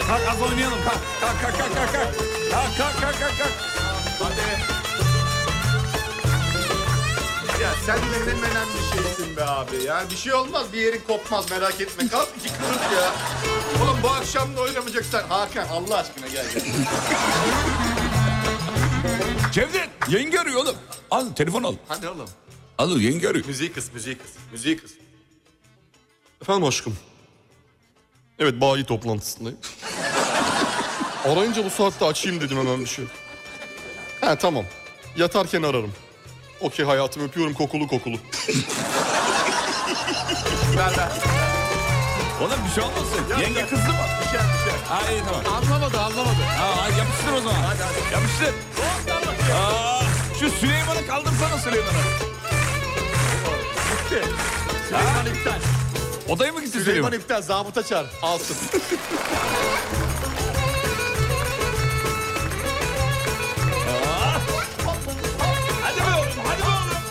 Speaker 3: Kalk az oynayalım kalk. Kalk kalk kalk kalk. Kalk kalk kalk kalk. kalk, kalk.
Speaker 4: Hadi. Ya sen ne demenen bir şeysin be abi ya. Bir şey olmaz bir yerin kopmaz merak etme. Kalk iki kırık ya. Oğlum bu akşam da oynamayacaksan Hakan Allah aşkına gel gel.
Speaker 3: Cevdet yenge arıyor oğlum. Al telefon al.
Speaker 4: Hadi oğlum.
Speaker 3: Al yenge arıyor.
Speaker 4: Müziği kıs, müziği kıs, müziği kıs. Efendim aşkım. Evet bayi toplantısındayım. [laughs] Arayınca bu saatte açayım dedim hemen bir şey. He tamam. Yatarken ararım. Okey hayatım öpüyorum kokulu kokulu. ver ver.
Speaker 3: Oğlum bir şey olmasın. yenge kızdı mı? şey,
Speaker 4: Düşer düşer.
Speaker 3: Ha iyi tamam.
Speaker 4: Anlamadı anlamadı.
Speaker 3: Ha, ha, yapıştır o zaman. Yapıştır. Aa, şu Süleyman'ı kaldırsana Süleyman'ı.
Speaker 4: Gitti. Süleyman iptal.
Speaker 3: Odaya mı gitti
Speaker 4: Süleyman
Speaker 3: Süleyman?
Speaker 4: iptal. Zabıta çağır. Alsın.
Speaker 3: Hadi be oğlum hadi be oğlum.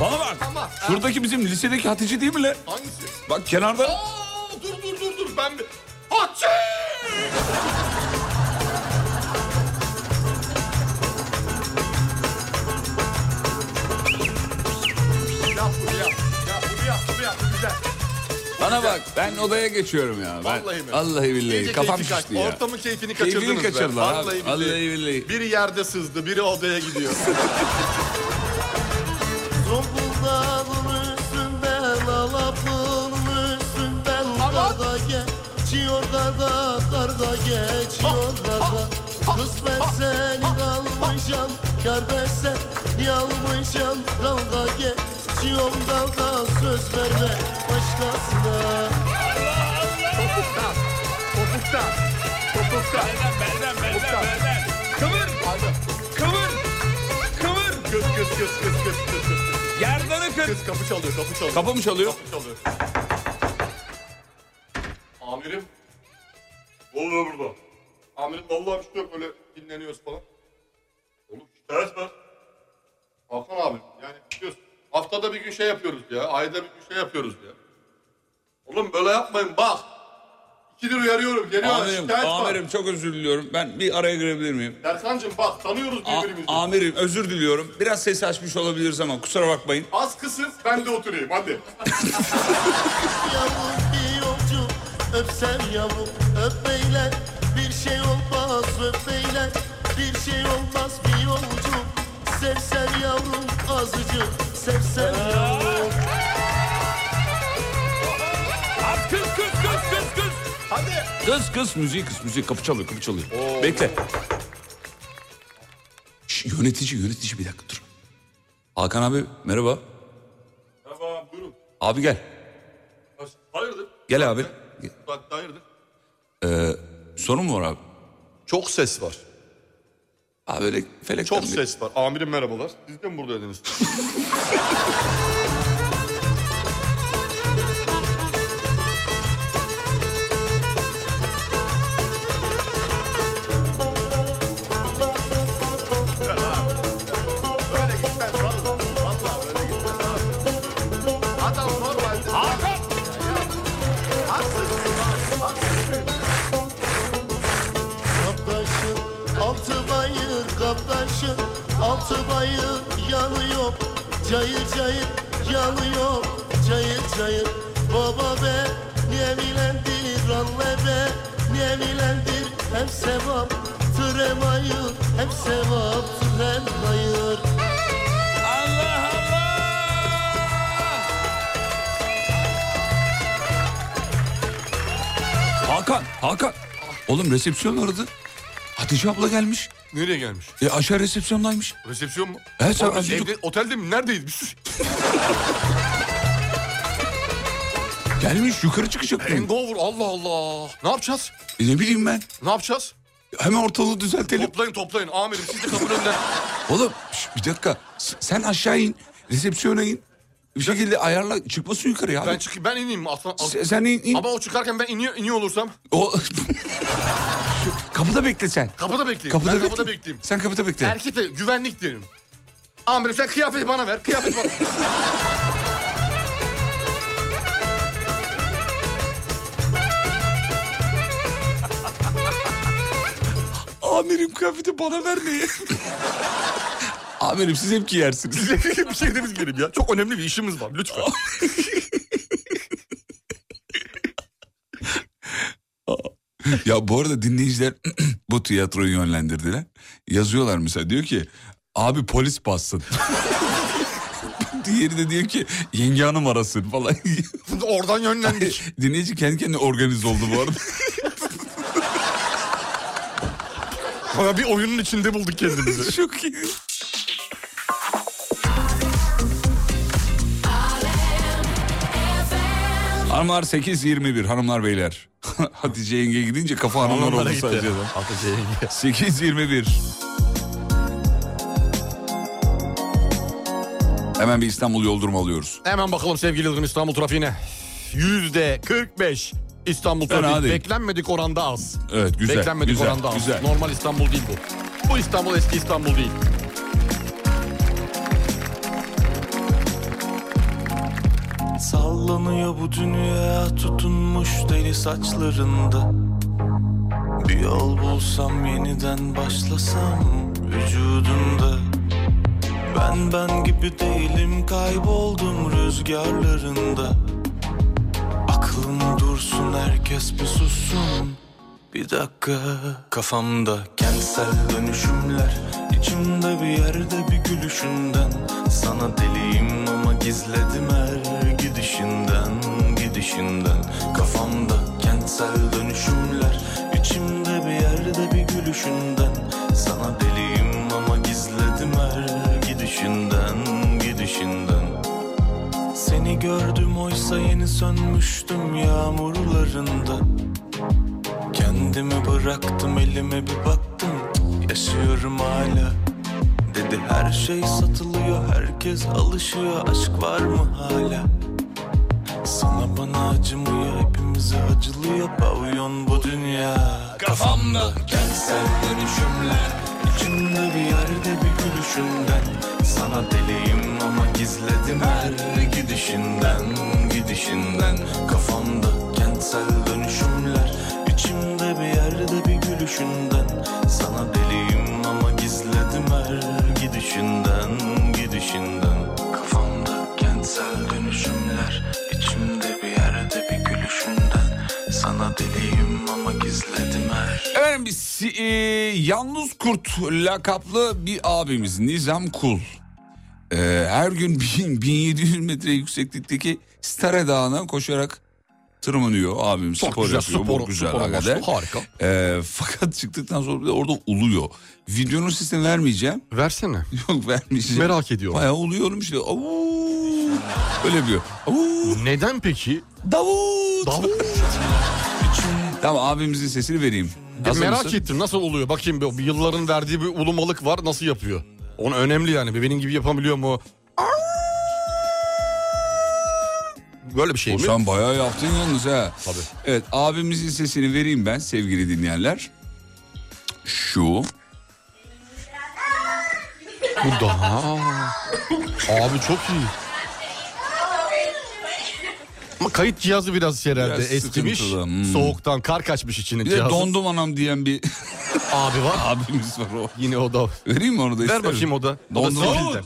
Speaker 3: Bana bak.
Speaker 4: Ama-
Speaker 3: Şuradaki bizim lisedeki Hatice değil mi lan?
Speaker 4: Hangisi?
Speaker 3: Bak kenarda.
Speaker 4: Aa, dur dur dur dur ben bir... Hatice! Yap bunu yap. Yap bunu yap. Bunu yap. Güzel.
Speaker 3: Bana bak ben odaya geçiyorum ya. Ben,
Speaker 4: Vallahi mi?
Speaker 3: Vallahi billahi
Speaker 4: İyice
Speaker 3: kafam
Speaker 4: keyfi kaç-
Speaker 3: şişti ya.
Speaker 4: Ortamın keyfini kaçırdınız
Speaker 3: Keyfini
Speaker 4: be.
Speaker 3: kaçırdılar abi.
Speaker 4: Vallahi billahi.
Speaker 3: Vallahi billahi.
Speaker 4: Biri yerde sızdı, biri
Speaker 12: [laughs]
Speaker 4: odaya gidiyor.
Speaker 12: Zonguldak'ın üstünden Alapı'nın üstünden Karda geçiyor karda Karda geçiyor karda Kız ben seni dalmışam Kar ben seni almışam Dalga geçiyorum dalga Söz verme başkasına
Speaker 4: Topuktan. Topuktan. Topuktan.
Speaker 3: Belden belden belden. Kıvır
Speaker 4: Hadi.
Speaker 3: kıvır kıvır.
Speaker 4: Kız kız kız kız kız kız kız.
Speaker 3: Gerdanı kır.
Speaker 4: Kız kapı çalıyor, kapı çalıyor.
Speaker 3: Kapı mı çalıyor?
Speaker 4: Kapı çalıyor. Amirim. Ne oluyor burada?
Speaker 13: Amirim vallahi bir şey yok böyle dinleniyoruz falan. Oğlum şikayet var. Hakan abi yani biliyorsun haftada bir gün şey yapıyoruz ya. Ayda bir gün şey yapıyoruz ya. Oğlum böyle yapmayın bak. İkidir uyarıyorum geliyor
Speaker 3: Amirim,
Speaker 13: şikayet
Speaker 3: amirim
Speaker 13: var.
Speaker 3: çok özür diliyorum. Ben bir araya girebilir miyim?
Speaker 13: Erkancığım bak tanıyoruz
Speaker 3: A-
Speaker 13: birbirimizi.
Speaker 3: amirim özür diliyorum. Biraz ses açmış olabiliriz ama kusura bakmayın.
Speaker 13: Az kısın ben de oturayım hadi.
Speaker 12: yavrum bir yolcu Öpsem yavrum öp beyler Bir şey olmaz öp beyler Bir şey olmaz bir yolcu Sevsem yavrum azıcık Sevsem yavrum
Speaker 3: Kız kız kız kız kız. Hadi. Kız kız müziği kız müziği kapı çalıyor kapı çalıyor. Bekle. Şş, yönetici yönetici bir dakika dur. Hakan abi merhaba.
Speaker 13: Tamam buyurun.
Speaker 3: Abi gel.
Speaker 13: Hayırdır?
Speaker 3: Gel abi.
Speaker 13: Bak hayırdır?
Speaker 3: Sorun mu var abi?
Speaker 4: Çok ses var.
Speaker 3: Abi böyle felekten
Speaker 4: Çok
Speaker 3: bir-
Speaker 4: ses var. Amirim merhabalar. Siz de mi buradaydınız?
Speaker 12: Kaptaşın altı bayır kaptaşın altı bayır yanıyor Cayır cayır yanıyor cayır cayır Baba be niye milendir anne be niye milendir hem sevap Tır hem hayır hem sevap tır hem hayır
Speaker 3: Allah Allah! Hakan, Hakan. Oğlum resepsiyon aradı. Hatice abla gelmiş.
Speaker 4: [laughs] Nereye gelmiş?
Speaker 3: E aşağı resepsiyondaymış.
Speaker 4: Resepsiyon mu?
Speaker 3: Evet, sen-
Speaker 4: Oğlum, evde, otelde mi? Neredeyiz biz?
Speaker 3: Gelmiş yukarı çıkacak. mı?
Speaker 4: Hangover Allah Allah. Ne yapacağız?
Speaker 3: E, ne bileyim ben.
Speaker 4: Ne yapacağız?
Speaker 3: Hemen ortalığı düzeltelim.
Speaker 4: Toplayın toplayın. Amirim siz de kapının [laughs] önünden.
Speaker 3: Oğlum şş, bir dakika. S- Sen aşağı in. Resepsiyona in. Bir şekilde ayarla. Çıkmasın yukarıya abi.
Speaker 4: Ben çıkayım ben ineyim mi? Aslan, aslan-
Speaker 3: S- sen in. in.
Speaker 4: Ama o çıkarken ben iniyor, iniyor olursam
Speaker 3: O... [laughs] kapıda bekle sen.
Speaker 4: kapıda bekleyeyim.
Speaker 3: Kapıda,
Speaker 4: ben
Speaker 3: bekle.
Speaker 4: kapıda bekleyeyim.
Speaker 3: Sen kapıda bekle.
Speaker 4: Erkekte güvenlik derim. Amirim sen kıyafeti bana ver. Kıyafeti bana
Speaker 3: Amirim kıyafeti bana vermeyin. [laughs] Amirim siz hep giyersiniz.
Speaker 4: bir şey demiz gelin ya. [laughs] Çok önemli bir işimiz var. Lütfen.
Speaker 3: [laughs] ya bu arada dinleyiciler [clears throat] bu tiyatroyu yönlendirdiler. Yazıyorlar mesela diyor ki abi polis bassın. [laughs] Diğeri de diyor ki yenge hanım arasın falan. [laughs]
Speaker 4: Oradan yönlendik.
Speaker 3: Dinleyici kendi kendine organize oldu bu arada.
Speaker 4: [laughs] Bana bir oyunun içinde bulduk kendimizi.
Speaker 3: [laughs] Çok iyi. Hanımlar 8.21 hanımlar beyler. [laughs] Hatice yenge gidince kafa hanımlar oldu sadece.
Speaker 4: [laughs]
Speaker 3: 8.21 Hemen bir İstanbul yoldurumu alıyoruz.
Speaker 4: Hemen bakalım sevgili Yıldırım İstanbul trafiğine. Yüzde 45 İstanbul
Speaker 3: Fena
Speaker 4: trafiği
Speaker 3: değil.
Speaker 4: beklenmedik oranda az.
Speaker 3: Evet güzel.
Speaker 4: beklenmedik
Speaker 3: güzel,
Speaker 4: oranda az.
Speaker 3: Güzel.
Speaker 4: Normal İstanbul değil bu. Bu İstanbul eski İstanbul değil.
Speaker 14: Sallanıyor bu dünya tutunmuş deli saçlarında Bir yol bulsam yeniden başlasam vücudunda Ben ben gibi değilim kayboldum rüzgarlarında Aklım dursun herkes bir sussun bir dakika Kafamda kentsel dönüşümler içimde bir yerde bir gülüşünden Sana deliyim ama gizledim her gidişinden Gidişinden Kafamda kentsel dönüşümler içimde bir yerde bir gülüşünden Sana deliyim ama gizledim her gidişinden Gidişinden Seni gördüm oysa yeni sönmüştüm yağmurlarında Kendimi bıraktım elime bir baktım Yaşıyorum hala Dedi her şey satılıyor herkes alışıyor Aşk var mı hala Sana bana acımıyor hepimize acılıyor Pavyon bu dünya Kafamda kentsel dönüşümler İçimde bir yerde bir gülüşünden Sana deliyim ama gizledim her gidişinden Gidişinden Kafamda kentsel dönüşümler İçimde bir yerde bir gülüşünden Sana deliyim ama gizledim her gidişinden Gidişinden Kafamda kentsel dönüşümler içimde bir yerde bir gülüşünden Sana deliyim ama gizledim her
Speaker 3: Efendim biz si- e, Yalnız Kurt lakaplı bir abimiz Nizam Kul. E, her gün [laughs] 1000 1700 metre yükseklikteki Stare Dağı'na koşarak tırmanıyor abim.
Speaker 4: Çok
Speaker 3: spor
Speaker 4: güzel
Speaker 3: yapıyor.
Speaker 4: spor,
Speaker 3: bu güzel
Speaker 4: spor
Speaker 3: hakikaten.
Speaker 4: amaçlı, harika.
Speaker 3: E, fakat çıktıktan sonra bir de orada uluyor. Videonun sesini vermeyeceğim. [laughs]
Speaker 4: Versene.
Speaker 3: Yok vermeyeceğim.
Speaker 4: Merak ediyorum.
Speaker 3: Bayağı uluyorum işte. Avuu. Öyle yapıyor. Avuu. [laughs]
Speaker 4: Neden peki?
Speaker 3: Davut.
Speaker 4: Davut.
Speaker 3: Tamam abimizin sesini vereyim. Hazır
Speaker 4: merak
Speaker 3: mısın?
Speaker 4: ettim nasıl oluyor? Bakayım bir- bir yılların verdiği bir ulumalık var nasıl yapıyor? Onu önemli yani. Bir Benim gibi yapabiliyor mu? Böyle bir şey mi?
Speaker 3: Sen bayağı yaptın yalnız ha.
Speaker 4: Tabii.
Speaker 3: Evet abimizin sesini vereyim ben sevgili dinleyenler. Şu.
Speaker 4: Bu daha. Abi çok iyi. Ama kayıt cihazı biraz şey herhalde
Speaker 3: Biraz
Speaker 4: eskimiş.
Speaker 3: sıkıntılı, hmm.
Speaker 4: Soğuktan kar kaçmış içine
Speaker 3: Bir de
Speaker 4: cihazın.
Speaker 3: dondum anam diyen bir [laughs]
Speaker 4: Abi var.
Speaker 3: abimiz var o.
Speaker 4: Yine o da.
Speaker 3: Vereyim mi onu da
Speaker 4: Ver
Speaker 3: isterim.
Speaker 4: bakayım o da. O da
Speaker 3: Dondum.
Speaker 4: sivilden.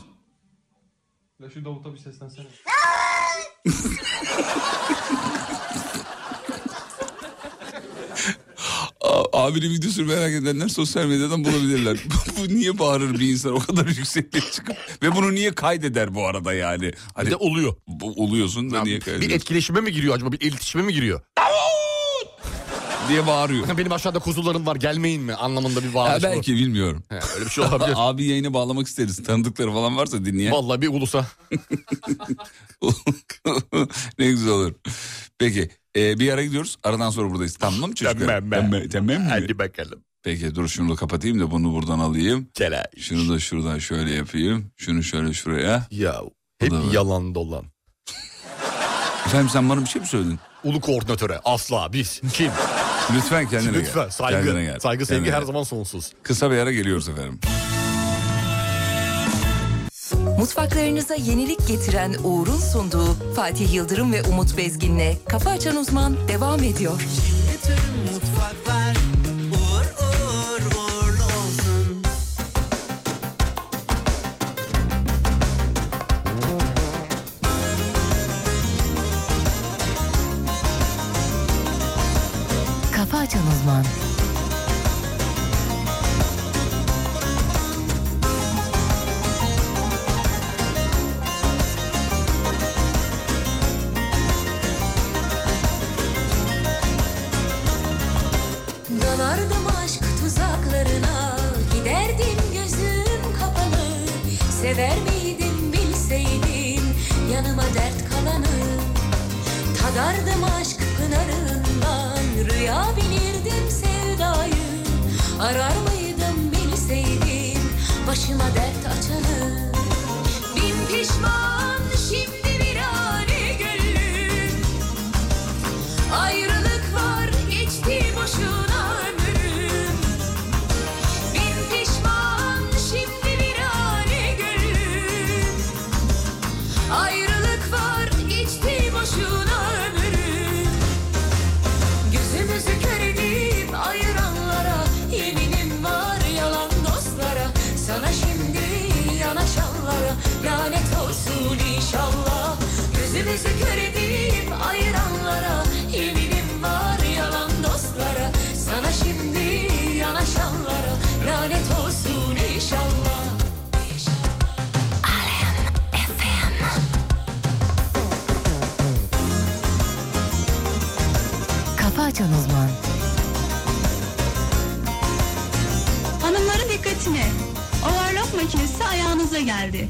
Speaker 3: A- Abinin videosunu merak edenler sosyal medyadan bulabilirler. [laughs] bu niye bağırır bir insan o kadar [laughs] yüksekliğe çıkıp ve bunu niye kaydeder bu arada yani? Hani
Speaker 4: Bir de oluyor.
Speaker 3: bu, oluyorsun da niye
Speaker 4: bir
Speaker 3: kaydediyorsun
Speaker 4: etkileşime mi giriyor acaba? Bir iletişime mi giriyor?
Speaker 3: diye bağırıyor.
Speaker 4: Benim aşağıda kuzularım var gelmeyin mi? Anlamında bir bağırış
Speaker 3: Ha,
Speaker 4: bu.
Speaker 3: belki bilmiyorum.
Speaker 4: He, öyle bir şey
Speaker 3: [laughs]
Speaker 4: olabilir.
Speaker 3: Abi yayına bağlamak isteriz. Tanıdıkları falan varsa dinleyen.
Speaker 4: Vallahi bir ulusa.
Speaker 3: [laughs] ne güzel olur. Peki e, bir ara gidiyoruz. Aradan sonra buradayız. Tamam mı çocuklar? Tamam, tamam mı?
Speaker 4: bakalım.
Speaker 3: Peki dur şunu da kapatayım da bunu buradan alayım. Şunu da şuradan şöyle yapayım. Şunu şöyle şuraya.
Speaker 4: Ya hep
Speaker 3: Bu da var.
Speaker 4: yalan dolan.
Speaker 3: Efendim sen bana bir şey mi söyledin?
Speaker 4: Ulu koordinatöre asla biz kim?
Speaker 3: Lütfen kendine gel.
Speaker 4: Lütfen
Speaker 3: Kendine
Speaker 4: saygı.
Speaker 3: gel.
Speaker 4: Saygı
Speaker 3: Kendine
Speaker 4: sevgi her
Speaker 3: gel.
Speaker 4: zaman sonsuz.
Speaker 3: Kısa bir ara geliyoruz efendim.
Speaker 1: Mutfaklarınıza yenilik getiren Uğur'un sunduğu Fatih Yıldırım ve Umut Bezgin'le Kafa Açan Uzman devam ediyor. Kafa Açan Uzman
Speaker 9: Dalardım aşk tuzaklarına Giderdim gözüm kapalı Sever miydim bilseydim Yanıma dert kalanı Tadardım aşk pınarından Rüya bilirdim sevdayı Arar mıydım bilseydim Başıma dert açanı Bin pişman şimdi bir hane gönlüm Ayrılık var geçti boşuna ömrüm Bin pişman şimdi bir hane gönlüm Ayrılık var geçti boşuna ömrüm Gözümüzü kör edip ayıranlara Yeminim var yalan dostlara Sana şimdi yanaşanlara Lanet olsun inşallah Gözümüzü kör edip ayıranlara Yeminim var yalan dostlara Sana şimdi yanaşanlara Lanet olsun inşallah Alem FM
Speaker 1: Kafa Açan Uzman
Speaker 15: Hanımların dikkatine. Overlock makinesi ayağınıza geldi.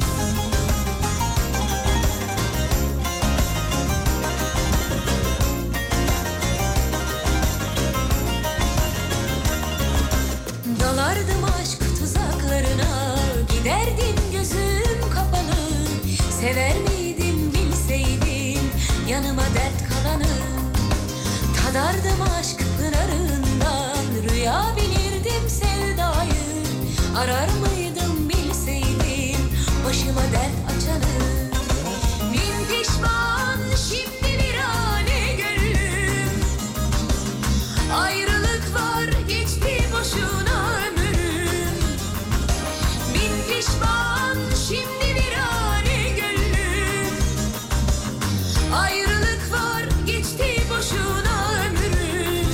Speaker 9: Dalardım aşk tuzaklarına Giderdim gözüm kapalı Sever miydim bilseydim Yanıma dert kalanı Tadardım aşk pınarından Rüya
Speaker 11: Arar mıydım bilseydim başıma dert açanı Bin pişman şimdi bir hane gönlüm Ayrılık var geçti boşuna ömrüm Bin pişman şimdi bir hane gönlüm Ayrılık var geçti boşuna ömrüm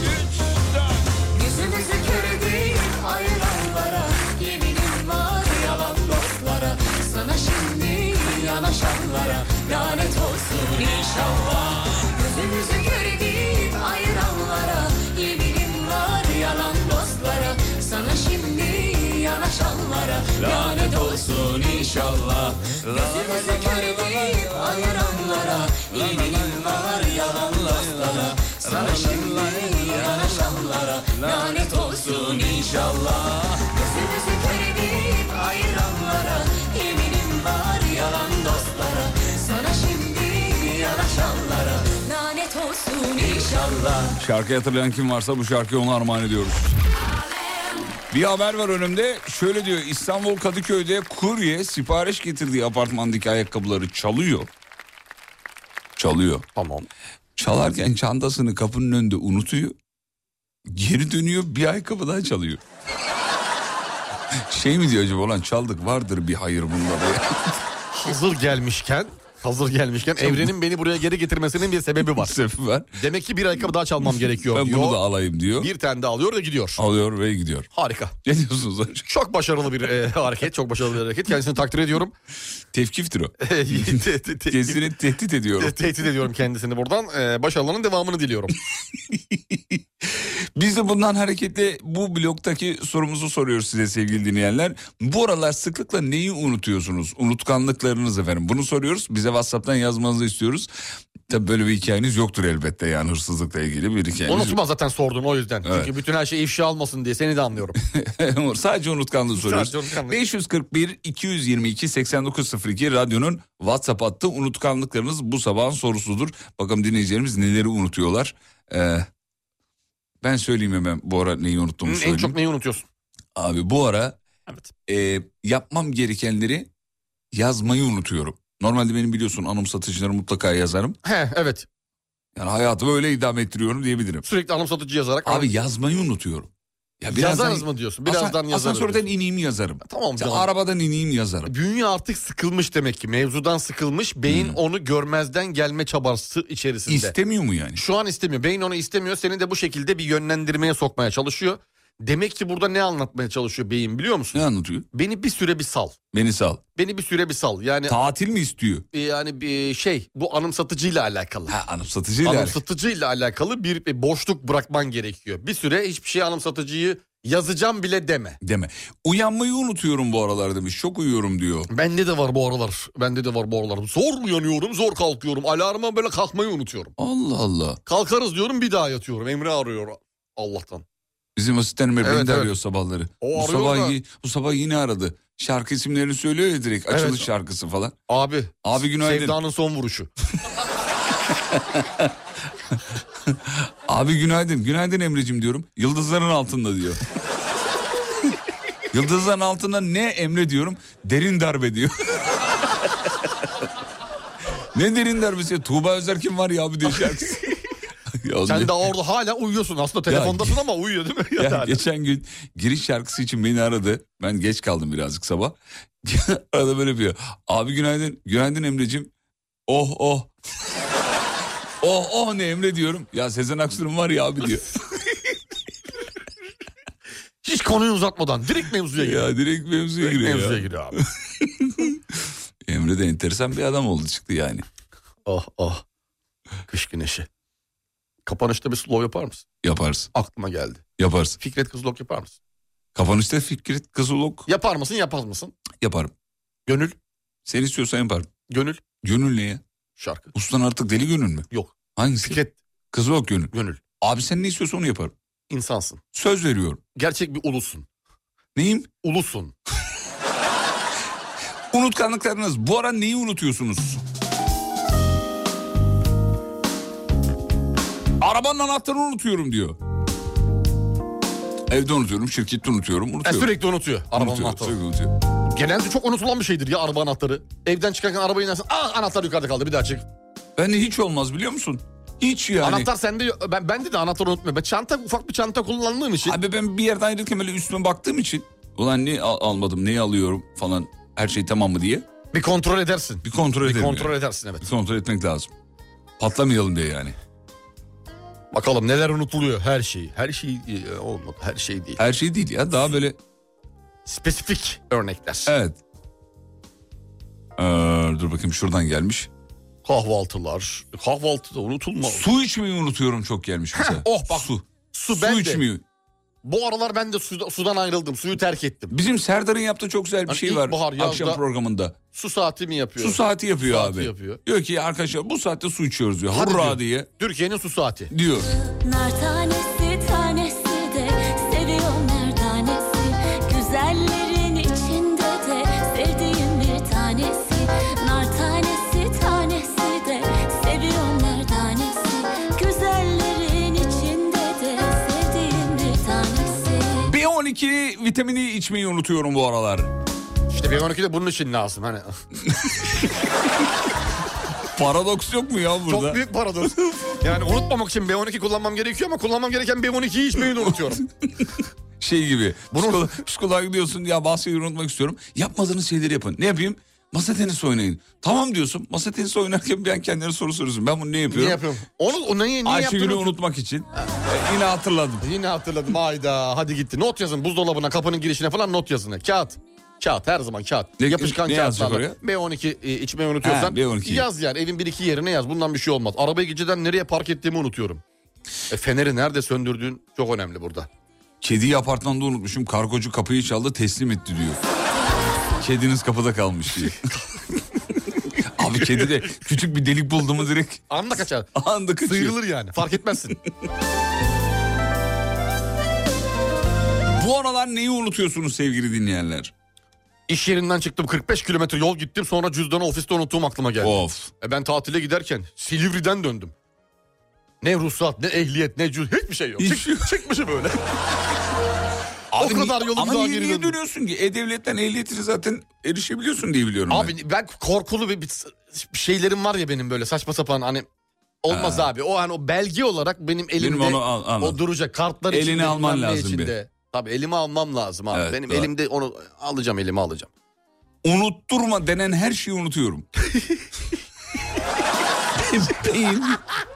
Speaker 11: Yüzümüzü kör edip ayıranlara Yeminim var yalan dostlara Sana şimdi yanaşanlara Lanet olsun inşallah Yüzümüzü kör edip ayıranlara Yeminim var yalan dostlara Sana şimdi yanaşanlara Lanet olsun inşallah Yüzümüzü kör edip ayıranlara Yeminim var yalan dostlara Sana şimdi yanaşanlara Lanet olsun inşallah Gözümüzü kör edip ayıranlara Yeminim var yalan dostlara Sana şimdi yanaşanlara Lanet olsun inşallah
Speaker 3: Şarkı hatırlayan kim varsa bu şarkıyı ona armağan ediyoruz. Bir haber var önümde. Şöyle diyor İstanbul Kadıköy'de kurye sipariş getirdiği apartmandaki ayakkabıları çalıyor. Çalıyor. Tamam. Çalarken çantasını kapının önünde unutuyor. Geri dönüyor bir ayakkabı daha çalıyor. şey mi diyor acaba ulan çaldık vardır bir hayır bunda. [laughs]
Speaker 4: Hazır gelmişken hazır gelmişken evrenin beni buraya geri getirmesinin bir sebebi
Speaker 3: [laughs]
Speaker 4: var.
Speaker 3: sebebi var.
Speaker 4: Demek ki bir ayakkabı daha çalmam gerekiyor
Speaker 3: Ben bunu
Speaker 4: diyor.
Speaker 3: da alayım diyor.
Speaker 4: Bir tane de alıyor da gidiyor.
Speaker 3: Alıyor ve gidiyor.
Speaker 4: Harika.
Speaker 3: Ne diyorsunuz hocam?
Speaker 4: Çok başarılı bir e, [laughs] hareket, çok başarılı bir hareket. Kendisini
Speaker 3: [laughs]
Speaker 4: takdir ediyorum.
Speaker 3: Tevkiftir o.
Speaker 4: Kendisini
Speaker 3: tehdit ediyorum.
Speaker 4: tehdit ediyorum kendisini buradan. E, başarılarının
Speaker 3: [laughs]
Speaker 4: devamını diliyorum.
Speaker 3: Biz de bundan hareketle bu bloktaki sorumuzu soruyoruz size sevgili dinleyenler. Bu aralar sıklıkla neyi unutuyorsunuz? Unutkanlıklarınız efendim. Bunu soruyoruz. Bize WhatsApp'tan yazmanızı istiyoruz. Tabii böyle bir hikayeniz yoktur elbette yani hırsızlıkla ilgili bir hikayeniz. yok.
Speaker 4: Unutma zaten sordun o yüzden.
Speaker 3: Evet.
Speaker 4: Çünkü bütün her şey ifşa olmasın diye seni de anlıyorum.
Speaker 3: [laughs] Sadece unutkanlığı soruyoruz.
Speaker 4: Sadece unutkanlık.
Speaker 3: 541 222 8902 radyonun WhatsApp hattı unutkanlıklarınız bu sabahın sorusudur. Bakalım dinleyicilerimiz neleri unutuyorlar. Ee, ben söyleyeyim hemen bu ara neyi unuttuğumu
Speaker 4: en
Speaker 3: söyleyeyim.
Speaker 4: çok neyi unutuyorsun?
Speaker 3: Abi bu ara e, yapmam gerekenleri yazmayı unutuyorum. Normalde benim biliyorsun anım satışları mutlaka yazarım.
Speaker 4: He evet.
Speaker 3: Yani hayatımı öyle idame ettiriyorum diyebilirim.
Speaker 4: Sürekli anımsatıcı yazarak.
Speaker 3: Abi yazmayı unutuyorum. Ya
Speaker 4: Yazarız mı diyorsun? Birazdan yazarım
Speaker 3: Asansörden ineyim yazarım.
Speaker 4: Tamam
Speaker 3: Ya
Speaker 4: canım.
Speaker 3: arabadan ineyim yazarım.
Speaker 4: Bünye artık sıkılmış demek ki. Mevzudan sıkılmış. Beyin onu görmezden gelme çabası içerisinde.
Speaker 3: İstemiyor mu yani?
Speaker 4: Şu an istemiyor. Beyin onu istemiyor. Seni de bu şekilde bir yönlendirmeye sokmaya çalışıyor. Demek ki burada ne anlatmaya çalışıyor beyin biliyor musun?
Speaker 3: Ne anlatıyor?
Speaker 4: Beni bir süre bir sal.
Speaker 3: Beni sal.
Speaker 4: Beni bir süre bir sal. Yani
Speaker 3: Tatil mi istiyor?
Speaker 4: e, yani bir şey bu anımsatıcıyla alakalı.
Speaker 3: Ha, anımsatıcıyla
Speaker 4: Anımsatıcıyla alakalı bir bir boşluk bırakman gerekiyor. Bir süre hiçbir şey anımsatıcıyı yazacağım bile deme.
Speaker 3: Deme. Uyanmayı unutuyorum bu aralar demiş. Çok uyuyorum diyor.
Speaker 4: Bende de var bu aralar. Bende de var bu aralar. Zor uyanıyorum, zor kalkıyorum. Alarma böyle kalkmayı unutuyorum.
Speaker 3: Allah Allah.
Speaker 4: Kalkarız diyorum bir daha yatıyorum. Emre arıyor Allah'tan.
Speaker 3: Bizim asistanım beni
Speaker 4: Evet,
Speaker 3: de
Speaker 4: evet.
Speaker 3: arıyor sabahları.
Speaker 4: O
Speaker 3: bu,
Speaker 4: arıyor
Speaker 3: sabah,
Speaker 4: da-
Speaker 3: yi- bu sabah yine aradı. Şarkı isimlerini söylüyor ya direkt. Açılış
Speaker 4: Evet.
Speaker 3: şarkısı falan.
Speaker 4: Abi.
Speaker 3: Abi günaydın.
Speaker 4: Sevdanın
Speaker 3: [laughs]
Speaker 4: son vuruşu.
Speaker 3: Abi günaydın. Günaydın Emre'cim diyorum. Yıldızların altında
Speaker 4: [laughs]
Speaker 3: diyor. Yıldızların altında ne Emre diyorum. Derin darbe diyor. [laughs] ne derin darbesi ya? Tuğba Özer kim var ya abi diye
Speaker 4: [laughs]
Speaker 3: şarkısı. Ya
Speaker 4: Sen de orada hala uyuyorsun. Aslında telefondasın ama uyuyor değil mi?
Speaker 3: Ya
Speaker 4: Yani
Speaker 3: geçen gün giriş şarkısı için beni aradı. Ben geç kaldım birazcık sabah. [laughs] Arada böyle bir abi günaydın. Günaydın Emre'cim. Oh oh. [laughs] oh oh ne Emre diyorum. Ya Sezen Aksu'nun var ya abi diyor.
Speaker 4: Hiç konuyu uzatmadan direkt mevzuya gir.
Speaker 3: ya direkt mevzuya
Speaker 4: Direkt
Speaker 3: giriyor
Speaker 4: Şey mevzuya
Speaker 3: ya.
Speaker 4: gir
Speaker 3: [laughs]
Speaker 4: abi.
Speaker 3: Emre de enteresan bir adam oldu çıktı yani.
Speaker 4: Oh
Speaker 3: Ah,
Speaker 4: oh. Kış güneşi. Kapanışta bir slow yapar mısın?
Speaker 3: Yaparsın.
Speaker 4: Aklıma geldi.
Speaker 3: Yaparsın.
Speaker 4: Fikret Kızılok yapar mısın?
Speaker 3: Kapanışta Fikret Kızılok
Speaker 4: Yapar mısın yapmaz mısın?
Speaker 3: yaparım.
Speaker 4: Gönül.
Speaker 3: Sen istiyorsan yaparım.
Speaker 4: Gönül.
Speaker 3: Gönül ne ya?
Speaker 4: Şarkı.
Speaker 3: Ustan artık deli gönül mü?
Speaker 4: Yok.
Speaker 3: Hangisi?
Speaker 4: Fikret
Speaker 3: Kızılok gönül.
Speaker 4: Gönül.
Speaker 3: Abi sen ne istiyorsan onu yaparım.
Speaker 4: insansın.
Speaker 3: Söz veriyorum.
Speaker 4: Gerçek bir ulusun.
Speaker 3: Neyim?
Speaker 4: Ulusun.
Speaker 3: Unutkanlıklarınız. Bu ara neyi unutuyorsunuz? Arabanın anahtarını unutuyorum diyor. Evde unutuyorum, şirkette unutuyorum,
Speaker 4: Ha,
Speaker 3: unutuyorum.
Speaker 4: sürekli unutuyor. Arabanın
Speaker 3: Unutuyor,
Speaker 4: anahtarı.
Speaker 3: sürekli unutuyor.
Speaker 4: Genelde çok unutulan bir şeydir ya araba anahtarı. Evden çıkarken arabayı inersin. Aa anahtar yukarıda kaldı bir daha çık.
Speaker 3: Bende hiç olmaz biliyor musun? Hiç yani.
Speaker 4: Anahtar sende yok. Ben, bende de anahtar unutmuyorum. Ben çanta ufak bir çanta kullandığım için.
Speaker 3: Abi ben bir yerden ayrılırken böyle üstüme baktığım için ulan ne al- almadım, neyi alıyorum falan her şey tamam mı diye.
Speaker 4: Bir kontrol edersin.
Speaker 3: Bir kontrol
Speaker 4: Bir
Speaker 3: ederim
Speaker 4: kontrol
Speaker 3: yani.
Speaker 4: edersin evet.
Speaker 3: Bir kontrol etmek lazım. Patlamayalım diye yani.
Speaker 4: Bakalım neler unutuluyor her şeyi. Her şey e, olmadı. Her şey değil.
Speaker 3: Her şey değil ya daha böyle.
Speaker 4: Spesifik örnekler.
Speaker 3: Evet. Ee, dur bakayım şuradan gelmiş.
Speaker 4: Kahvaltılar. Kahvaltıda unutulmaz.
Speaker 3: Su içmeyi unutuyorum çok gelmiş mesela.
Speaker 4: oh bak.
Speaker 3: Su.
Speaker 4: Su,
Speaker 3: Su
Speaker 4: ben de.
Speaker 3: içmiyor.
Speaker 4: Bu aralar ben de suda- sudan ayrıldım. Suyu terk ettim.
Speaker 3: Bizim Serdar'ın yaptığı çok güzel bir
Speaker 4: Hani
Speaker 3: şey var
Speaker 4: ilkbahar, yazda-
Speaker 3: akşam programında.
Speaker 4: Su saati mi yapıyor?
Speaker 3: Su saati yapıyor
Speaker 4: Saati
Speaker 3: abi.
Speaker 4: yapıyor.
Speaker 3: Diyor ki arkadaşlar bu saatte su içiyoruz diyor.
Speaker 4: Hadi
Speaker 3: Hurra
Speaker 4: diyor.
Speaker 3: diye
Speaker 4: Türkiye'nin su saati.
Speaker 3: diyor.
Speaker 16: Nar tanesi tanesi de seviyorum her tanesi Güzellerin içinde de sevdiğim bir tanesi Nar tanesi tanesi de seviyorum her tanesi Güzellerin içinde de sevdiğim bir tanesi
Speaker 3: B12 vitamini içmeyi unutuyorum bu aralar.
Speaker 4: İşte B12 de bunun için lazım.
Speaker 3: [laughs]
Speaker 4: Hani
Speaker 3: Paradoks yok mu ya burada?
Speaker 4: Çok büyük paradoks. Yani unutmamak için B12 kullanmam gerekiyor ama kullanmam gereken B12'yi içmeyi
Speaker 3: [laughs]
Speaker 4: de unutuyorum.
Speaker 3: Şey gibi. Psikolo- psikoloğa gidiyorsun ya bazı şeyleri unutmak istiyorum. Yapmadığınız şeyleri yapın. Ne yapayım? Masa tenisi oynayın. Tamam diyorsun. Masa tenisi oynarken ben kendine soru soruyorsun. Ben bunu ne yapıyorum?
Speaker 4: Niye yapıyorum? Onu, onu niye, niye
Speaker 3: Ayşegül'ü
Speaker 4: yaptığını
Speaker 3: unutmak için. E, yine hatırladım.
Speaker 4: Yine hatırladım hayda hadi gitti. Not yazın buzdolabına kapının girişine falan not yazın. Kağıt. Kağıt her zaman kağıt.
Speaker 3: Ne-
Speaker 4: Yapışkan
Speaker 3: ne yazacak
Speaker 4: kağıtlarla. B12 e, içmeyi unutuyorsan
Speaker 3: Ha, B12 'yi.
Speaker 4: yaz yani evin bir iki yerine yaz. Bundan bir şey olmaz. Arabayı geceden nereye park ettiğimi unutuyorum. E, feneri nerede söndürdüğün çok önemli burada.
Speaker 3: Kediyi apartmanda unutmuşum. Kargocu kapıyı çaldı teslim etti diyor. Kediniz kapıda kalmış diye.
Speaker 4: [laughs]
Speaker 3: Abi kedi de küçük bir delik buldu mu direkt
Speaker 4: Anla
Speaker 3: [laughs]
Speaker 4: kaçar.
Speaker 3: anda kaçıyor.
Speaker 4: Sıyrılır yani fark etmezsin.
Speaker 3: Bu aralar neyi unutuyorsunuz sevgili dinleyenler?
Speaker 4: İş yerinden çıktım 45 kilometre yol gittim sonra cüzdanı ofiste unuttuğum aklıma geldi.
Speaker 3: Of.
Speaker 4: E, ben tatile giderken Silivri'den döndüm. Ne ruhsat ne ehliyet ne cüz hiçbir şey yok. Çık, çıkmışım öyle.
Speaker 3: Abi
Speaker 4: o
Speaker 3: ni-
Speaker 4: kadar yolu bir
Speaker 3: Ama
Speaker 4: daha
Speaker 3: niye,
Speaker 4: geri
Speaker 3: niye
Speaker 4: döndüm.
Speaker 3: dönüyorsun ki? E-Devlet'ten ehliyetini zaten erişebiliyorsun diye biliyorum ben.
Speaker 4: Abi ben korkulu bir, bir şeylerim var ya benim böyle saçma sapan hani olmaz abi. O hani o belge olarak benim elimde
Speaker 3: onu al- anladım.
Speaker 4: o duracak kartlar
Speaker 3: Eline
Speaker 4: içinde,
Speaker 3: alman
Speaker 4: bilmem ne
Speaker 3: lazım
Speaker 4: içinde. Tabii elime almam lazım abi.
Speaker 3: Evet,
Speaker 4: benim
Speaker 3: doğru.
Speaker 4: elimde onu alacağım elime alacağım.
Speaker 3: Unutturma denen her şeyi unutuyorum.
Speaker 4: [laughs]
Speaker 3: beyin,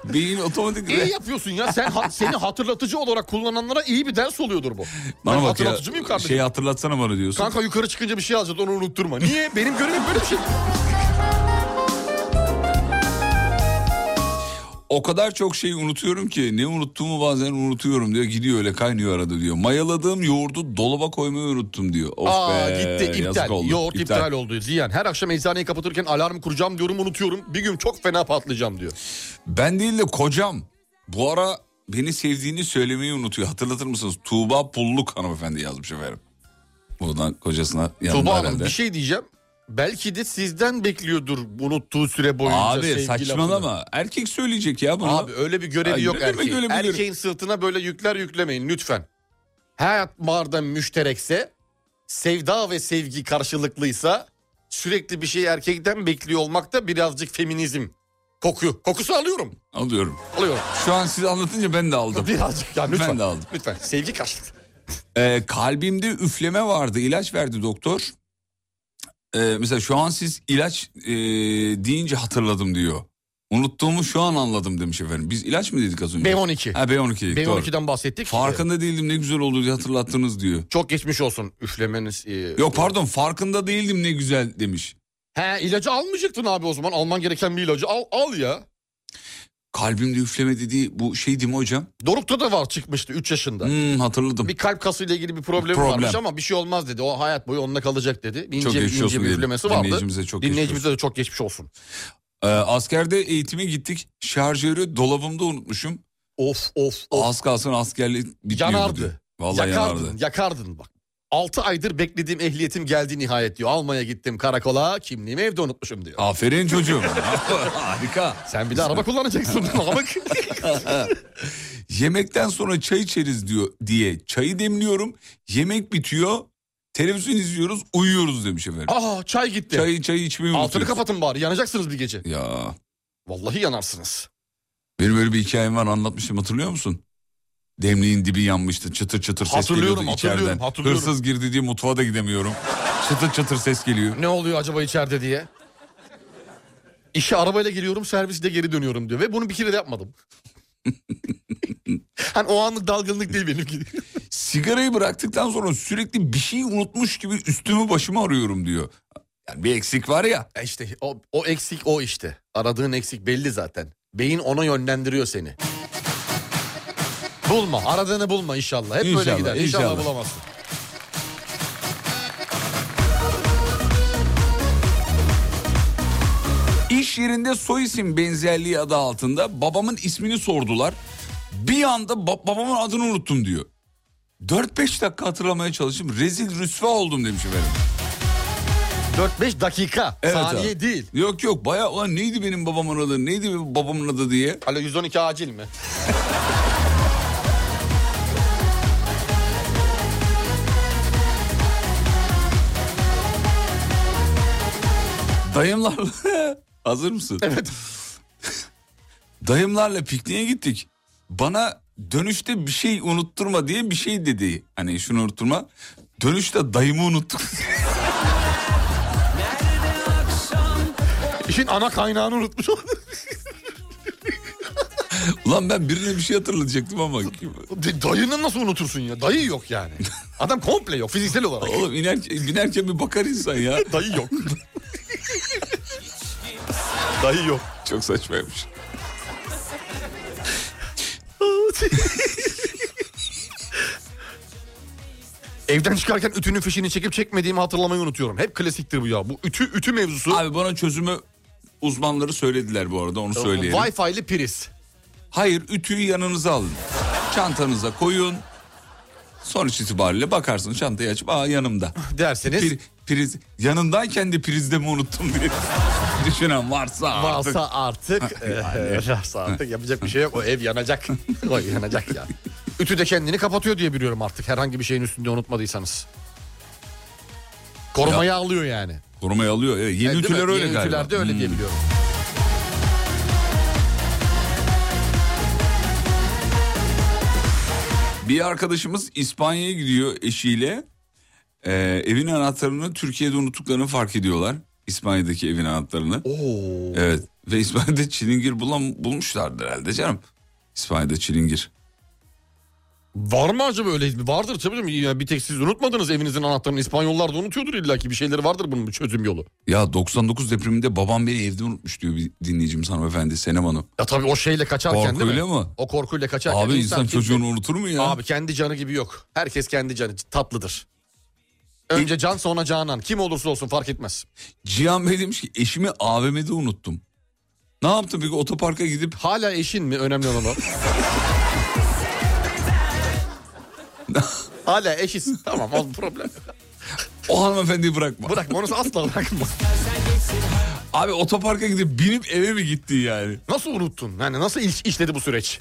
Speaker 3: beyin otomatik...
Speaker 4: İyi yapıyorsun ya sen ha- seni hatırlatıcı olarak kullananlara iyi bir ders oluyordur bu. ben
Speaker 3: Bana bak ya, şey
Speaker 4: hatırlatıcı mıyım kardeşim?
Speaker 3: şeyi hatırlatsana bana diyorsun.
Speaker 4: Kanka yukarı çıkınca bir şey alacağız onu unutturma. Niye? Benim görevim böyle bir
Speaker 3: [laughs]
Speaker 4: şey.
Speaker 3: O kadar çok şeyi unutuyorum ki ne unuttuğumu bazen unutuyorum diyor. Gidiyor öyle kaynıyor arada diyor. Mayaladığım yoğurdu dolaba koymaya unuttum diyor. Of
Speaker 4: Aa
Speaker 3: be,
Speaker 4: gitti iptal.
Speaker 3: yazık oldu.
Speaker 4: Yoğurt iptal. oldu ziyan. Her akşam eczaneyi kapatırken alarm kuracağım diyorum unutuyorum. Bir gün çok fena patlayacağım diyor.
Speaker 3: Ben değil de kocam bu ara beni sevdiğini söylemeyi unutuyor. Hatırlatır mısınız? Tuğba Pulluk hanımefendi yazmış efendim. Buradan kocasına yanında
Speaker 4: Tuba Hanım
Speaker 3: herhalde.
Speaker 4: bir şey diyeceğim. Belki de sizden bekliyordur unuttuğu süre boyunca
Speaker 3: Abi
Speaker 4: sevgi
Speaker 3: saçmalama.
Speaker 4: lafını.
Speaker 3: Erkek söyleyecek ya bunu.
Speaker 4: Abi öyle bir görevi
Speaker 3: Ay,
Speaker 4: yok
Speaker 3: ne demek
Speaker 4: erkeğin.
Speaker 3: öyle bir görev?
Speaker 4: Erkeğin sırtına böyle yükler yüklemeyin lütfen. Her marda müşterekse, sevda ve sevgi karşılıklıysa sürekli bir şey erkekten bekliyor olmak da birazcık feminizm. Koku. Kokusu alıyorum.
Speaker 3: Alıyorum.
Speaker 4: Alıyorum.
Speaker 3: Şu an siz anlatınca ben de aldım.
Speaker 4: Birazcık yani lütfen.
Speaker 3: Ben de aldım.
Speaker 4: Lütfen. Sevgi karşılıklı.
Speaker 3: Ee, kalbimde üfleme vardı. ilaç verdi doktor. Ee, mesela şu an siz ilaç e, deyince hatırladım diyor. Unuttuğumu şu an anladım demiş efendim. Biz ilaç mı dedik az önce?
Speaker 4: B12.
Speaker 3: Ha B12 dedik doğru.
Speaker 4: B12'den bahsettik. Ee,
Speaker 3: Farkında değildim ne güzel oldu diye hatırlattınız diyor.
Speaker 4: Çok geçmiş olsun üflemeniz. e,
Speaker 3: Yok pardon farkında değildim ne güzel demiş.
Speaker 4: He ilacı almayacaktın abi o zaman. Alman gereken bir ilacı al, al ya.
Speaker 3: Kalbimde üfleme dediği bu şey değil mi hocam?
Speaker 4: Doruk'ta da var çıkmıştı 3 yaşında.
Speaker 3: Hmm, hatırladım.
Speaker 4: Bir kalp kasıyla ilgili bir problemi
Speaker 3: Problem.
Speaker 4: varmış ama bir şey olmaz dedi. O hayat boyu onunla kalacak dedi. İnce,
Speaker 3: Çok geçmiş
Speaker 4: ince
Speaker 3: olsun
Speaker 4: bir
Speaker 3: diyelim.
Speaker 4: üflemesi vardı.
Speaker 3: Dinleyicimize çok geçmiş
Speaker 4: Dinleyicimize de çok geçmiş olsun.
Speaker 3: Ee, askerde eğitime gittik. Şarjörü dolabımda unutmuşum.
Speaker 4: Of of of.
Speaker 3: Az kalsın askerlik bitmiyordu.
Speaker 4: Yanardı.
Speaker 3: diyor. Vallahi
Speaker 4: yakardın,
Speaker 3: yanardı.
Speaker 4: yakardın bak. 6 aydır beklediğim ehliyetim geldi nihayet diyor. Almaya gittim karakola kimliğimi evde unutmuşum diyor.
Speaker 3: Aferin
Speaker 4: [laughs]
Speaker 3: çocuğum. [laughs] Harika.
Speaker 4: Sen bir de
Speaker 3: [laughs]
Speaker 4: araba kullanacaksın. Amık.
Speaker 3: Yemekten sonra çay içeriz diyor diye çayı demliyorum. Yemek bitiyor. Televizyon izliyoruz, uyuyoruz demiş efendim.
Speaker 4: Aa çay gitti.
Speaker 3: Çayı çayı içmeyi
Speaker 4: Altını
Speaker 3: unutuyoruz.
Speaker 4: kapatın bari yanacaksınız bir gece.
Speaker 3: Ya.
Speaker 4: Vallahi yanarsınız.
Speaker 3: Benim öyle bir hikayem var anlatmıştım hatırlıyor musun? Demliğin dibi yanmıştı çıtır çıtır ses
Speaker 4: Hatırlıyorum,
Speaker 3: geliyordu
Speaker 4: hatırlıyorum,
Speaker 3: içeriden.
Speaker 4: hatırlıyorum.
Speaker 3: Hırsız girdi diye mutfağa da gidemiyorum. çıtır çıtır ses geliyor.
Speaker 4: Ne oluyor acaba içeride diye. İşe arabayla geliyorum serviste geri dönüyorum diyor. Ve bunu bir kere
Speaker 3: [laughs]
Speaker 4: de yapmadım. hani o anlık dalgınlık değil benimki.
Speaker 3: Sigarayı bıraktıktan sonra sürekli bir şey unutmuş gibi üstümü başımı arıyorum diyor. Yani bir eksik var ya.
Speaker 4: işte o, o eksik o işte. Aradığın eksik belli zaten. Beyin ona yönlendiriyor seni. Bulma. Aradığını bulma inşallah. Hep böyle
Speaker 3: İnşallah,
Speaker 4: gider. İnşallah,
Speaker 3: inşallah.
Speaker 4: bulamazsın.
Speaker 3: İş yerinde soy isim benzerliği adı altında babamın ismini sordular. Bir anda ba- babamın adını unuttum diyor. 4-5 dakika hatırlamaya çalıştım. Rezil rüsva oldum demiş efendim.
Speaker 4: 4-5 dakika. Saniye değil.
Speaker 3: Yok yok bayağı ulan neydi benim babamın adı neydi benim babamın adı diye.
Speaker 4: Alo 112 acil mi?
Speaker 3: Dayımlarla [laughs] hazır mısın? Evet. [laughs] Dayımlarla pikniğe gittik. Bana dönüşte bir şey unutturma diye bir şey dedi. Hani şunu unutturma. Dönüşte dayımı unuttum. [laughs]
Speaker 4: İşin ana kaynağını unutmuş
Speaker 3: Ulan ben birine bir şey hatırlatacaktım ama.
Speaker 4: D- [laughs] Dayını nasıl unutursun ya? Dayı
Speaker 3: [laughs]
Speaker 4: yok yani. Adam komple yok fiziksel olarak.
Speaker 3: Oğlum inerken, binerken bir bakar insan ya.
Speaker 4: Dayı yok. Dayı yok.
Speaker 3: Çok
Speaker 4: [laughs]
Speaker 3: saçmaymış.
Speaker 4: Evden çıkarken ütünün fişini çekip çekmediğimi hatırlamayı unutuyorum. Hep klasiktir bu ya. Bu ütü ütü mevzusu.
Speaker 3: Abi bana çözümü uzmanları söylediler bu arada onu söyleyelim.
Speaker 4: Wi-Fi'li priz.
Speaker 3: Hayır ütüyü yanınıza alın. Çantanıza koyun. Sonuç itibariyle bakarsın çantayı açıp aa
Speaker 4: [laughs]
Speaker 3: yanımda.
Speaker 4: Derseniz.
Speaker 3: Pri- priz, yanındayken de prizde mi unuttum diye [laughs] düşünen varsa artık.
Speaker 4: Varsa artık, eee, varsa artık yapacak bir şey yok. O ev yanacak. o yanacak ya. Ütü de kendini kapatıyor diye biliyorum artık. Herhangi bir şeyin üstünde unutmadıysanız. Korumayı alıyor yani.
Speaker 3: Korumayı alıyor. Evet, yeni
Speaker 4: Evet, E, değil mi?
Speaker 3: ütüler öyle
Speaker 4: Yeni
Speaker 3: galiba. Hmm.
Speaker 4: ütülerde öyle diye biliyorum.
Speaker 3: Bir arkadaşımız İspanya'ya gidiyor eşiyle. Ee, evin anahtarını Türkiye'de unuttuklarını fark ediyorlar. İspanya'daki evin anahtarını. Evet. Ve İspanya'da çilingir bulan, bulmuşlardı herhalde canım. İspanya'da çilingir.
Speaker 4: Var mı acaba öyle? Vardır tabii canım. Ya bir tek siz unutmadınız evinizin anahtarını. İspanyollar da unutuyordur illaki. Bir şeyleri vardır bunun bir çözüm yolu.
Speaker 3: Ya 99 depreminde babam beni evde unutmuş diyor bir dinleyicimiz hanımefendi Senem Hanım.
Speaker 4: Ya tabii o şeyle kaçarken değil
Speaker 3: Korkuyla
Speaker 4: mi?
Speaker 3: mı?
Speaker 4: O korkuyla kaçarken.
Speaker 3: Abi insan
Speaker 4: kimse-
Speaker 3: çocuğunu unutur mu ya?
Speaker 4: Abi kendi canı gibi yok. Herkes kendi canı tatlıdır.
Speaker 3: E-
Speaker 4: Önce can sonra canan. Kim olursa olsun fark etmez.
Speaker 3: Cihan Bey demiş ki eşimi AVM'de unuttum. Ne yaptın peki otoparka gidip?
Speaker 4: Hala eşin mi önemli olan
Speaker 3: [laughs]
Speaker 4: o? Hala eşiz. Tamam al problem.
Speaker 3: o hanımefendiyi bırakma.
Speaker 4: Bırakma onu asla bırakma.
Speaker 3: Abi otoparka gidip binip eve mi gitti yani?
Speaker 4: Nasıl unuttun? Yani nasıl iş, işledi bu süreç?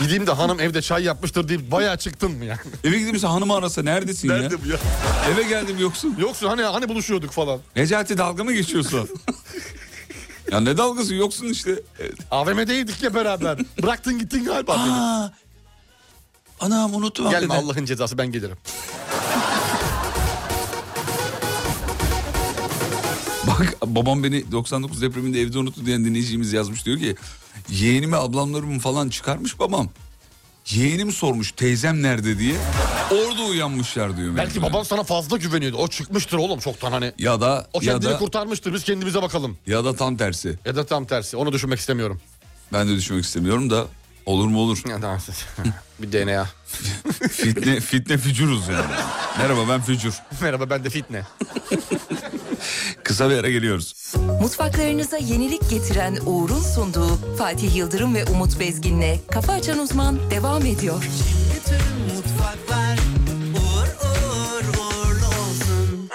Speaker 4: Gideyim de hanım evde çay yapmıştır deyip bayağı çıktın mı yani?
Speaker 3: Eve gidip mesela hanımı arasa neredesin ya?
Speaker 4: [laughs] Nerede bu ya?
Speaker 3: Eve geldim yoksun.
Speaker 4: Yoksun hani hani buluşuyorduk falan.
Speaker 3: Necati dalga mı
Speaker 4: [laughs]
Speaker 3: geçiyorsun? ya ne dalgası yoksun işte.
Speaker 4: AVM'deydik ya beraber. Bıraktın gittin galiba. Aa,
Speaker 3: anam unuttum.
Speaker 4: Gelme
Speaker 3: hakikaten.
Speaker 4: Allah'ın cezası ben gelirim.
Speaker 3: Bak babam beni 99 depreminde evde unuttu diyen dinleyicimiz yazmış diyor ki yeğenimi ablamlarımı falan çıkarmış babam. Yeğenim sormuş teyzem nerede diye. Orada uyanmışlar diyor.
Speaker 4: Belki
Speaker 3: mecburen.
Speaker 4: baban sana fazla güveniyordu. O çıkmıştır oğlum çoktan hani.
Speaker 3: Ya da
Speaker 4: O
Speaker 3: ya
Speaker 4: kendini
Speaker 3: da
Speaker 4: kurtarmıştır biz kendimize bakalım.
Speaker 3: ya da tam tersi.
Speaker 4: Ya da tam tersi onu düşünmek istemiyorum.
Speaker 3: Ben de düşünmek istemiyorum da olur mu olur.
Speaker 4: [laughs] Bir DNA.
Speaker 3: fitne fitne fücuruz yani. Merhaba ben fücur.
Speaker 4: Merhaba ben de fitne.
Speaker 3: Kısa bir ara geliyoruz.
Speaker 1: Mutfaklarınıza yenilik getiren Uğur'un sunduğu Fatih Yıldırım ve Umut Bezgin'le Kafa Açan Uzman devam ediyor.
Speaker 11: mutfaklar uğur uğur uğurlu olsun.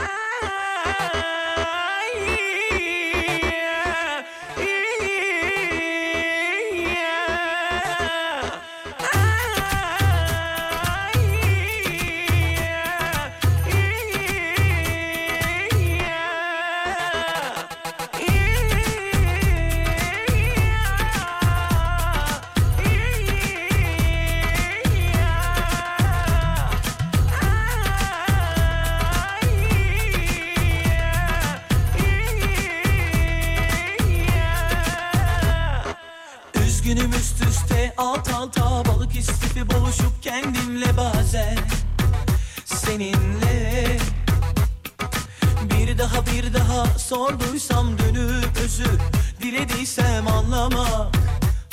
Speaker 17: Üzgünüm üst üste alt alta balık istifi boğuşup kendimle bazen seninle Bir daha bir daha sorduysam dönüp özür dilediysem anlamak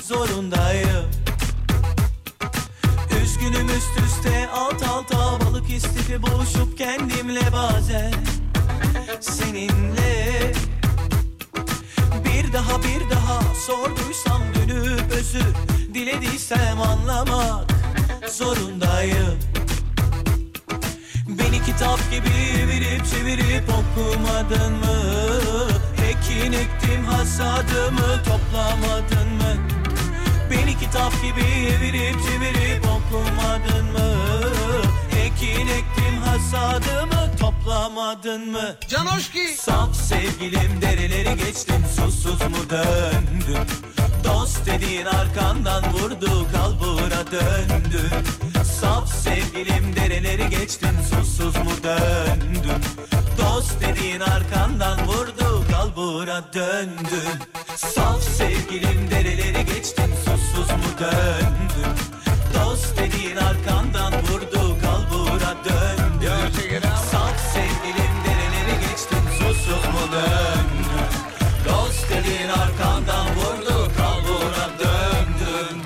Speaker 17: zorundayım Üzgünüm üst üste alt alta balık istifi boğuşup kendimle bazen seninle bir daha bir daha sorduysam dönüp özür dilediysem anlamak zorundayım. Beni kitap gibi verip çevirip okumadın mı? Ekin ektim hasadımı toplamadın mı? Beni kitap gibi verip çevirip okumadın mı? Ekin ektim hasadımı toplamadın mı? Canoşki! Sap sevgilim dereleri geçtim susuz mu döndün? Dost dediğin arkandan vurdu kalbura döndün Sap sevgilim dereleri geçtim susuz mu döndün? Dost dediğin arkandan vurdu kalbura döndün Saf sevgilim dereleri geçtim susuz mu döndün? Dost dediğin arkandan vurdu kalbura döndün Saf sevgilim dereleri geçtim susuz mu döndün? Dost dediğin arkandan vurdu kalbura döndün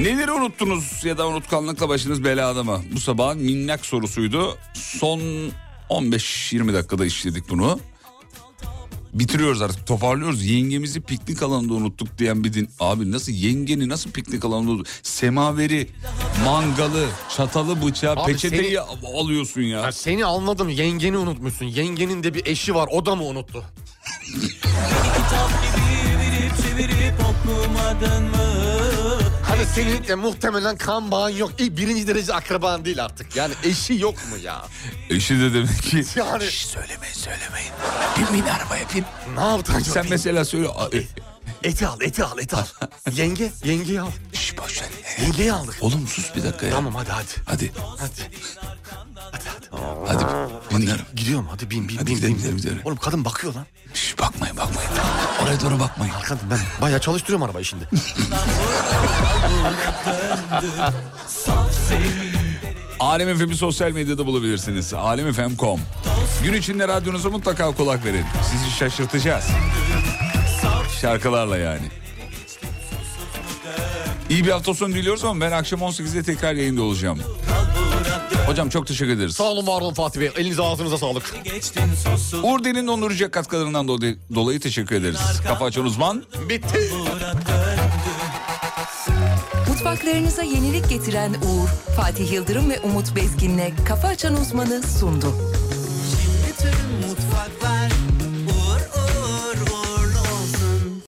Speaker 3: Neleri unuttunuz ya da unutkanlıkla başınız belada mı? Bu sabahın minnak sorusuydu. Son 15-20 dakikada işledik bunu. Bitiriyoruz artık toparlıyoruz. Yengemizi piknik alanında unuttuk diyen bir din. Abi nasıl yengeni nasıl piknik alanında unuttuk? Semaveri, mangalı, çatalı bıçağı,
Speaker 4: Abi
Speaker 3: peçeteyi
Speaker 4: seni-
Speaker 3: alıyorsun ya.
Speaker 4: Ya seni anladım yengeni unutmuşsun. Yengenin de bir eşi var o da mı unuttu?
Speaker 17: Çevirip çevirip okumadın mı?
Speaker 4: Hani senin de muhtemelen kan bağın yok. İyi, birinci derece akraban değil artık. Yani eşi yok mu ya?
Speaker 3: Eşi de demek ki
Speaker 4: [laughs] Yani...
Speaker 3: söylemeyin söylemeyin. Bin bin arabaya bin.
Speaker 4: Ne yaptın?
Speaker 3: Sen mesela söyle. e,
Speaker 4: Eti al eti al eti al. Yenge yengeyi al.
Speaker 3: Şş boş ver.
Speaker 4: Yengeyi aldık.
Speaker 3: Oğlum sus bir dakika ya.
Speaker 4: Tamam hadi hadi.
Speaker 3: Hadi.
Speaker 4: Hadi.
Speaker 3: Hadi dinlerim.
Speaker 4: Gidiyorum hadi bin bin
Speaker 3: Hadi
Speaker 4: bin.
Speaker 3: gidelim,
Speaker 4: bin.
Speaker 3: gidelim, gidelim.
Speaker 4: Oğlum kadın bakıyor lan.
Speaker 3: Şş bakmayın bakmayın. Oraya doğru bakmayın.
Speaker 4: Kadın ben bayağı çalıştırıyorum arabayı şimdi.
Speaker 3: Alem FM'i sosyal medyada bulabilirsiniz. Alemfm.com Gün içinde radyonuza mutlaka kulak verin. Sizi şaşırtacağız. Şarkılarla yani. İyi bir hafta sonu diliyoruz ama ben akşam 18'de tekrar yayında olacağım. Hocam çok teşekkür ederiz.
Speaker 4: Sağ olun var olun Fatih Bey. Elinize ağzınıza sağlık.
Speaker 3: Uğur Derin Dondurucu'ya katkılarından dolayı, dolayı teşekkür ederiz. Kafa açan uzman.
Speaker 4: Bitti.
Speaker 1: Mutfaklarınıza yenilik getiren Uğur, Fatih Yıldırım ve Umut Bezgin'le Kafa Açan Uzman'ı sundu.
Speaker 11: Bütün mutfaklar